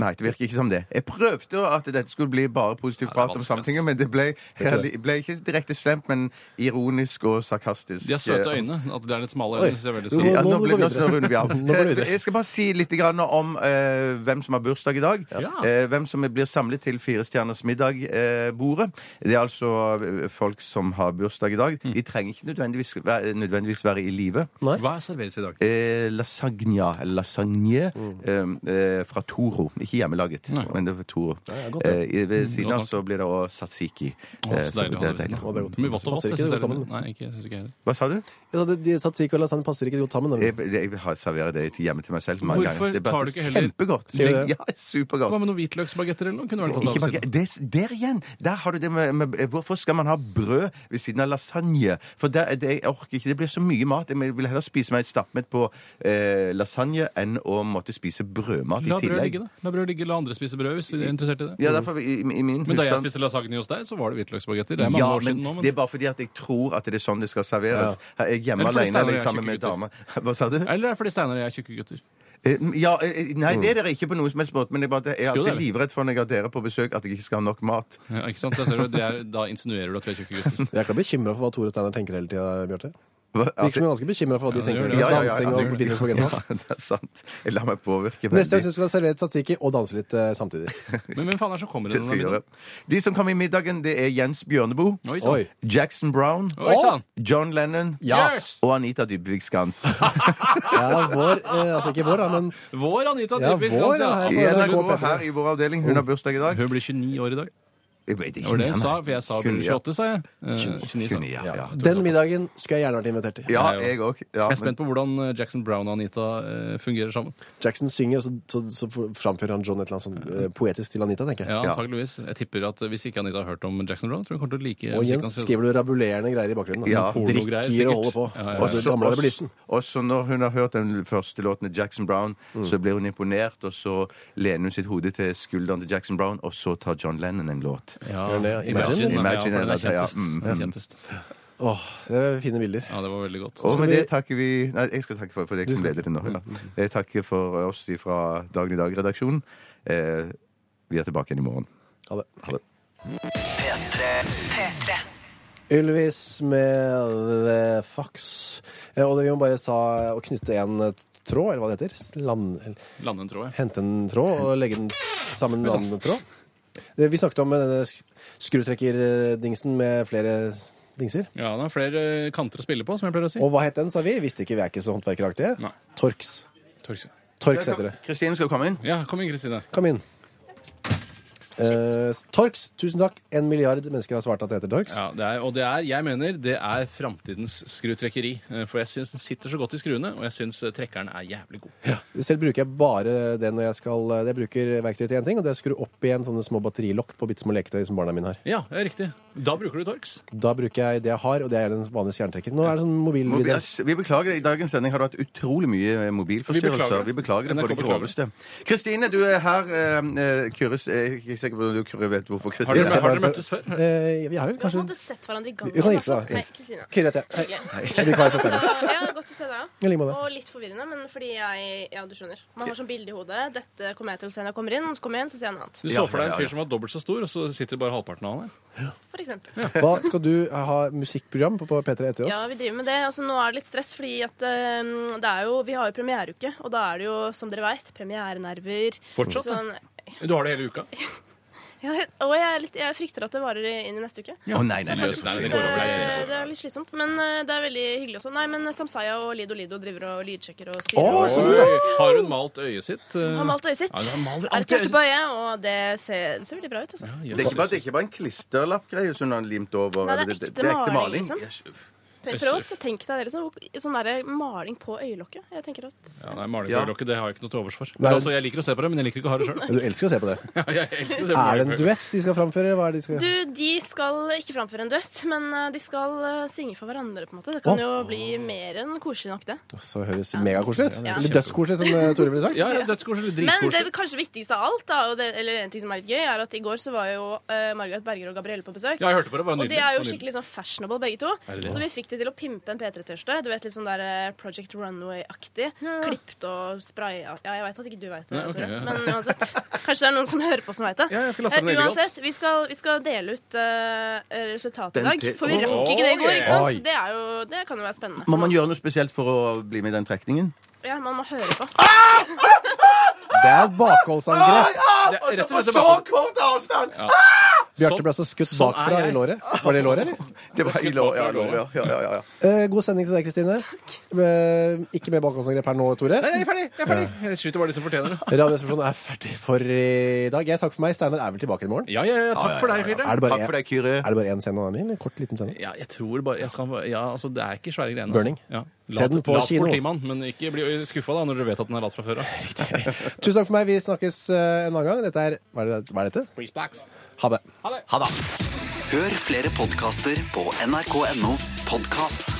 S4: Nei, det virker ikke som det. Jeg prøvde jo at dette skulle bli bare positiv
S5: Ja, det er
S4: prat om
S5: vanskelig, ass.
S4: Sametinget, men det ble,
S3: Vet du
S4: ble ikke direkte slemt, men ironisk og sarkastisk. eh,
S5: De har søte øyne. At det er litt smale
S3: Oi.
S5: øyne, syns jeg er veldig
S3: Jo,
S5: søtt.
S4: Ja, nå,
S3: må
S4: ble,
S3: vi gå
S4: nå
S3: videre.
S4: runder vi av.
S3: Nå må vi videre.
S4: Eh, Jeg skal bare si litt grann om eh, hvem som har bursdag i dag.
S5: Ja.
S4: Eh, hvem som blir samlet til Firestjerners middag-bordet. eh, det er altså eh, folk som har bursdag i dag.
S5: Mm.
S4: De trenger ikke nødvendigvis være, nødvendigvis være i live.
S5: Hva er serveres i dag?
S4: Eh, lasagna, eller lasagne,
S5: Mm.
S4: eh, eh, fra Toro. Ikke hjemmelaget, men det var Toro.
S3: er godt, det.
S4: Eh, i- ved siden av
S5: Mm, takk.
S4: så blir det også tzatziki.
S5: Å,
S4: Eh,
S5: så
S4: så
S5: deilig å ha det ved
S4: deilig.
S5: siden av.
S3: Å, det er godt.
S5: Mye vått og vått.
S3: Passer
S5: Jeg synes
S3: ikke det
S5: det er
S3: sammen.
S5: litt- Nei, ikke, jeg synes ikke heller.
S4: Hva sa du?
S3: ja, de, de Satsiki og lasagne passer ikke godt sammen. da.
S4: Jeg, jeg har serverer det til- hjemme til meg selv mange
S5: Mm. Hvorfor
S4: ganger. Det er bare
S5: tar du ikke heller-
S4: Kjempegodt.
S3: Sier du det?
S4: Ja, supergodt.
S5: Hva med noen hvitløksbagetter eller noe? Kunne vært godt
S4: Ikke
S5: av ved
S4: bare,
S5: siden av.
S4: det, der igjen! Der har du det med, med Hvorfor skal man ha brød ved siden av lasagne? For der, det, jeg orker ikke. Det blir så mye mat. Jeg vil heller spise meg et stappmett på eh, lasagne enn å måtte spise brødmat
S5: La
S4: i
S5: brød
S4: tillegg.
S5: ligge, da. La brød ligge, la andre spise brød hvis du er interessert i det.
S4: Ja, derfor, i, i min
S5: Men da jeg
S4: husstand-
S5: spiste lasagne hos deg, så var det hvitløksbagetter. Det er mange
S4: ja,
S5: år siden nå,
S4: det
S5: men
S4: er bare fordi at jeg tror at det er sånn det skal serveres. Her er Jeg er hjemme
S5: Eller fordi
S4: alene
S5: Steinar
S4: eller
S5: er
S4: sammen med
S5: tjukke
S4: dame. Hva sa du?
S5: Eller er det fordi Steinar og jeg er tjukke gutter?
S4: Eh, Ja, eh, nei, det er dere ikke på noen som helst måte, men jeg, bare, jeg er
S5: Mm. Jo, det er
S4: alltid
S5: vi.
S4: livredd for når jeg har dere på besøk, at jeg ikke skal ha nok mat.
S5: Ja, ikke sant? Da, ser du, det er, da insinuerer du at vi er tjukke gutter.
S3: Jeg er ikke bekymra for hva Tore Steinar tenker hele tida, Bjarte.
S4: Hva- at-
S3: Virker som jeg er ganske bekymra for hva de
S5: Ja, det gjør
S3: tenker. om
S5: det. Ja,
S4: ja, ja,
S3: dansing
S4: ja, det
S3: og
S4: gjør
S3: pizza og spagetti.
S4: Ja, det er sant. Jeg lar meg påvirke
S3: Neste gang
S4: veldig.
S3: syns du skal servere tzatziki og danse litt eh, samtidig.
S5: Men hvem faen er det som kommer i
S4: Det
S5: denne
S4: skal jeg gjøre.
S5: middagen?
S4: De som kom i middagen, det er Jens Bjørneboe.
S5: Oi sann.
S3: Oi.
S4: Jackson Brown.
S5: Oi, sann.
S4: John Lennon.
S3: Ja.
S5: Yes!
S4: Og Anita Dybvik Skans.
S3: Ja, vår, eh, altså ikke vår, da, men
S5: Vår Anita
S3: Ja,
S5: Dybvik.
S3: vår,
S5: altså.
S3: ja,
S4: I
S3: Ja, så
S4: NRK
S3: god, Petter.
S4: her i vår avdeling. Hun har bursdag i dag.
S5: Hun blir 29 år i dag.
S4: Jeg vet ikke
S5: Det var det jeg
S4: navnet.
S5: sa, for jeg sa hun blir 28, sa jeg. Eh, 29, sa
S4: 29,
S5: jeg.
S4: ja. ja.
S3: den middagen skulle jeg gjerne vært invitert til.
S4: Ja, jeg òg. Ja,
S5: Jeg er spent på hvordan eh, Jackson Brown og Anita eh, fungerer sammen.
S3: Jackson synger, og så, så, så framfører han John et eller annet sånn eh, poetisk til Anita, tenker jeg.
S5: Ja,
S4: Ja.
S5: antageligvis. Jeg tipper at eh, Hvis ikke Anita har hørt om Jackson Brown, tror jeg hun kommer til å like
S3: Og
S5: musikken
S3: Jens
S5: hans.
S3: skriver du rabulerende greier i bakgrunnen. da.
S4: Ja.
S5: Pornogreier,
S3: Drikker
S5: sikkert.
S3: og holder på. Altså,
S5: Ja, ja, ja.
S3: Og så
S4: Også-
S3: gamle
S4: også-
S3: rebellisten.
S4: Også når hun har hørt den første låten til Jackson Brown,
S3: Mm.
S4: så blir hun imponert, og så lener hun sitt hode til skulderen til Jackson Brown, og så tar John Lennon en låt.
S5: Ja,
S3: Gjør det, ja. Imagine.
S5: Imagine, ja,
S4: Imagine,
S5: for den er
S4: ja, ja.
S5: kjentest.
S4: Mm,
S5: Den er kjentest.
S3: Åh, det er fine bilder.
S5: Ja, det var veldig godt.
S4: Og
S3: Skal
S4: med
S3: vi- Mm.
S4: det takker vi Nei, jeg skal takke for, for deg som leder det nå. Ja. Jeg takker for oss fra Dagen i dag-redaksjonen. Eh, vi er tilbake igjen i morgen.
S3: Ha det.
S4: Ha det.
S7: P3.
S3: Ylvis med The Fox. Eh, Og det- vi må bare ta og knytte en eh, tråd, eller hva det heter. Land, eller
S5: Lande en tråd, jeg.
S3: hente en tråd og legge den sammen med en annen tråd. Eh, Vi snakket om eh, denne sk- skrutrekkerdingsen med flere s- dingser.
S5: Ja, det er flere eh, kanter å spille på, som jeg pleier å si.
S3: Og hva het den, sa vi? Visste ikke, vi er ikke så håndverkeraktige.
S5: Nei.
S3: Torx.
S5: Torx, ja.
S3: Torx heter det.
S4: Kristine skal komme inn.
S5: Ja, kom inn, Kristine.
S3: Kom inn. Eh, Torx, tusen takk. En milliard mennesker har svart at det heter Torx.
S5: Ja, det er, og det er, jeg mener, det er framtidens skrutrekkeri. Eh, For jeg syns den sitter så godt i skruene, og jeg syns eh, trekkeren er jævlig god.
S3: Selv bruker jeg bare det når jeg skal eh, Jeg bruker verktøy til én ting, og det er å skru opp igjen sånne små batterilokk på bitte små leketøy som barna mine har.
S5: Ja, det er riktig. Da bruker du Torx.
S3: Da bruker jeg det jeg har, og det er den vanlige stjernetrekken. Nå er det sånn
S4: Mobil-
S3: mobilvideo.
S4: Vi beklager, I dagens sending har det vært utrolig mye mobilforstyrrelser.
S5: Vi
S4: Vi
S5: beklager.
S4: beklager, det på
S5: NRK
S4: det groveste. Kristine, du er her. eh, eh, Kyrres, jeg er ikke sikker på om du Kyrre, vet hvorfor.
S5: Har dere,
S4: Kristine
S5: har dere møttes før?
S3: Eh, vi har vel
S8: Vi har på en
S3: kanskje
S8: måte sett hverandre i gangen.
S3: Vi kan
S8: i
S3: hilse, da.
S8: hvert fall. Hei, Kristina.
S3: Kyrre heter jeg.
S8: Hyggelig.
S3: Jeg blir klar for stedet.
S8: Ja, godt å se deg.
S3: I like måte.
S8: Og litt forvirrende, men fordi jeg Ja, du skjønner. Man har sånn bilde i hodet. Dette kommer jeg til å se når jeg kommer inn, og så kommer jeg inn, så ser jeg noe annet.
S5: Du så
S4: Ja,
S5: for deg
S4: ja,
S5: en
S4: ja,
S5: fyr
S4: ja.
S5: som var dobbelt så stor, og så sitter bare halvparten av han her.
S8: For eksempel.
S3: Hva skal du ha musikkprogram på på P3 etter oss?
S8: Ja, vi driver med det. Altså, nå er det litt stress, fordi at eh, det er jo Vi har jo premiereuke, og da er det jo, som dere veit, premierenerver.
S5: Fortsatt, da?
S8: Sånn,
S5: Du har det hele uka.
S8: ja, og jeg, er litt, jeg frykter at det varer inn i neste uke.
S4: Å nei, nei, altså. nei.
S5: Seriøst, nei, det
S8: Det
S5: går over. det
S8: er,
S5: er-
S8: det er litt slitsomt, men eh, det er veldig hyggelig også. Nei, men Samsaya og Lido Lido driver og lydsjekker og styrer.
S3: Å,
S8: og-
S3: så
S5: Oi, har hun malt øyet sitt? eh?
S8: Han malte øyet sitt.
S5: Ja, hun maler
S8: er
S5: alltid øyet
S8: tørte
S5: sitt.
S8: på øyet, og det ser, det ser veldig bra ut. Altså.
S5: Ja,
S4: Det er
S5: jøs,
S4: ikke bare, det
S5: jøs.
S4: er ikke bare en klisterlappgreie som hun har limt over.
S8: Nei, det er
S4: eller
S8: ekte maling, liksom.
S4: Yes, uff.
S8: Prøv prøv å tenke deg det liksom, sånn der maling på øyelokket. Jeg tenker at
S5: Ja, nei, maling på
S4: Ja.
S5: øyelokket, det har jeg ikke noe til overs for.
S3: Nei.
S5: Men altså, Jeg liker å se på det, men jeg liker ikke å ha det sjøl.
S3: Men Du elsker å se på det. Er det en duett de skal framføre? eller Hva er det de skal...
S8: Du, de skal ikke framføre en duett, men eh, de skal eh, synge for hverandre, på en måte. Det kan
S3: Å.
S8: jo bli mer enn koselig nok, det.
S3: Så høres megakoselig
S5: Ja,
S3: ut.
S5: det er
S3: Eller dødskoselig, som eh, Tore ville sagt.
S5: Ja, ja, dødskoselig. eller
S8: Men
S5: Dritkoselig.
S8: det kanskje viktigste av alt, da, og det, eller en ting som er litt gøy, er at i går så var jo eh, Margaret Berger og Gabrielle på besøk.
S5: Ja, jeg hørte på det. Bare
S8: Og
S5: nydelig.
S8: de er
S5: Bare
S8: jo
S5: nydelig.
S8: skikkelig sånn fashionable, begge to.
S5: det det?
S8: Så vi fikk de til å pimpe en P3-tørste. Du vet, litt sånn der eh, Project Runway-aktig. Klippt og spraya. Ja, jeg veit at ikke du veit det,
S5: Nei, ok,
S8: Tore.
S5: ja.
S8: Men uansett. Kanskje det er noen som hører på som veit det.
S5: Ja, jeg skal laste den
S8: Eh,
S5: veldig godt.
S8: uansett, vi skal, vi skal dele ut eh, resultatet i
S4: Den
S8: dag.
S4: til-
S8: For vi rakk ikke det i går, ikke sant?
S3: Oi.
S8: Så det, er jo, det kan jo være spennende.
S4: Må man gjøre noe spesielt for å bli med i den trekningen?
S8: Ja, man må høre på.
S3: Det er
S5: Ah,
S3: et bakholdsangrep.
S5: Det er rett og slett bare-
S4: kort avstand!
S3: Bjarte ble altså skutt
S5: Sånn er
S3: bakfra
S5: jeg.
S3: i låret. Var det i låret, eller?
S4: Det var i lår, ja, lår, ja, ja, ja, ja.
S3: Eh, god sending til deg, Kristine. Eh, ikke mer bakholdsangrep her nå, Tore.
S5: Nei, jeg er ferdig! Jeg er ferdig. Jeg skyter bare de som fortjener det.
S3: Radioresepsjonen er ferdig for i dag. Jeg takker for meg. Steinar er vel tilbake i morgen?
S5: Ja, ja, ja, takk for deg, Kyrre.
S3: Er det bare
S4: Takk for
S3: en-
S4: deg, Kyrre.
S3: er det bare én scene av meg, eller en kort, liten scene?
S5: Ja, jeg tror bare jeg skal, ja, altså, Det er ikke svære greiene.
S3: Burning.
S5: Altså. Ja.
S3: Se den på
S5: lat
S3: kino.
S5: Politimann, men ikke bli skuffa da, når dere vet at den er lat fra før av.
S3: Tusen takk for meg. Vi snakkes eh, en annen gang. Dette er Hva er, det, hva er dette? Ha det.
S2: Hør flere podkaster på nrk.no podkast.